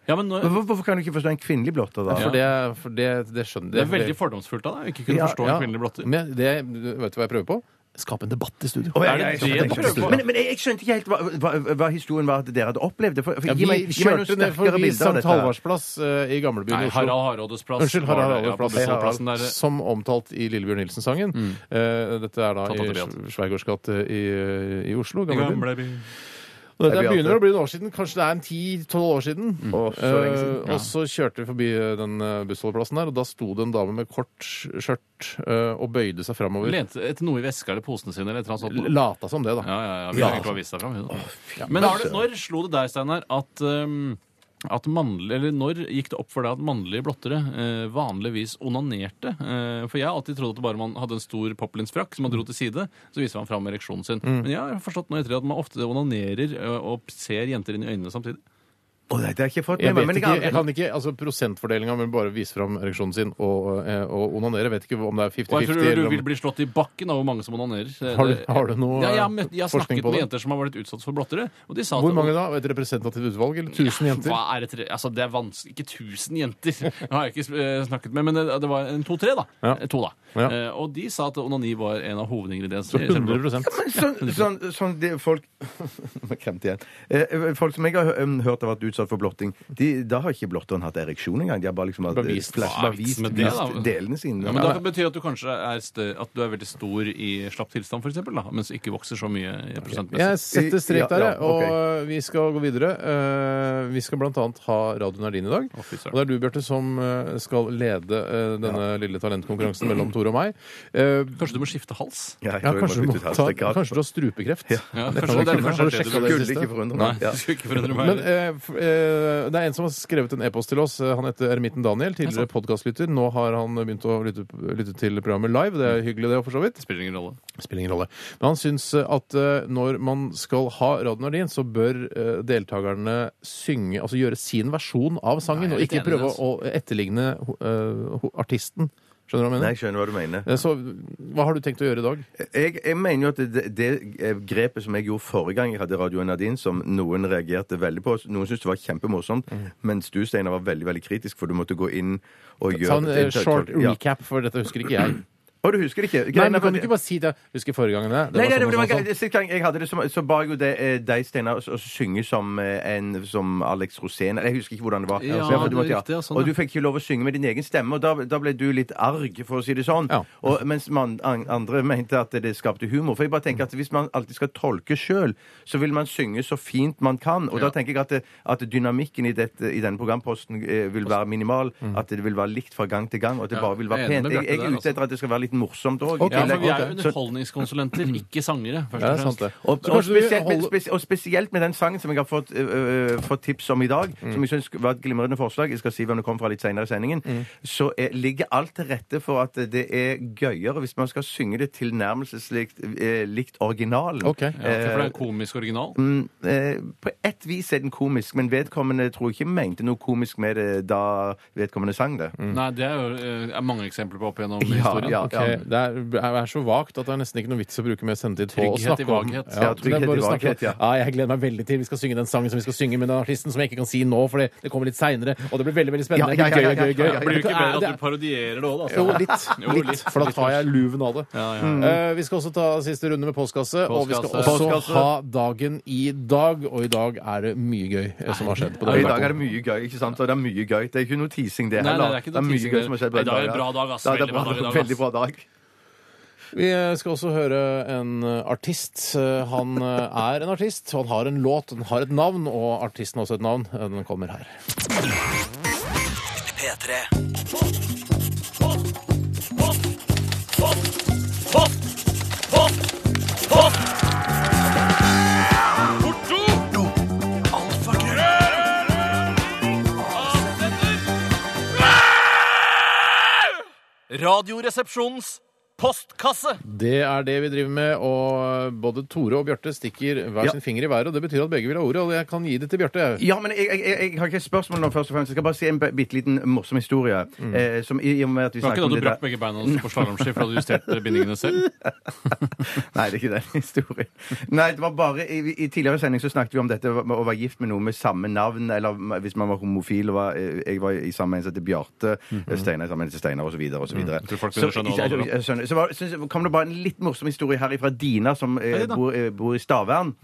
Speaker 5: Ja, men nå,
Speaker 4: Men hvor- hvorfor kan du ikke
Speaker 3: sånn
Speaker 4: forstå en kvinnelig blotter, da?
Speaker 3: For det, for det, det skjønner
Speaker 5: det er veldig fordomsfullt av deg å ikke kunne
Speaker 4: Ja,
Speaker 5: forstå en kvinnelig blotter.
Speaker 3: Men det, vet du hva jeg prøver på? Skape en debatt i studio.
Speaker 4: Å, ja,
Speaker 5: Er det
Speaker 4: ja, jeg
Speaker 5: det
Speaker 4: skjønte
Speaker 5: du
Speaker 4: det.
Speaker 5: prøver på?
Speaker 4: Men, men jeg, jeg skjønte ikke helt hva, hva, hva historien var at dere hadde opplevd. det. For, for,
Speaker 3: Ja,
Speaker 4: gi
Speaker 3: vi
Speaker 4: meg, gi meg noen
Speaker 3: kjørte ned
Speaker 4: sterkere
Speaker 3: forbi St.
Speaker 4: bilder av dette her.
Speaker 3: Halvardsplass eh, i Gamlebyen
Speaker 5: Nei,
Speaker 3: i Oslo.
Speaker 5: Harald Haraades plass.
Speaker 3: Unnskyld,
Speaker 5: var
Speaker 3: Harald
Speaker 5: det, ja, på
Speaker 3: Haraldsplass.
Speaker 5: Bussenhallplassen der. eh,
Speaker 3: Som omtalt i Lillebjørn Nilsen-sangen. Eh, dette er da
Speaker 5: Mm. Tatt av
Speaker 3: i
Speaker 5: Tobias.
Speaker 3: Sve- Schweigaards gate i, eh, i Oslo. Gamlebyen.
Speaker 5: Gamle by.
Speaker 3: Og dette
Speaker 4: Det blir
Speaker 3: begynner
Speaker 4: alltid-
Speaker 3: å bli noen år siden. Kanskje det er en 10-12 år siden.
Speaker 4: Mm. Å, så lenge siden.
Speaker 3: Eh, Og så kjørte vi forbi eh, den eh, bussholdeplassen der, og da sto det en dame med kort skjørt eh, og bøyde seg framover.
Speaker 5: Lente etter noe i veska eller posene sine eller et eller annet sånt.
Speaker 3: L- Lata som det, da.
Speaker 5: Ja, ja, ja. Vi har ikke vist deg fram. Ja. Men har det, når slo det deg, Steinar, at um, at mannlig, eller Når gikk det opp for deg at mannlige blottere eh, vanligvis onanerte? Eh, for jeg har alltid trodd at det bare man hadde en stor poplinsfrakk som man dro til side, så viser man fram ereksjonen sin.
Speaker 3: Mm.
Speaker 5: Men jeg har forstått nå etter at man ofte onanerer eh, og ser jenter inn i øynene samtidig.
Speaker 4: Å, nei, det har jeg ikke fått
Speaker 3: Jeg,
Speaker 4: med
Speaker 3: vet
Speaker 4: meg. Men jeg
Speaker 3: ikke,
Speaker 4: har
Speaker 3: jeg
Speaker 4: aldri-
Speaker 3: kan ikke, altså Prosentfordelinga med bare å vise fram ereksjonen sin og, eh, og onanere vet ikke om det er
Speaker 5: Og jeg
Speaker 3: 50-50.
Speaker 5: tror du
Speaker 3: eller om-
Speaker 5: vil bli slått i bakken av hvor mange som onanerer. Eh,
Speaker 3: Har du-
Speaker 5: det-
Speaker 3: har du noe,
Speaker 5: ja, jeg, har møtt, jeg har
Speaker 3: forskning
Speaker 5: snakket
Speaker 3: på
Speaker 5: med
Speaker 3: det?
Speaker 5: jenter som har vært utsatt for blottere, og de sa at
Speaker 3: Hvor mange da? Et representativt utvalg? Eller 1000 jenter?
Speaker 5: Hva er et, tre- altså, det er vanskelig Ikke 1000 jenter det har jeg ikke eh, snakket med, men det, det var en to-tre, da.
Speaker 3: Ja.
Speaker 5: Eh, To, da.
Speaker 3: Ja.
Speaker 5: Eh, og de sa at onani var en av
Speaker 3: Så
Speaker 5: hovedingrediensene. i
Speaker 3: 100
Speaker 4: Sånn, sånn, sånn de, folk Nå kremte jeg igjen. Eh, folk som jeg har um, hørt har vært utsatt for blotting, de, da har ikke blotteren hatt ereksjon engang. De har bare liksom hatt,
Speaker 3: Bare vist-
Speaker 4: flash,
Speaker 5: hva er
Speaker 4: bare
Speaker 5: vitsen
Speaker 4: vist,
Speaker 5: med det, da?
Speaker 4: vist delene sine.
Speaker 5: Ja, men Det betyr at du kanskje er, stø- at du er veldig stor i slapp tilstand, for eksempel, da, mens du ikke vokser så mye i prosentmessig.
Speaker 3: Jeg setter strek
Speaker 4: Ja,
Speaker 3: der, jeg.
Speaker 4: ja, ok.
Speaker 3: Og vi skal gå videre. Eh, Vi skal blant annet ha Radio Nardin i dag.
Speaker 5: Å, fy søren.
Speaker 3: Og det er du, Bjarte, som eh, skal lede eh, denne lille talentkonkurransen mellom Tore og meg. Eh,
Speaker 5: Kanskje du må skifte hals?
Speaker 4: Ja, jeg
Speaker 3: Ja,
Speaker 4: tror jeg
Speaker 3: kanskje, du
Speaker 4: må
Speaker 3: må
Speaker 4: bytte
Speaker 3: ta,
Speaker 4: halsdekk.
Speaker 3: kanskje du har strupekreft?
Speaker 5: Ja,
Speaker 3: Det kan
Speaker 5: kanskje
Speaker 3: godt
Speaker 5: det er
Speaker 3: hende.
Speaker 5: kanskje
Speaker 3: Har du sjekket det i
Speaker 5: det du
Speaker 3: det
Speaker 4: Skulle ikke
Speaker 3: siste?
Speaker 4: forundre
Speaker 5: Nei,
Speaker 4: meg.
Speaker 5: det
Speaker 4: Ja.
Speaker 5: skulle ikke forundre meg.
Speaker 3: Men
Speaker 5: heller.
Speaker 3: eh, f- eh, det er en som har skrevet en e-post til oss. Eh, Han heter Eremitten Daniel, tidligere podkastlytter. Nå har han begynt å lytte, lytte til programmet live. Det er hyggelig, det, for så vidt.
Speaker 5: Det spiller ingen rolle.
Speaker 3: Spiller ingen rolle. Men han syns eh, at eh, når man skal ha Radio Nardin, så bør eh, deltakerne synge, altså gjøre sin versjon av sangen,
Speaker 5: Nei,
Speaker 3: og
Speaker 5: jeg
Speaker 3: ikke
Speaker 5: er litt enig i
Speaker 3: prøve
Speaker 5: det,
Speaker 3: å etterligne eh, ho- artisten. Skjønner du hva jeg
Speaker 4: Nei,
Speaker 3: mener?
Speaker 4: jeg skjønner hva du mener.
Speaker 3: Eh, Så hva har du tenkt å gjøre i dag?
Speaker 4: Jeg, jeg mener jo at det, det grepet som jeg gjorde forrige gang jeg hadde Radio Nadine, som noen reagerte veldig på Noen syntes det var kjempemorsomt,
Speaker 3: Mm.
Speaker 4: mens du, Steinar, var veldig veldig kritisk, for du måtte gå inn og gjøre
Speaker 3: Ta en eh, short
Speaker 4: Ja.
Speaker 3: recap, for dette husker ikke jeg.
Speaker 4: Og du husker det ikke?
Speaker 3: Nei, men
Speaker 4: Greiene var-
Speaker 3: Kan du ikke bare si det? Husker forrige gangen det? var
Speaker 4: Nei, nei, det
Speaker 3: sånn og
Speaker 4: var
Speaker 3: sånn og sånn.
Speaker 4: greit. Sist gang jeg hadde det, så, så ba jeg jo det, eh, deg, Steinar, å å synge som, eh, en, som Alex Rosén. Eller Jeg husker ikke hvordan det var.
Speaker 5: Ja,
Speaker 4: Så i hvert fall du
Speaker 5: det er
Speaker 4: måtte-
Speaker 5: riktig, ja, sånn,
Speaker 4: og
Speaker 5: ja.
Speaker 4: du fikk ikke lov å synge med din egen stemme, og da, da ble du litt arg, for å si det sånn.
Speaker 3: Ja.
Speaker 4: Og, mens man, an, andre mente at det skapte humor. For jeg bare tenker at hvis man alltid skal tolke sjøl, så vil man synge så fint man kan. Og da tenker jeg at, det- at dynamikken i, dette, i denne programposten eh, vil være minimal.
Speaker 3: Mm.
Speaker 4: At det vil være likt fra gang til gang, og at det
Speaker 5: Ja,
Speaker 4: bare vil
Speaker 5: jeg
Speaker 4: være
Speaker 5: er enig
Speaker 4: pent.
Speaker 5: med
Speaker 4: Jeg, jeg er
Speaker 5: Bjarte der, altså.
Speaker 4: ute etter at det skal være litt morsomt òg.
Speaker 3: Ok,
Speaker 5: Ja, for vi er
Speaker 3: ok. Mm.
Speaker 5: jo underholdningskonsulenter, ikke sangere. først og
Speaker 3: Ja, det er
Speaker 5: fremst.
Speaker 3: sant det.
Speaker 4: Og,
Speaker 3: Så
Speaker 4: og,
Speaker 3: kanskje Altså, vi
Speaker 4: spesielt, med,
Speaker 3: holder-
Speaker 4: spes- og spesielt med den sangen som jeg har fått, øh, øh, fått tips om i dag,
Speaker 3: Mm.
Speaker 4: som jeg syns var et glimrende forslag, jeg skal si hvem det kom fra litt senere i sendingen,
Speaker 3: Mm.
Speaker 4: så er, ligger alt til rette for at det er gøyere hvis man skal synge det tilnærmelseslikt eh, likt originalen.
Speaker 3: Ok. Ja,
Speaker 5: Ja, for det er
Speaker 4: Eh,
Speaker 5: en komisk original.
Speaker 4: mm, eh, på ett vis er den komisk, men vedkommende tror jeg ikke mente noe komisk med det da vedkommende sang det.
Speaker 3: Mm.
Speaker 5: Nei, det er jo eh, er mange eksempler på opp gjennom
Speaker 4: Ja,
Speaker 5: historien.
Speaker 4: ja,
Speaker 5: Ok,
Speaker 3: Det er, er så vagt at det er nesten ikke noe vits å bruke mer sendetid på å
Speaker 5: Trygghet
Speaker 3: snakke
Speaker 5: i
Speaker 3: om.
Speaker 5: vaghet.
Speaker 4: Ja,
Speaker 3: det er
Speaker 4: trygghet
Speaker 3: bare
Speaker 4: i
Speaker 3: å snakke om-
Speaker 4: vaghet, ja.
Speaker 3: ja, jeg gleder meg veldig til vi skal synge den sangen som vi skal synge med den artisten som jeg ikke kan si nå, for det, det kommer litt seinere, og det blir veldig veldig spennende.
Speaker 4: Ja, ja, ja, ja,
Speaker 3: gøy, gøy, gøy.
Speaker 4: ja, ja, ja.
Speaker 5: Blir det ikke
Speaker 3: Er-
Speaker 5: bedre
Speaker 3: det
Speaker 5: at
Speaker 3: er-
Speaker 5: du parodierer det òg, da?
Speaker 3: jo,
Speaker 5: altså?
Speaker 3: litt,
Speaker 5: Jo,
Speaker 3: litt,
Speaker 5: litt,
Speaker 3: For da tar jeg luven av det.
Speaker 5: Ja, ja.
Speaker 3: Eh, vi skal også ta siste runde med postkasse, og vi skal
Speaker 5: Postkasse.
Speaker 3: også
Speaker 4: Postkasse.
Speaker 3: ha dagen i dag. Og i dag er det mye gøy eh, som har skjedd. på
Speaker 4: Og
Speaker 3: den
Speaker 4: I dag er det mye gøy. ikke sant? Og det er mye gøy. Det er ikke noe teasing, det
Speaker 5: Nei, nei,
Speaker 4: heller.
Speaker 5: det er ikke noe
Speaker 4: mye
Speaker 5: teasing,
Speaker 4: gøy
Speaker 5: det.
Speaker 4: som har skjedd.
Speaker 5: Nei, i dag er det bra dag, ass.
Speaker 4: Ja, det er
Speaker 5: Veldig bra dag i dag,
Speaker 4: Veldig bra dag.
Speaker 3: Vi eh, skal også høre en eh, artist. Eh, Han eh, er en artist, og han har en låt, den har et navn, og artisten har også et navn. Eh, Den kommer her.
Speaker 2: P3.
Speaker 5: Radioresepsjonens postkasse!
Speaker 3: Det er det vi driver med, og både Tore og Bjarte stikker hver sin finger i været, og det betyr at begge vil ha ordet, og jeg kan gi det til Bjarte. jeg.
Speaker 4: Ja, men jeg, jeg, jeg, jeg har ikke et spørsmål nå, først og fremst. Jeg skal bare si en bitte liten morsom historie. Eh, som i, i og med at vi
Speaker 5: Mm. Det var
Speaker 4: snakker om
Speaker 5: ikke da du
Speaker 4: det
Speaker 5: brakk begge beina på slalåmski for du justerte bindingene selv?
Speaker 4: Nei, det er ikke den historien. Nei, det var bare I, i tidligere sending så snakket vi om dette med å være gift med noen med samme navn, eller hvis man var homofil og var, eh, jeg var i samme en som heter Bjarte, Steinar i samme en som heter Steinar, osv. Jeg
Speaker 5: Mhm. Mm. tror folk begynner å skjønne hva det handler om.
Speaker 4: jeg skjønner. Så var, synes, kom det bare en litt morsom historie her fra Dina, som eh,
Speaker 5: Hei da. Mhm.
Speaker 4: bor, eh, bor i Stavern.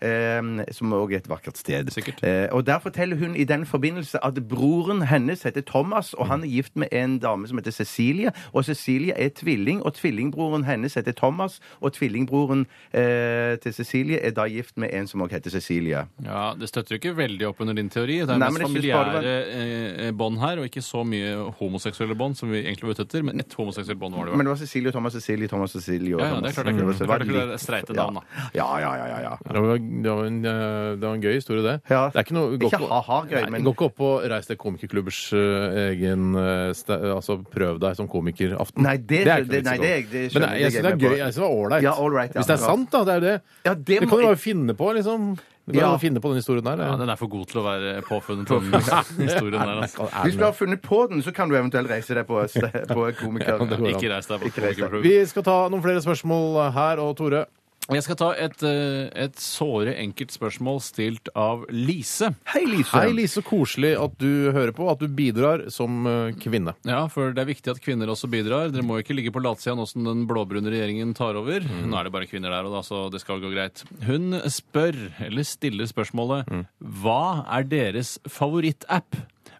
Speaker 4: Eh, som òg er et vakkert sted.
Speaker 5: Sikkert.
Speaker 4: Eh, og Der forteller hun i den forbindelse at broren hennes heter Thomas, og
Speaker 5: Mhm.
Speaker 4: han er gift med en dame som heter Cecilie. Og Cecilie er tvilling, og tvillingbroren hennes heter Thomas. Og tvillingbroren eh, til Cecilie er da gift med en som òg heter Cecilie.
Speaker 5: Ja, Det støtter jo ikke veldig opp under din teori. Det er
Speaker 4: Nei,
Speaker 5: mest
Speaker 4: men jeg synes bare
Speaker 5: familiære eh, bånd her, og ikke så mye homoseksuelle bånd som vi egentlig var ute etter. Men ett homoseksuelt bånd var det jo.
Speaker 4: Men Mm. det var Cecilie og Thomas, Cecilie, Thomas, Cecilie og
Speaker 5: Ja, ja, det er
Speaker 4: Thomas.
Speaker 5: klart det er klart. Det er klart det er
Speaker 4: litt-
Speaker 5: streite navn, da.
Speaker 4: Ja, ja, ja. ja, ja.
Speaker 3: Det var, det, var en, eh, det var en gøy historie, det.
Speaker 4: Ja.
Speaker 3: Det er ikke noe
Speaker 4: Ikke ha-ha-gøy,
Speaker 3: Nei,
Speaker 4: men-
Speaker 3: Gå ikke opp på Reis til komikerklubbers eh, egen eh, ste, Altså prøv deg som komikeraften.
Speaker 4: Nei, det-
Speaker 3: er ikke
Speaker 4: det- nei,
Speaker 3: vits i å gå.
Speaker 4: det er jeg- det skjønner
Speaker 3: Men jeg, jeg
Speaker 4: jeg
Speaker 3: syns det er
Speaker 4: med
Speaker 3: gøy.
Speaker 4: på.
Speaker 3: Jeg synes det var ålreit.
Speaker 4: Ja, all right, ja.
Speaker 3: Hvis det er
Speaker 4: Ja.
Speaker 3: sant, da. Det er jo det.
Speaker 4: Ja, det
Speaker 3: kan
Speaker 4: må-
Speaker 3: du bare finne på, liksom. Du kan
Speaker 4: Ja.
Speaker 3: jo finne på den historien der.
Speaker 5: Ja,
Speaker 3: Ja.
Speaker 5: Den er for god til å være påfunnet, den historien der. Altså.
Speaker 3: Er
Speaker 4: Hvis
Speaker 3: den
Speaker 4: du har funnet på den, så kan du eventuelt reise deg på, på komiker.
Speaker 3: det går an.
Speaker 5: Ikke reis deg på
Speaker 4: Ikke reis deg.
Speaker 5: komikerprøve.
Speaker 3: Vi skal ta noen flere spørsmål her, og Tore.
Speaker 5: Jeg skal ta et, eh, et såre enkelt spørsmål stilt av Lise.
Speaker 4: Hei, Lise.
Speaker 3: Hei, Lise. Så koselig at du hører på, at du bidrar som eh, kvinne.
Speaker 5: Ja, for det er viktig at kvinner også bidrar. Dere må jo ikke ligge på latsida nå som den blåbrune regjeringen tar over. Nå er det bare kvinner der og da, så det skal gå greit. Hun spør, eller stiller spørsmålet, hva er deres favorittapp?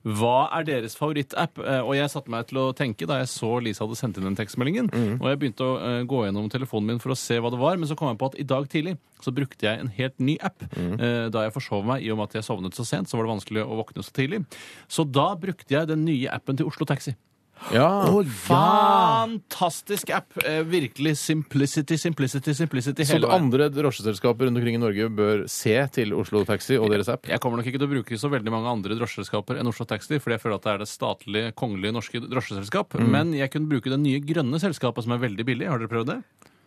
Speaker 5: Hva er deres favorittapp? Eh, Og jeg satte meg til å tenke da jeg så Lisa hadde sendt inn den tekstmeldingen, og jeg begynte å eh, gå gjennom telefonen min for å se hva det var, men så kom jeg på at i dag tidlig så brukte jeg en helt ny app. Eh, Da jeg forsov meg, i og med at jeg sovnet så sent, så var det vanskelig å våkne så tidlig. Så da brukte jeg den nye appen til Oslo Taxi.
Speaker 3: Ja.
Speaker 5: Fantastisk app! Eh, Virkelig simplicity, simplicity, simplicity
Speaker 3: Så
Speaker 5: hele veien.
Speaker 3: andre drosjeselskaper rundt omkring i Norge bør se til Oslo Taxi og deres app?
Speaker 5: Jeg kommer nok ikke til å bruke så veldig mange andre drosjeselskaper enn Oslo Taxi, fordi jeg føler at det er det statlige, kongelige norske drosjeselskap. Men jeg kunne bruke det nye grønne selskapet, som er veldig billig. Har dere prøvd det?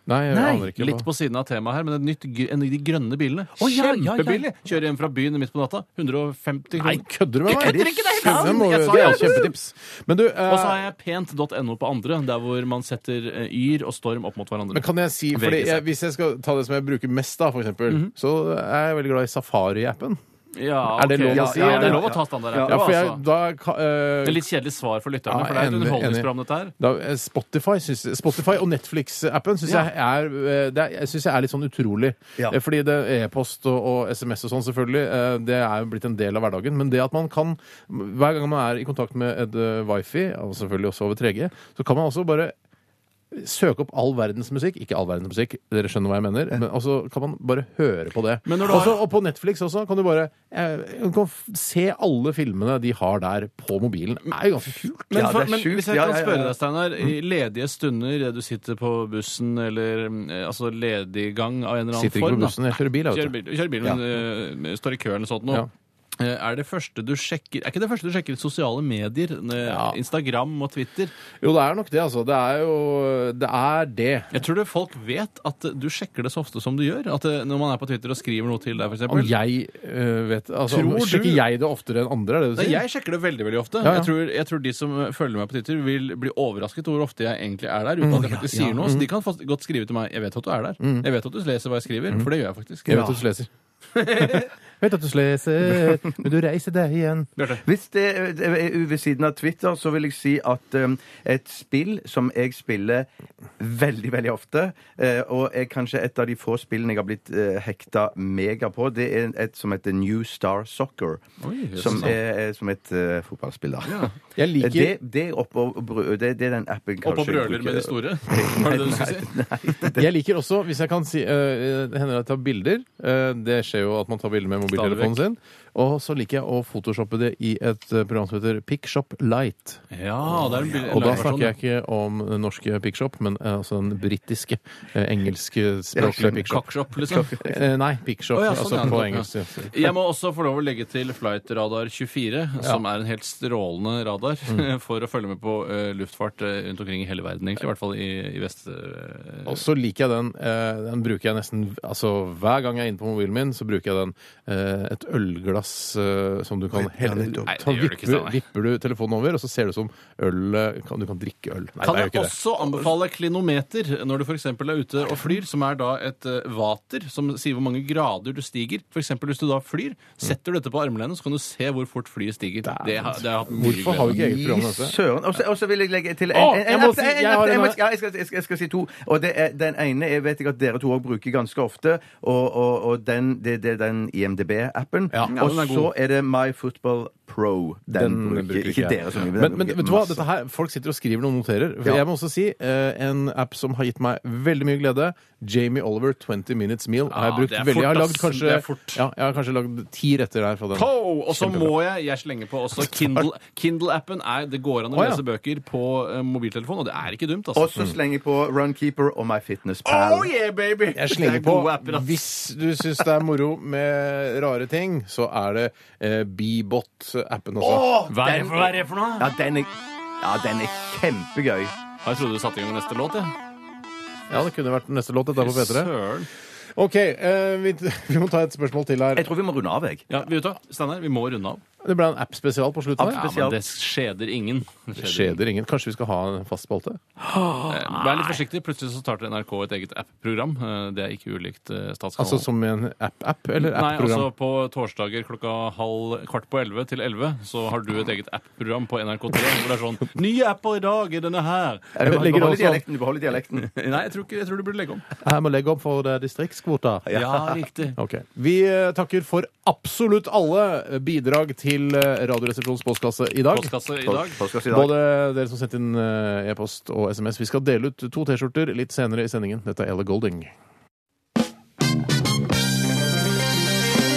Speaker 3: Nei, jeg aner ikke.
Speaker 5: Litt på siden av temaet her, men et nytt, gr- en av de grønne bilene.
Speaker 4: ja, ja, ja.
Speaker 5: Kjempebillig! Kjører hjem fra byen midt på natta. 150
Speaker 3: Nei,
Speaker 5: kroner.
Speaker 3: kødder du med meg?
Speaker 5: Jeg kødder ikke, det er helt sant.
Speaker 3: Det, må,
Speaker 5: Jeg sa
Speaker 3: det er
Speaker 5: det.
Speaker 3: kjempetips. Men du, eh,
Speaker 5: Og så har jeg pent.no på andre, der hvor man setter eh, yr og storm opp mot hverandre.
Speaker 3: men kan jeg si, fordi
Speaker 5: VGZ.
Speaker 3: jeg, Hvis jeg skal ta det som jeg bruker mest, da, for eksempel, så er jeg veldig glad i Safari-appen.
Speaker 5: Mhm. Ja,
Speaker 3: Er det
Speaker 5: ok.
Speaker 3: lov å
Speaker 5: ja,
Speaker 3: si,
Speaker 5: Ja,
Speaker 3: eller?
Speaker 5: det er lov å ta standard.
Speaker 3: Ja, for jeg,
Speaker 5: altså.
Speaker 3: da, ka- eh,
Speaker 5: Det er litt kjedelig svar for lytterne,
Speaker 3: Ja,
Speaker 5: for det er et
Speaker 3: enig,
Speaker 5: underholdningsprogram, dette her.
Speaker 3: da, eh, Spotify, synes, Spotify og Netflix-appen syns
Speaker 5: Ja.
Speaker 3: jeg, er, eh, det er- jeg synes jeg er litt sånn utrolig.
Speaker 4: Ja.
Speaker 3: Eh, Fordi det e-post og, og SMS og sånn, selvfølgelig, eh, det er jo blitt en del av hverdagen. Men det at man kan, hver gang man er i kontakt med et eh, wifi, og selvfølgelig også over 3G, så kan man også bare Søke opp all verdens musikk. Ikke all verdens musikk, dere skjønner hva jeg mener. Men også kan man bare høre på det.
Speaker 5: Men når du
Speaker 3: Også,
Speaker 5: har-
Speaker 3: og på Netflix også kan du bare eh, du kan f- se alle filmene de har der, på mobilen. Det er jo ganske kult.
Speaker 5: Men,
Speaker 4: Ja,
Speaker 5: for,
Speaker 4: det er
Speaker 5: men
Speaker 4: sjukt.
Speaker 5: hvis jeg
Speaker 4: Ja,
Speaker 5: kan
Speaker 4: ja, ja,
Speaker 5: spørre
Speaker 4: ja.
Speaker 5: deg, Steinar. I
Speaker 3: Mm.
Speaker 5: ledige stunder idet du sitter på bussen, eller eh, altså lediggang av en eller annen
Speaker 3: Sitter ikke
Speaker 5: form
Speaker 3: på bussen, jeg kjører bil. jeg, vet du.
Speaker 5: Kjører bil, kjører bilen, eh, står i kø eller sånt noe.
Speaker 3: Ja.
Speaker 5: Eh, Er det første du sjekker Er ikke det første du sjekker i sosiale medier? eh,
Speaker 3: Ja.
Speaker 5: Instagram og Twitter?
Speaker 3: Jo, det er nok det, altså. Det er jo Det er det.
Speaker 5: Jeg tror det folk vet at eh, du sjekker det så ofte som du gjør. At eh, Når man er på Twitter og skriver noe til deg,
Speaker 3: Om
Speaker 5: f.eks.
Speaker 3: jeg eh, vet altså,
Speaker 5: Tror
Speaker 3: om,
Speaker 5: du-
Speaker 3: Sjekker jeg det oftere enn andre, er det det du sier?
Speaker 5: Jeg sjekker det veldig veldig ofte.
Speaker 3: Ja, ja.
Speaker 5: Jeg, tror, jeg tror de som eh, følger meg på Twitter, vil bli overrasket over hvor ofte jeg egentlig er der. uten
Speaker 3: Mm.
Speaker 5: at jeg faktisk sier noe. Så de kan fast- godt skrive til meg 'Jeg vet at du er der'. 'Jeg vet at du leser hva jeg skriver', for det gjør jeg faktisk.
Speaker 3: Mm. Jeg vet at du leser. vet at du leser, men du reiser deg igjen.
Speaker 4: Hvis det er ved siden av Twitter, så vil jeg si at um, et spill som jeg spiller veldig, veldig ofte, eh, og er kanskje et av de få spillene jeg har blitt eh, hekta mega på, det er et som heter New Star Soccer.
Speaker 5: Oi, jøsses,
Speaker 4: som
Speaker 5: da.
Speaker 4: er, er som et eh, fotballspill, da.
Speaker 3: Jeg liker
Speaker 4: Det, det, er oppå, brø- det, det er den appen
Speaker 5: Og på brøler med de store. Var det det du skulle si?
Speaker 3: Jeg liker også, hvis jeg kan si eh, Det hender at jeg tar bilder. Eh, det skjer jo at man tar bilder med mobiltelefonen sin. Og så liker jeg å photoshoppe det i et eh, program som heter Pickshop Light.
Speaker 5: Ja, det er en bil-
Speaker 3: Og da
Speaker 5: live-versjon,
Speaker 3: snakker
Speaker 5: ja.
Speaker 3: jeg ikke om den norske Pickshop, men eh, altså den britiske, eh, engelskspråklige Pickshop.
Speaker 5: Cockshop, liksom.
Speaker 3: Eh, nei, Pickshop,
Speaker 5: Å, ja, sånn,
Speaker 3: altså
Speaker 5: ja.
Speaker 3: på
Speaker 5: Ja.
Speaker 3: engelsk. ja.
Speaker 5: Jeg må også få lov å legge til Flight Radar 24, som er en helt strålende radar
Speaker 3: Mm.
Speaker 5: for å følge med på eh, luftfart eh, rundt omkring i hele verden, egentlig. I hvert fall i, i vest... eh,
Speaker 3: Og så liker jeg den. eh, Den bruker jeg nesten altså Hver gang jeg er inne på mobilen min, så bruker jeg den. eh, Et ølglass eh, som du kan helle
Speaker 5: Nei, det
Speaker 3: ta,
Speaker 5: gjør du ikke,
Speaker 3: vipper,
Speaker 5: Steinar.
Speaker 3: vipper du telefonen over, og så ser det ut som øl eh, kan, Du kan drikke øl. Nei,
Speaker 5: Kan
Speaker 3: det er
Speaker 5: jeg
Speaker 3: jo ikke det.
Speaker 5: også anbefale klinometer når du f.eks. er ute og flyr, som er da et eh, vater som sier hvor mange grader du stiger. F.eks. hvis du da
Speaker 3: Mm.
Speaker 5: flyr, setter du dette på armlenet, så kan du se hvor fort flyet stiger. Det har, det har jeg hatt mye
Speaker 3: Hvorfor har vi ikke
Speaker 5: glede av.
Speaker 3: eget program om dette?
Speaker 4: Søren. Og så- Og så vil jeg legge til en,
Speaker 3: Å,
Speaker 4: en, en,
Speaker 3: jeg må
Speaker 4: app-
Speaker 3: si-
Speaker 4: en
Speaker 3: jeg
Speaker 4: app-
Speaker 3: har en
Speaker 4: jeg må-
Speaker 3: app.
Speaker 4: ja, jeg skal, jeg, skal, jeg skal si to. Og det er, den ene jeg vet ikke at dere to òg bruker ganske ofte. Og, og, og den, det, det er den IMDb-appen.
Speaker 3: Ja,
Speaker 5: ja,
Speaker 4: og
Speaker 5: den er god.
Speaker 4: så er det My Football Pro. Den, bruker, Mm. ikke
Speaker 3: jeg.
Speaker 4: dere så mye.
Speaker 3: Men, men vet du hva, dette her, folk sitter og skriver og noterer. For
Speaker 4: Ja.
Speaker 3: Jeg må også si eh, en app som har gitt meg veldig mye glede. Jamie Oliver 20 Minutes Meal. har jeg,
Speaker 5: Ja,
Speaker 3: brukt
Speaker 5: Ah, det er
Speaker 3: veldig.
Speaker 5: fort,
Speaker 3: jeg har
Speaker 5: ass.
Speaker 3: lagd kanskje,
Speaker 5: Det er fort.
Speaker 3: Ja, jeg har kanskje lagd ti retter her fra den.
Speaker 5: Po! Og så må jeg jeg slenger på også Kindle. Kindle-appen er Det går an å
Speaker 3: Å, ja.
Speaker 5: lese bøker på eh, mobiltelefon, og det er ikke dumt,
Speaker 4: Og
Speaker 5: altså.
Speaker 4: så slenger jeg på Runkeeper og My Fitness Pal.
Speaker 5: Oh yeah, baby!
Speaker 3: Jeg
Speaker 5: Det
Speaker 3: slenger
Speaker 5: er
Speaker 3: på
Speaker 5: gode apper, ass.
Speaker 3: Hvis du syns det er moro med rare ting, så er det eh, Bebot-appen også.
Speaker 5: Hva er det for, hva er det for noe?
Speaker 4: Ja, den er, ja, den er kjempegøy.
Speaker 5: Jeg trodde du satte i gang neste låt, jeg.
Speaker 3: Ja, det kunne vært neste låt. Dette er på P3.
Speaker 5: Søren.
Speaker 3: OK, eh, vi, vi må ta et spørsmål til her.
Speaker 4: Jeg tror vi må runde av, jeg.
Speaker 5: Ja, vet du hva, Steinar, vi må runde av.
Speaker 3: Det ble en app-spesial på slutten. her.
Speaker 5: Ja, men det skjeder ingen. Det
Speaker 3: Skjeder ingen. Kanskje vi skal ha en fast spalte?
Speaker 5: Eh, Vær litt forsiktig. Plutselig så starter NRK et eget app-program. Eh, Det er ikke ulikt eh,
Speaker 3: Altså
Speaker 5: Statskanalen.
Speaker 3: som i en app-app eller
Speaker 5: Nei,
Speaker 3: app-program?
Speaker 5: altså På torsdager klokka halv, kvart på elleve til elleve så har du et eget app-program på NRK3 hvor det er sånn 'Ny app i dag er denne her'.
Speaker 4: Du
Speaker 3: legger
Speaker 4: beholder
Speaker 3: også-
Speaker 4: dialekten. Du beholder dialekten.
Speaker 5: Nei, jeg tror, ikke, jeg tror du burde legge om.
Speaker 3: Jeg må legge opp for eh, distriktskvota.
Speaker 5: Ja, riktig.
Speaker 3: Ok. Vi eh, takker for absolutt alle eh, bidrag til eh, Radioresepsjonens postkasse i dag.
Speaker 5: Postkasse i dag.
Speaker 4: Postkasse i dag.
Speaker 3: Både dere som sendte inn eh, e-post og SMS. Vi skal dele ut to T-skjorter litt senere i sendingen. Dette er Ella Golding.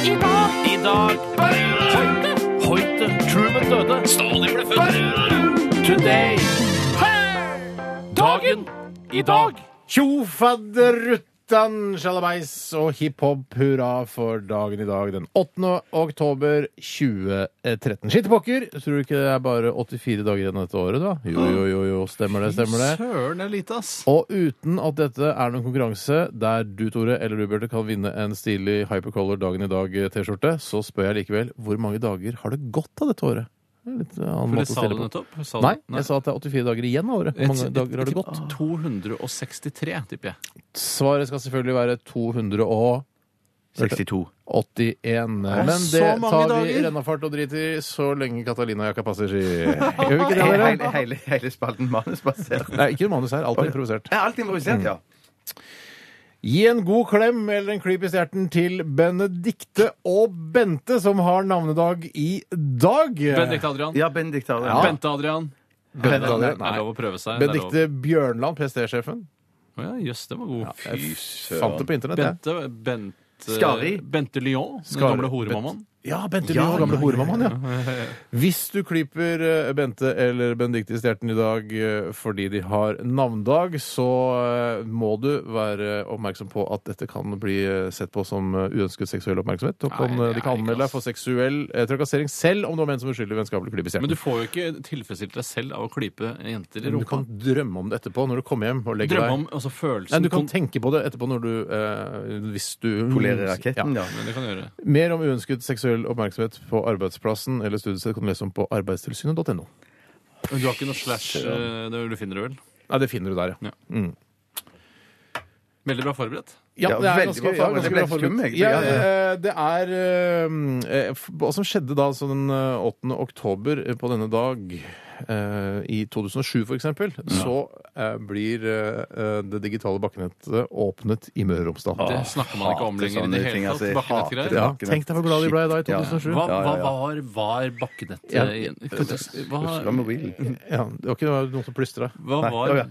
Speaker 5: I dag Hoite, Hoite, Truman døde Stalin ble født Today Dagen I dag
Speaker 3: Tjo fadderuttan sjalabais og hiphop hurra for dagen i dag den 8. oktober 2013. Skitt pokker! Tror du ikke det er bare 84 dager igjen av dette året, da? Jo, jo, jo, jo. stemmer det, stemmer det.
Speaker 5: Søren er lite ass
Speaker 3: Og uten at dette er noen konkurranse der du, Tore, eller du, Bjarte, kan vinne en stilig Hypercolor dagen i dag-T-skjorte, så spør jeg likevel hvor mange dager har det gått av dette året? Det er Litt eh, annen
Speaker 5: For
Speaker 3: måte å stille
Speaker 5: det sa du
Speaker 3: på.
Speaker 5: nettopp sa du-
Speaker 3: Nei, jeg sa at det er 84 dager igjen av året. Hvor mange dager har det
Speaker 5: Jeg
Speaker 3: gått?
Speaker 5: tipper 263, tipper jeg.
Speaker 3: Svaret skal selvfølgelig være 281.
Speaker 4: 62.
Speaker 3: Men
Speaker 5: så
Speaker 3: det
Speaker 5: mange
Speaker 3: tar vi i
Speaker 5: dager?
Speaker 3: rennafart og driter i så lenge Catalina-jakka passer, ski. Gjør vi ikke det, dere?
Speaker 4: Hele, hele, hele spalten manusbasert.
Speaker 3: Nei, ikke noe manus her. Alt er improvisert.
Speaker 4: Jeg har alltid improvisert, ja.
Speaker 3: Gi en god klem eller en klyp i stjerten til Benedikte og Bente, som har navnedag i dag.
Speaker 5: Benedikt Adrian
Speaker 4: Ja, Benedikt har det.
Speaker 3: Ja.
Speaker 5: Bente Adrian
Speaker 3: Bente
Speaker 5: Det
Speaker 3: Adrian.
Speaker 5: er lov å prøve seg det er lov.
Speaker 3: Benedikte Bjørnland, PST-sjefen.
Speaker 5: Å ja, jøss, den var god
Speaker 3: Jeg fant det på internett, jeg.
Speaker 5: Bente Bente
Speaker 4: Skari.
Speaker 5: Bente Lyon Den
Speaker 3: Skari.
Speaker 5: gamle horemammaen
Speaker 3: Ja, Bente
Speaker 4: Ja,
Speaker 3: Lund, gamle
Speaker 4: ja,
Speaker 3: horemammaen, ja. Hvis du klipper eh, Bente eller Benedicte i stjerten i dag eh, fordi de har navndag, så eh, må du være oppmerksom på at dette kan bli eh, sett på som eh, uønsket seksuell oppmerksomhet. Og kan,
Speaker 5: Nei,
Speaker 3: eh,
Speaker 5: det
Speaker 3: de kan
Speaker 5: er ikke,
Speaker 3: anmelde deg
Speaker 5: ass.
Speaker 3: for seksuell eh, trakassering selv om du har menn som uskyldig vennskapelig klipp i
Speaker 5: Men
Speaker 3: stjerten.
Speaker 5: du får jo ikke tilfredsstilt deg selv av å klype jenter i
Speaker 3: Men du
Speaker 5: rumpa.
Speaker 3: kan drømme om det etterpå når du kommer hjem og legger
Speaker 5: Drømme
Speaker 3: deg.
Speaker 5: om altså, følelsen
Speaker 3: Nei, du kan
Speaker 5: kon-
Speaker 3: tenke på det etterpå når du eh, Hvis du Mm,
Speaker 4: Polere raketten, ja.
Speaker 5: Men det kan du gjøre.
Speaker 3: Mer om uønsket seksuell oppmerksomhet på arbeidsplassen eller studiested kan du lese om på arbeidstilsynet.no.
Speaker 5: Men du har ikke noe slash eh, det du finner det vel?
Speaker 3: Nei, det finner du der, ja.
Speaker 5: Veldig bra forberedt.
Speaker 3: Ja,
Speaker 4: Ja,
Speaker 3: det er
Speaker 4: veldig
Speaker 3: ganske,
Speaker 4: bra,
Speaker 3: det er
Speaker 4: det
Speaker 3: ganske
Speaker 4: ble
Speaker 3: bra forberedt.
Speaker 4: skum, egentlig.
Speaker 3: Ja,
Speaker 4: Ja,
Speaker 3: eh, det er eh, f- Hva som skjedde da så den eh, 8. oktober eh, på denne dag eh, i 2007 f.eks., eksempel, så eh, blir eh, det digitale bakkenettet åpnet i Møre og Romsdal.
Speaker 5: Det snakker man ikke om
Speaker 4: Ah, hater
Speaker 5: lenger i det
Speaker 4: sånne ting,
Speaker 5: hele
Speaker 4: altså, jeg
Speaker 5: tatt. Bakkenettgreier.
Speaker 4: hater det.
Speaker 3: Ja,
Speaker 4: Bakkenett.
Speaker 3: tenk deg hvor glad de ble da i
Speaker 4: Ja.
Speaker 3: 2007.
Speaker 5: Hva,
Speaker 4: Ja,
Speaker 5: hva
Speaker 4: ja, ja.
Speaker 5: var, var bakkenettet
Speaker 3: Ja.
Speaker 5: igjen? Hva,
Speaker 4: Hva med mobilen?
Speaker 3: Ja, det var ikke det var noen som plystra.
Speaker 5: hva,
Speaker 4: å
Speaker 5: var,
Speaker 4: ja.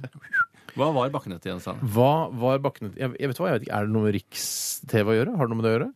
Speaker 5: hva var bakkenettet igjen, sa han?
Speaker 3: Hva var bakkenett... Jeg, jeg vet hva, jeg vet ikke, Er det noe med Riks-TV å gjøre? Har det noe med det å gjøre?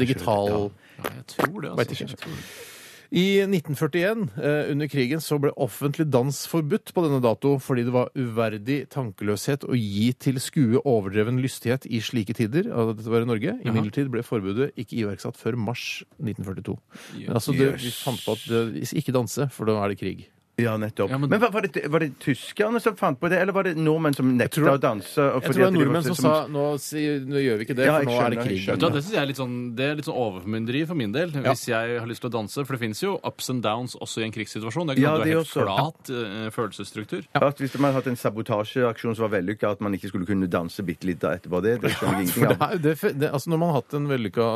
Speaker 3: Digital...
Speaker 5: Ja, jeg tror det.
Speaker 3: Vet ikke.
Speaker 5: Altså. Jeg tror det.
Speaker 3: I 1941, eh, under krigen, så ble offentlig dans forbudt på denne dato fordi det var uverdig tankeløshet å gi til skue overdreven lystighet i slike tider. Altså, dette var i Norge. Imidlertid ble forbudet ikke iverksatt før mars 1942. Men altså, det, vi fant på at eh, ikke danse, for da er det krig.
Speaker 4: Ja, nettopp.
Speaker 5: Ja, men-
Speaker 4: men hva- var, det, var det tyskerne som fant på det, eller var det nordmenn som nekta
Speaker 3: tror-
Speaker 4: å danse? og
Speaker 3: Jeg tror
Speaker 4: fordi
Speaker 3: det
Speaker 4: at
Speaker 3: er
Speaker 4: de var
Speaker 3: nordmenn som sa nå, si, nå gjør vi ikke det,
Speaker 4: Ja,
Speaker 3: for
Speaker 4: jeg
Speaker 3: nå er det
Speaker 4: skjønner, jeg
Speaker 3: krig.
Speaker 5: Vet du hva, Det synes jeg er litt sånn, det er litt sånn overformynderi for min del, hvis jeg har lyst til å danse. For det fins jo ups and downs også i en krigssituasjon. Det er
Speaker 4: Ja,
Speaker 5: ikke sånn at du
Speaker 4: det
Speaker 5: har helt
Speaker 4: også.
Speaker 5: flat eh, følelsesstruktur.
Speaker 4: At hvis man hadde hatt en sabotasjeaksjon som var vellykka, at man ikke skulle kunne danse bitte litt da etterpå det, det skjønner jeg
Speaker 3: For det
Speaker 4: ingenting av.
Speaker 3: er, det, det, altså når man har hatt en vellykka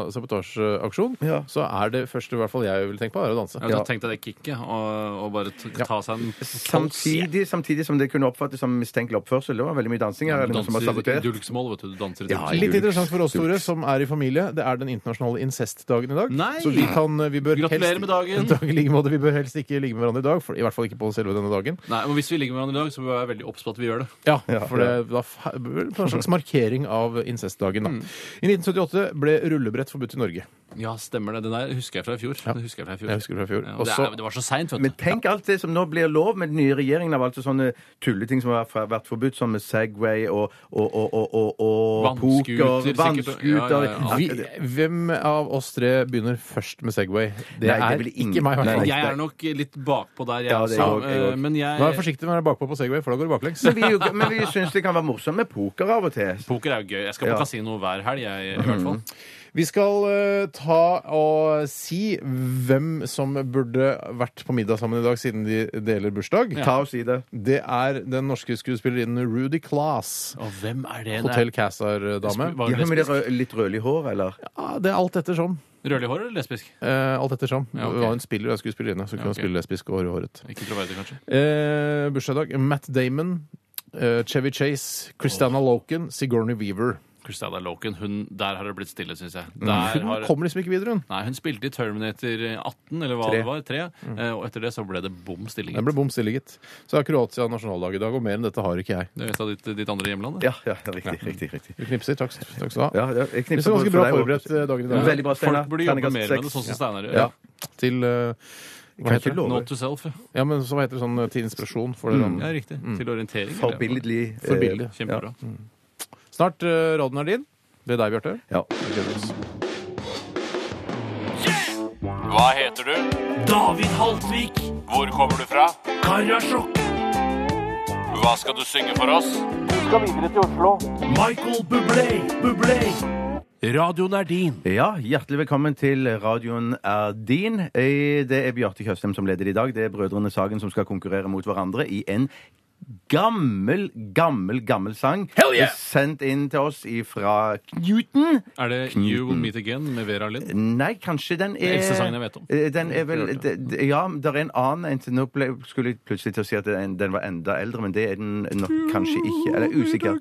Speaker 3: sabotasjeaksjon,
Speaker 4: Ja.
Speaker 3: så er det første i hvert fall jeg vil tenke på, er å danse.
Speaker 5: Ja. Da tenkte jeg det kicket, og, og bare t- ta seg en
Speaker 4: Samtidig, samtidig som det kunne oppfattes som mistenkelig oppførsel. Det var veldig mye dansing her. eller noen som har
Speaker 5: Danser i
Speaker 4: sabotert.
Speaker 5: dulksmål, vet du. Du danser i
Speaker 4: Ja,
Speaker 5: dulksmål.
Speaker 4: jeg-
Speaker 3: Litt interessant for oss, Tore, som er i familie. Det er den internasjonale incestdagen i dag.
Speaker 5: Nei!
Speaker 3: Så vi kan, eh, vi bør
Speaker 5: Gratulerer
Speaker 3: helst,
Speaker 5: med dagen!
Speaker 3: Takk i like måte. Vi bør helst ikke ligge med hverandre i dag. For, I hvert fall ikke på selve denne dagen.
Speaker 5: Nei, men Hvis vi ligger med hverandre i dag, så bør vi være veldig obs på at vi gjør det.
Speaker 3: Ja, for det da f- vel på en slags markering av incestdagen. Da.
Speaker 5: Mm.
Speaker 3: I 1978 ble rullebrett forbudt i Norge.
Speaker 5: Ja, stemmer det. Det der husker jeg fra i fjor. Det husker jeg fra i fjor.
Speaker 3: Jeg husker det fra i fjor.
Speaker 5: Ja,
Speaker 3: Og
Speaker 5: og det,
Speaker 3: så-
Speaker 5: er, det var så seint, vet
Speaker 4: Men
Speaker 5: du.
Speaker 4: tenk alt det som nå blir lov med den nye regjeringen av altså sånne tulleting som har fra- vært forbudt, som med Segway og, og, og, og, og, og
Speaker 5: Vannskuter,
Speaker 4: poker,
Speaker 5: sikkert. Ja,
Speaker 4: vannskuter
Speaker 5: ja, ja.
Speaker 3: Vi, hvem av oss tre begynner først med Segway? Det
Speaker 4: Nei,
Speaker 3: er
Speaker 4: det vil ingen-
Speaker 3: ikke meg. i hvert fall.
Speaker 4: Nei.
Speaker 5: Jeg er nok litt bakpå der, jeg
Speaker 4: Ja, det er jeg
Speaker 5: også.
Speaker 4: også, jeg
Speaker 5: eh,
Speaker 4: også.
Speaker 5: Men jeg
Speaker 3: Vær forsiktig med å være bakpå på Segway, for da går du baklengs.
Speaker 4: Men vi, er jo- men vi syns det kan være morsomt med poker av og til.
Speaker 5: Poker er jo gøy. Jeg skal på
Speaker 4: Ja. Mm.
Speaker 5: kasino hver helg, jeg, i hvert fall.
Speaker 3: Vi skal eh, ta og si hvem som burde vært på middag sammen i dag, siden de deler bursdag.
Speaker 4: Ta oss i det.
Speaker 3: Det er den norske skuespillerinnen Rudy Class.
Speaker 5: Og hvem er det?
Speaker 3: Hotell
Speaker 5: Nei,
Speaker 3: Cæsar-dame.
Speaker 5: var
Speaker 4: Ja,
Speaker 5: det
Speaker 4: men det er
Speaker 5: lesbisk?
Speaker 4: rød- litt rødlig hår, eller?
Speaker 3: Ja, det er alt ettersom.
Speaker 5: Rødlig hår eller lesbisk?
Speaker 3: Eh, alt ettersom.
Speaker 5: Ja, ok.
Speaker 3: Hva hun spiller, er skuespillerinne. Så
Speaker 5: Ja,
Speaker 3: kunne hun
Speaker 5: ok.
Speaker 3: spille lesbisk og hårhåret.
Speaker 5: Ikke troverdig, kanskje.
Speaker 3: Eh, Bursdagsdag. Matt Damon. eh, Chevy Chase, Christiana Loken, Sigourney Weaver.
Speaker 5: Christada Loken, hun, der har det blitt stille, syns jeg.
Speaker 4: Mm.
Speaker 5: Der
Speaker 3: Hun
Speaker 5: har,
Speaker 3: kommer liksom ikke videre, hun.
Speaker 5: nei, hun spilte i Terminator 18, eller
Speaker 4: Tre.
Speaker 5: hva det var, 3, og etter det så ble det bom stilling.
Speaker 3: Den ble bom stille, gitt. Så er Kroatia nasjonaldag i dag, og mer enn dette har ikke jeg.
Speaker 5: Det er et av ditt, ditt andre hjemland? det.
Speaker 4: Ja, ja, riktig. riktig, riktig.
Speaker 3: Vi knipser. Takk, takk skal du ha.
Speaker 4: Ja, ja, jeg
Speaker 3: Vi er
Speaker 4: knipser
Speaker 3: ganske
Speaker 4: for
Speaker 3: bra
Speaker 4: deg
Speaker 3: forberedt
Speaker 4: også.
Speaker 3: eh, dagen i dag.
Speaker 4: Veldig bra, Steinar.
Speaker 5: Folk burde jobbe
Speaker 4: Terningkast
Speaker 5: mer med det,
Speaker 4: seks.
Speaker 5: sånn som Steinar gjør.
Speaker 3: Ja. Til eh,
Speaker 4: Jeg
Speaker 3: Hva
Speaker 4: kan
Speaker 3: heter det?
Speaker 4: ikke love.
Speaker 5: Not to self, ja.
Speaker 3: Ja, men så hva heter det sånn eh, til inspirasjon for dere?
Speaker 5: ja riktig. Til orientering. eller?
Speaker 4: Forbilledlig. eh,
Speaker 3: Forbilledlig.
Speaker 5: Kjempebra.
Speaker 3: Snart uh, radioen er din. Det er deg, Bjarte.
Speaker 4: Ja.
Speaker 8: Hva heter du? David Haltvik. Hvor kommer du fra? Karasjok. Hva skal du synge for oss? Du skal videre til Oslo. Michael Bublé, Bublé. Radioen er din.
Speaker 4: ja, hjertelig velkommen til radioen er din. Eh, Det er Bjarte Tjøstheim som leder i dag. Det er Brødrene Sagen som skal konkurrere mot hverandre i en gammel, gammel, gammel sang.
Speaker 8: yeah!
Speaker 4: Sendt inn til oss fra Newton.
Speaker 5: Er det You Will Meet Again med Vera Lind?
Speaker 4: Nei, kanskje den er
Speaker 5: eldste sangen jeg vet om.
Speaker 4: Eh, Den er vel
Speaker 5: Jeg har ikke hørt
Speaker 4: d- d- Ja, det er en annen en til- Nå ble, skulle jeg plutselig til å si at den, den var enda eldre, men det er den nok kanskje ikke. Eller usikker.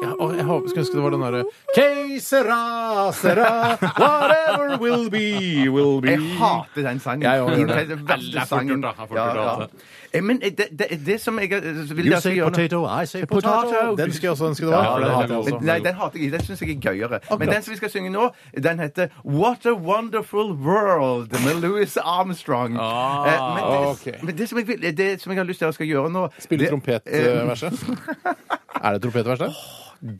Speaker 3: jeg, å, jeg håper- skulle ønske det var den derre Que sera, sera, whatever will be, will be.
Speaker 4: Jeg hater den sangen.
Speaker 3: Jeg også gjør
Speaker 4: Det er
Speaker 3: det.
Speaker 4: den
Speaker 5: Det er
Speaker 4: verste
Speaker 5: fort gjort,
Speaker 4: sangen.
Speaker 5: da. Det er fort gjort, altså.
Speaker 4: Eh, Men det, det, det som jeg eh, vil
Speaker 3: You
Speaker 4: at vi
Speaker 3: say
Speaker 4: gjør nå-
Speaker 3: potato, I say
Speaker 4: Potato.
Speaker 3: potato. Den skulle jeg også ønske det var.
Speaker 5: Ja,
Speaker 3: for den
Speaker 5: den
Speaker 3: hater jeg
Speaker 5: er god.
Speaker 3: også.
Speaker 4: Nei, den hater jeg ikke. Den syns jeg er gøyere. Men den som vi skal synge nå, den heter What a Wonderful World med Louis Armstrong. Eh, men, det,
Speaker 3: Ah, ok.
Speaker 4: men det som jeg vil, det som jeg har lyst til å skal gjøre nå
Speaker 3: Spille
Speaker 4: det- eh,
Speaker 3: trompetverset. Er det trompetverset?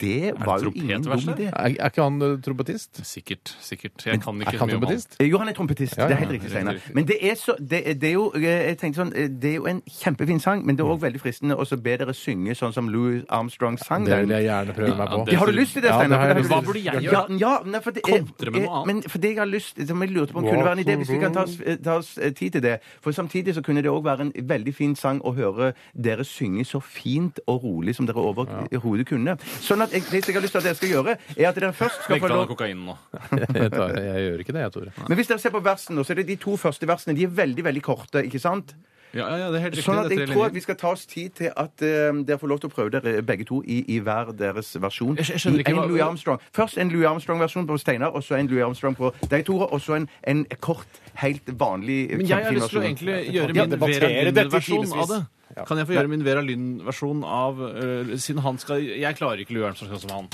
Speaker 4: Det var jo ingen dum
Speaker 5: trompetverset?
Speaker 4: idé.
Speaker 3: Er, er ikke han eh, trompetist?
Speaker 5: Sikkert. sikkert. Jeg kan
Speaker 3: Er
Speaker 5: ikke så
Speaker 3: han
Speaker 5: mye om han.
Speaker 3: trompetist?
Speaker 4: Eh, Jo, han er trompetist.
Speaker 3: ja,
Speaker 4: Det er helt riktig,
Speaker 5: riktig,
Speaker 4: Steinar.
Speaker 5: riktig.
Speaker 4: Men det er, så, det, er- det er jo eh, jeg tenkte sånn, eh, det er jo en kjempefin sang, men det
Speaker 3: Mm.
Speaker 4: er òg veldig fristende å så be dere synge sånn som Louis Armstrong sang
Speaker 3: Det vil
Speaker 4: den.
Speaker 3: jeg gjerne prøve meg på.
Speaker 5: Ja, det-
Speaker 4: Har du lyst til det,
Speaker 3: Ja, det
Speaker 4: Steinar?
Speaker 3: har jeg
Speaker 4: For det
Speaker 3: lyst
Speaker 4: har
Speaker 5: Hva
Speaker 4: du-
Speaker 5: burde jeg
Speaker 4: Ja,
Speaker 5: gjøre?
Speaker 4: ja, nei, for det er,
Speaker 5: Kontre med
Speaker 4: er-
Speaker 5: noe annet.
Speaker 4: Men for det jeg har lyst som jeg lurte på om kunne være en idé, hvis vi kan ta oss, ta oss eh, tid til det For samtidig så kunne det òg være en veldig fin sang å høre dere synge så fint og rolig som dere overhodet kunne. Sånn at jeg, det jeg har lyst til at dere skal gjøre, er at dere først skal
Speaker 5: Legg
Speaker 4: få
Speaker 5: fra
Speaker 4: lov
Speaker 5: deg kokainen nå.
Speaker 3: Jeg, tar, jeg gjør ikke det, jeg, Tore.
Speaker 4: Men hvis dere ser på versene nå, så er det de to første versene. De er veldig, veldig korte, ikke sant?
Speaker 5: Ja, ja, det er helt riktig.
Speaker 4: Sånn at
Speaker 5: det
Speaker 4: jeg
Speaker 5: er tre
Speaker 4: tror at
Speaker 5: linjer.
Speaker 4: vi skal ta oss tid til at eh, dere får lov til å prøve dere begge to i, i hver deres versjon.
Speaker 5: Jeg skj- jeg skjønner
Speaker 4: I
Speaker 5: ikke
Speaker 4: en
Speaker 5: hva-
Speaker 4: Louis Armstrong. Først en Louis Armstrong-versjon på Steinar, og så en Louis Armstrong på deg, Tore, og så en, en kort, helt vanlig
Speaker 5: Men jeg har lyst til å egentlig gjøre min Vera
Speaker 3: debattere dette i
Speaker 5: Lynn-versjon av det.
Speaker 3: timevis.
Speaker 5: Kan jeg få gjøre min Vera Lynn-versjon av øh, Siden han skal Jeg klarer ikke Louis Armstrong sånn som han.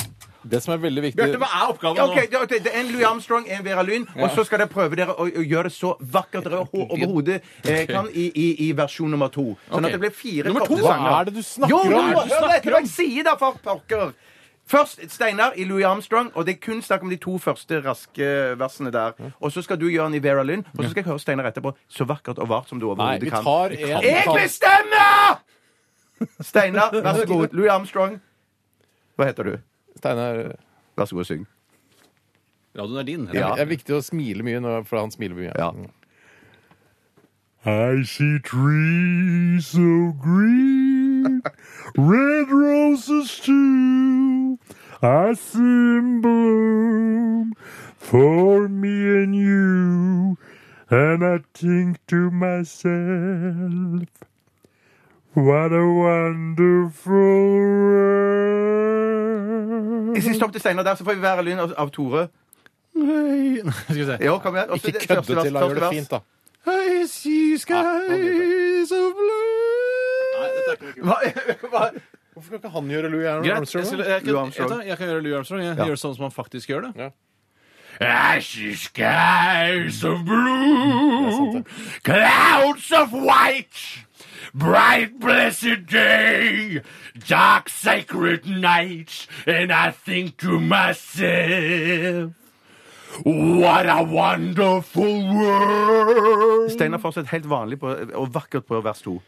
Speaker 3: Det som er veldig viktig
Speaker 5: Bjarte, hva er oppgaven
Speaker 4: Ja,
Speaker 5: nå?
Speaker 4: ok, det- det det er En Louis Armstrong, en Vera Lynn, og så skal dere prøve dere å, å gjøre det så vakkert dere ho- overhodet eh, kan i, i, i versjon nummer to. Sånn
Speaker 5: Ok.
Speaker 4: at det blir fire
Speaker 5: Nummer to?
Speaker 4: korte
Speaker 5: Hva
Speaker 4: sanger.
Speaker 3: er det du snakker
Speaker 4: jo,
Speaker 3: om?
Speaker 4: Jo,
Speaker 3: Hva er det du
Speaker 4: hør
Speaker 3: snakker
Speaker 4: etter hva jeg sier, da, for pokker! Først Steinar i Louis Armstrong, og det er kun snakk om de to første raske versene der. Og så skal du gjøre den i Vera Lynn, og så skal jeg høre Steinar etterpå. Så vakkert og vart som du
Speaker 3: Nei,
Speaker 4: overhodet
Speaker 3: vi
Speaker 4: kan.
Speaker 3: tar en vi
Speaker 4: Jeg
Speaker 3: tar-
Speaker 4: bestemmer! Steinar, vær så god. Louis Armstrong. Hva heter du?
Speaker 3: Steinar
Speaker 4: Vær så god, syng.
Speaker 5: Radioen er din.
Speaker 3: Det er viktig å smile mye, når, for han smiler mye. Mm.
Speaker 4: Ja.
Speaker 9: I see trees so green, red roses too. I see 'em bloom for me and you. And I think to myself, what a wonderful world.
Speaker 4: Jeg sier stopp til Steinar der, så får vi Vera Lynn av, av Tore.
Speaker 5: Nei, skal vi se.
Speaker 4: Jo, kom igjen. Også
Speaker 3: Ikke
Speaker 4: det første
Speaker 3: kødde
Speaker 4: vers,
Speaker 3: til, da. Gjør det
Speaker 4: første
Speaker 3: fint, da.
Speaker 5: I see skies of blue
Speaker 4: vers. Hva- hva-
Speaker 3: Hvorfor kan ikke han gjøre Louis Armstrong?
Speaker 5: Greit. Jeg, skulle,
Speaker 4: Louis
Speaker 5: jeg, kan, jeg,
Speaker 4: Armstrong.
Speaker 5: tar- jeg kan gjøre Louis Armstrong. Jeg gjør sånn som han faktisk gjør det.
Speaker 3: Ja.
Speaker 5: I see skies of blue, clouds of white, bright blessed day, dark sacred night, and I think to myself, what a wonderful world.
Speaker 4: Steinar fortsatt helt vanlig på, og vakkert på vers to.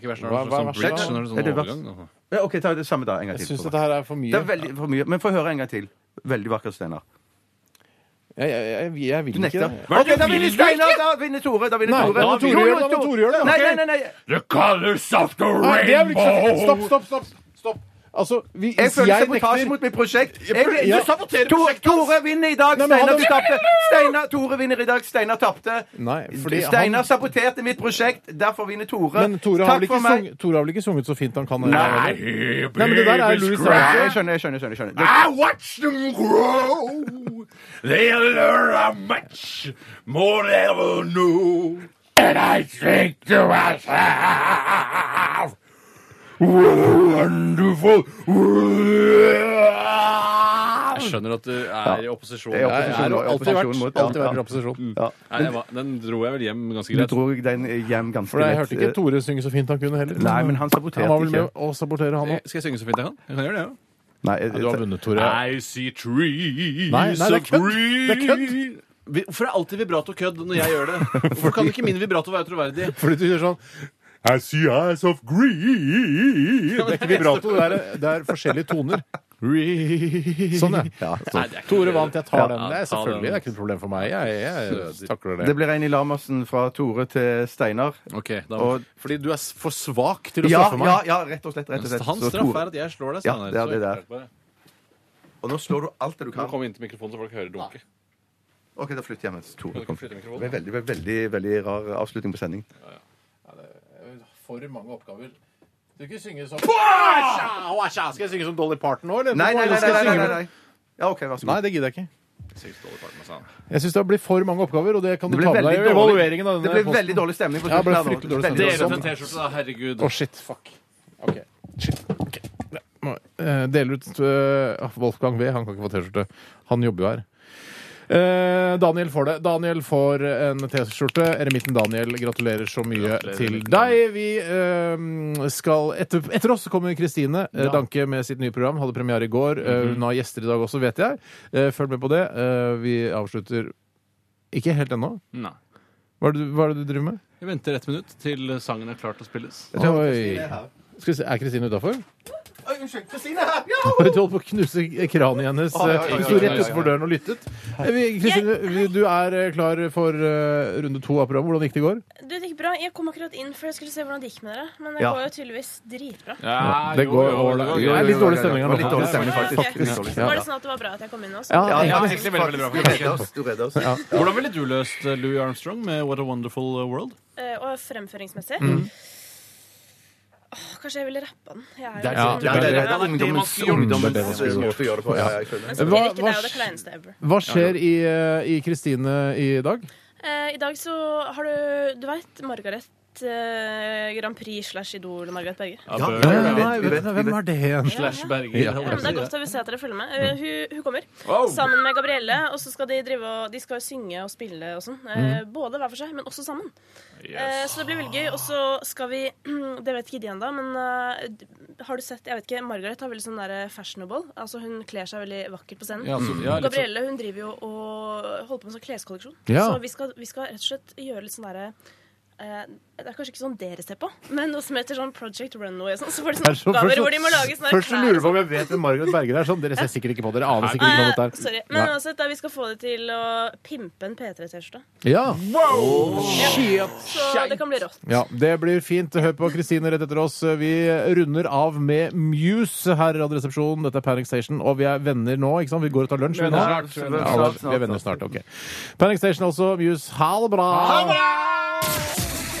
Speaker 3: Hva- hva- hva-
Speaker 5: bridge, når det er
Speaker 4: Er
Speaker 5: sånn
Speaker 4: det vers?
Speaker 5: overgang.
Speaker 4: Ja, OK, ta det samme da. En gang
Speaker 3: Jeg
Speaker 4: til.
Speaker 3: syns
Speaker 4: Tore.
Speaker 3: dette her er for mye.
Speaker 4: Det er veldig for mye. Men få høre en gang til. Veldig vakkert, Steinar.
Speaker 3: Jeg, jeg, jeg, jeg vil
Speaker 4: Du
Speaker 3: ikke
Speaker 4: nekter.
Speaker 3: det.
Speaker 4: OK, da vinner Steinar! Da vinner Tore. Da vinner
Speaker 3: Nei,
Speaker 4: Tore.
Speaker 3: da må Tore
Speaker 4: Jo, jo,
Speaker 3: gjøre det, da må Tore gjøre det.
Speaker 4: Nei,
Speaker 3: Ok.
Speaker 4: nei, nei. nei.
Speaker 5: The colors of the
Speaker 3: Nei, det er vel ikke så-
Speaker 5: rainbow.
Speaker 3: Stopp, stopp, stopp! stopp. Altså, vi,
Speaker 4: Jeg
Speaker 3: hvis
Speaker 4: føler
Speaker 3: jeg
Speaker 4: sabotasje
Speaker 3: nekter
Speaker 4: mot mitt prosjekt. Jeg, vil-
Speaker 3: Ja.
Speaker 4: Du saboterer Tore, Tore vinner i dag.
Speaker 3: Nei, men han
Speaker 4: Steinar du
Speaker 3: har-
Speaker 4: tapte. Steinar Tore vinner i dag. Steinar tapte.
Speaker 3: Nei, fordi han-
Speaker 4: Steinar saboterte mitt prosjekt. Derfor vinner Tore.
Speaker 3: Men Tore har,
Speaker 4: Takk
Speaker 3: vel ikke
Speaker 4: for meg.
Speaker 3: sunget, Tore har vel ikke sunget så fint han kan?
Speaker 4: Nei.
Speaker 3: eller? Nei, men det der er Louis Armstrong.
Speaker 4: Jeg skjønner, jeg skjønner. jeg skjønner, jeg skjønner. Det-
Speaker 5: I watch them grow. They learn much more than I ever knew. And I think to myself, wonderful Jeg skjønner at du er i opposisjon.
Speaker 4: Jeg er i
Speaker 3: Jeg er alltid
Speaker 4: opposisjon, og opposisjon
Speaker 3: vært,
Speaker 4: mot-
Speaker 3: alltid
Speaker 4: ja.
Speaker 3: vært i opposisjon.
Speaker 4: Ja.
Speaker 5: Nei, jeg var- den dro jeg vel hjem ganske
Speaker 4: Du
Speaker 5: greit.
Speaker 4: dro den hjem ganske
Speaker 3: For jeg
Speaker 4: lett.
Speaker 3: hørte ikke Tore synge så fint han kunne heller.
Speaker 4: eh, Nei, men han saboterte
Speaker 3: Han var vel
Speaker 4: ikke. Eh,
Speaker 3: med å sabotere, han òg.
Speaker 5: Eh, Skal jeg synge så fint jeg kan? Jeg kan gjøre det, ja.
Speaker 4: Nei, jeg-
Speaker 3: Du har vunnet, Tore.
Speaker 5: I see trees
Speaker 3: Nei, nei, det er kødd. Det er kødd.
Speaker 5: Vi- Hvorfor er alltid vibrato kødd når jeg gjør det? Hvorfor kan ikke min vibrato være troverdig?
Speaker 3: Fordi du gjør sånn
Speaker 9: I see eyes of green.
Speaker 3: Det er ikke vibrato, det er, det er forskjellige toner. Sånn, ja.
Speaker 5: Nei, det er ikke-
Speaker 3: Tore vant, jeg tar
Speaker 5: Ja,
Speaker 3: den. Det er
Speaker 5: ta den.
Speaker 3: selvfølgelig det er ikke noe problem for meg. Jeg, jeg, jeg takler
Speaker 4: Det
Speaker 3: det.
Speaker 4: blir Reini Lamarsen fra Tore til Steinar.
Speaker 5: Ok, da
Speaker 4: Og-
Speaker 3: Fordi du er s- for svak til å
Speaker 4: Ja,
Speaker 3: straffe meg.
Speaker 4: ja, ja, rett og slett. Rett og slett.
Speaker 5: Hans
Speaker 4: Så
Speaker 5: straff
Speaker 4: Tore-
Speaker 5: er at jeg slår deg.
Speaker 4: Ja,
Speaker 5: Steinar.
Speaker 4: det er det
Speaker 5: Så
Speaker 4: der.
Speaker 5: klart bare.
Speaker 4: Og nå slår du alt det du
Speaker 5: Du må
Speaker 4: kan.
Speaker 5: komme inn til mikrofonen så folk hører dunke.
Speaker 4: OK, da flytter jeg mens Tore kommer.
Speaker 5: Flytte
Speaker 4: Det
Speaker 5: mikrofonen.
Speaker 4: ble veldig, veldig, veldig rar avslutning på sendingen.
Speaker 3: For mange oppgaver. Du ikke synge som Skal jeg synge som Dolly Parton nå, eller?
Speaker 4: Nei, nei, nei.
Speaker 3: Skal jeg
Speaker 4: nei, nei,
Speaker 3: synge-
Speaker 4: nei, nei. Ja, OK, vær så
Speaker 3: Nei,
Speaker 4: god.
Speaker 3: det gidder jeg ikke.
Speaker 5: altså.
Speaker 3: Jeg syns det blir for mange oppgaver, og det kan du
Speaker 4: Det
Speaker 3: ta
Speaker 4: blir
Speaker 3: med deg i
Speaker 4: veldig dårlig,
Speaker 3: evalueringen av
Speaker 4: det
Speaker 3: denne
Speaker 4: blir
Speaker 3: posten.
Speaker 4: veldig dårlig stemning på
Speaker 3: Ja, det ble
Speaker 4: slutten. her nå.
Speaker 3: fryktelig dårlig
Speaker 4: Veldig
Speaker 3: stemning.
Speaker 4: dårlig
Speaker 5: en T-skjorte, da. Herregud.
Speaker 3: Å, shit. Fuck. OK. Shit. ok. Ja, må- eh, Dele ut eh, Wolfgang V. Han kan ikke få T-skjorte. Han jobber jo her. Eh, Daniel får det. Daniel får en T-skjorte. Eremitten Daniel, gratulerer så mye til deg. Vi eh, skal etter, etter oss kommer Kristine eh, Danke med sitt nye program. Hadde premiere i går. Eh, hun har gjester i dag også, vet jeg. Eh, følg med på det. Eh, vi avslutter ikke helt ennå.
Speaker 5: Nei.
Speaker 3: Hva er det, du- hva er det du driver med?
Speaker 5: Jeg venter ett minutt til sangen er klar til å spilles.
Speaker 3: Oi. Skal vi se, er Kristine utafor?
Speaker 4: Oi, Unnskyld, Kristine her! Ja!
Speaker 3: Hun holdt på å knuse kranet hennes.
Speaker 4: Oi, oi, oi, oi,
Speaker 3: Hun sto rett
Speaker 4: oi, oi.
Speaker 3: utenfor døren og lyttet. Eh, vi- Kristine, vi- du er eh, klar for eh, runde to av programmet. Hvordan gikk det i går?
Speaker 10: Du, det gikk bra. Jeg kom akkurat inn for jeg skulle se hvordan det gikk med dere. Men det
Speaker 4: Ja.
Speaker 10: går jo tydeligvis dritbra.
Speaker 5: Ja,
Speaker 3: Det
Speaker 5: jo,
Speaker 3: går
Speaker 5: jo,
Speaker 3: over.
Speaker 5: det går
Speaker 3: Det er
Speaker 5: gøy.
Speaker 3: litt dårlig stemning her
Speaker 4: Det var litt
Speaker 3: nå.
Speaker 4: dårlig stemning,
Speaker 10: Ja,
Speaker 4: faktisk.
Speaker 10: ok.
Speaker 4: Litt dårlig
Speaker 10: Var
Speaker 4: stemning.
Speaker 10: det sånn at det var bra at jeg kom inn også?
Speaker 3: Ja,
Speaker 5: Ja,
Speaker 3: ja.
Speaker 5: egentlig veldig, veldig bra.
Speaker 4: Du redder oss. Du redder oss.
Speaker 5: Hvordan ville du løst eh, Louis Armstrong med What a Wonderful World?
Speaker 10: Eh, Og fremføringsmessig. Åh, kanskje jeg ville rappa den. Jeg er jo
Speaker 3: Ja,
Speaker 10: sånn.
Speaker 3: det er det-
Speaker 10: Ja, men
Speaker 4: ungdommens, ungdommens måte å gjøre det på. Ja, jeg skjønner.
Speaker 10: samtidig
Speaker 3: Hva-
Speaker 10: ikke, det er
Speaker 3: hva-
Speaker 10: jo det kleineste ever.
Speaker 3: Hva skjer i, eh, i Kristine i dag?
Speaker 10: Eh, I dag så har du Du veit Margaret eh, Grand Prix slash Idol Margaret Berger?
Speaker 4: Ja, ja,
Speaker 5: Bø-
Speaker 3: Nei,
Speaker 4: ja, vi
Speaker 3: nei,
Speaker 4: vet- vi vet- vi
Speaker 3: Hvem er
Speaker 4: vet.
Speaker 3: det igjen?
Speaker 5: Slash Berger.
Speaker 3: Ja. Mm.
Speaker 10: Ja, men det er godt å se at dere følger med. Eh, Hun, hun kommer sammen med Gabrielle. Og så skal de drive og De skal synge og spille og sånn. Eh,
Speaker 3: Mm.
Speaker 10: Både hver for seg, men også sammen. Eh, Så det blir veldig gøy. Og så skal vi Det vet ikke de ennå, men eh, d- har du sett Jeg vet ikke, Margaret har veldig sånn der fashionable. Altså hun kler seg veldig vakkert på scenen.
Speaker 5: Ja, så, ja, litt sånn-
Speaker 10: Gabrielle hun driver jo og holder på med sånn kleskolleksjon.
Speaker 3: Ja.
Speaker 10: Så vi skal, vi skal rett og slett gjøre litt sånn derre eh, det er kanskje ikke sånn dere ser på, men noe som heter sånn Project Runway. og Sånn, så får de
Speaker 3: Det er så-
Speaker 10: sånne oppgaver
Speaker 3: så-
Speaker 10: hvor de må lage sånne
Speaker 3: Først så lurer
Speaker 10: klær sånn.
Speaker 3: jeg på om jeg vet hvem Margaret Berger er. Sånn, dere ser sikkert ikke på dere. Aner sikkert ikke hva
Speaker 10: Ah,
Speaker 3: dette er.
Speaker 10: sorry. Men
Speaker 3: Nei.
Speaker 10: uansett, da, vi skal få det til å pimpe en P3-T-skjorte.
Speaker 3: Ja.
Speaker 10: Så det kan bli rått.
Speaker 3: Ja, det blir fint. Hør på Kristine rett etter oss. Vi runder av med Muse her i Radioresepsjonen. Dette er Panic Station, og vi er venner nå, ikke sant? Vi går og tar lunsj. vi nå.
Speaker 4: Venner snart, venner
Speaker 3: Ja, alle-
Speaker 4: snart,
Speaker 3: vi er venner snart, ok. Panic Station også, Muse. Ha det bra!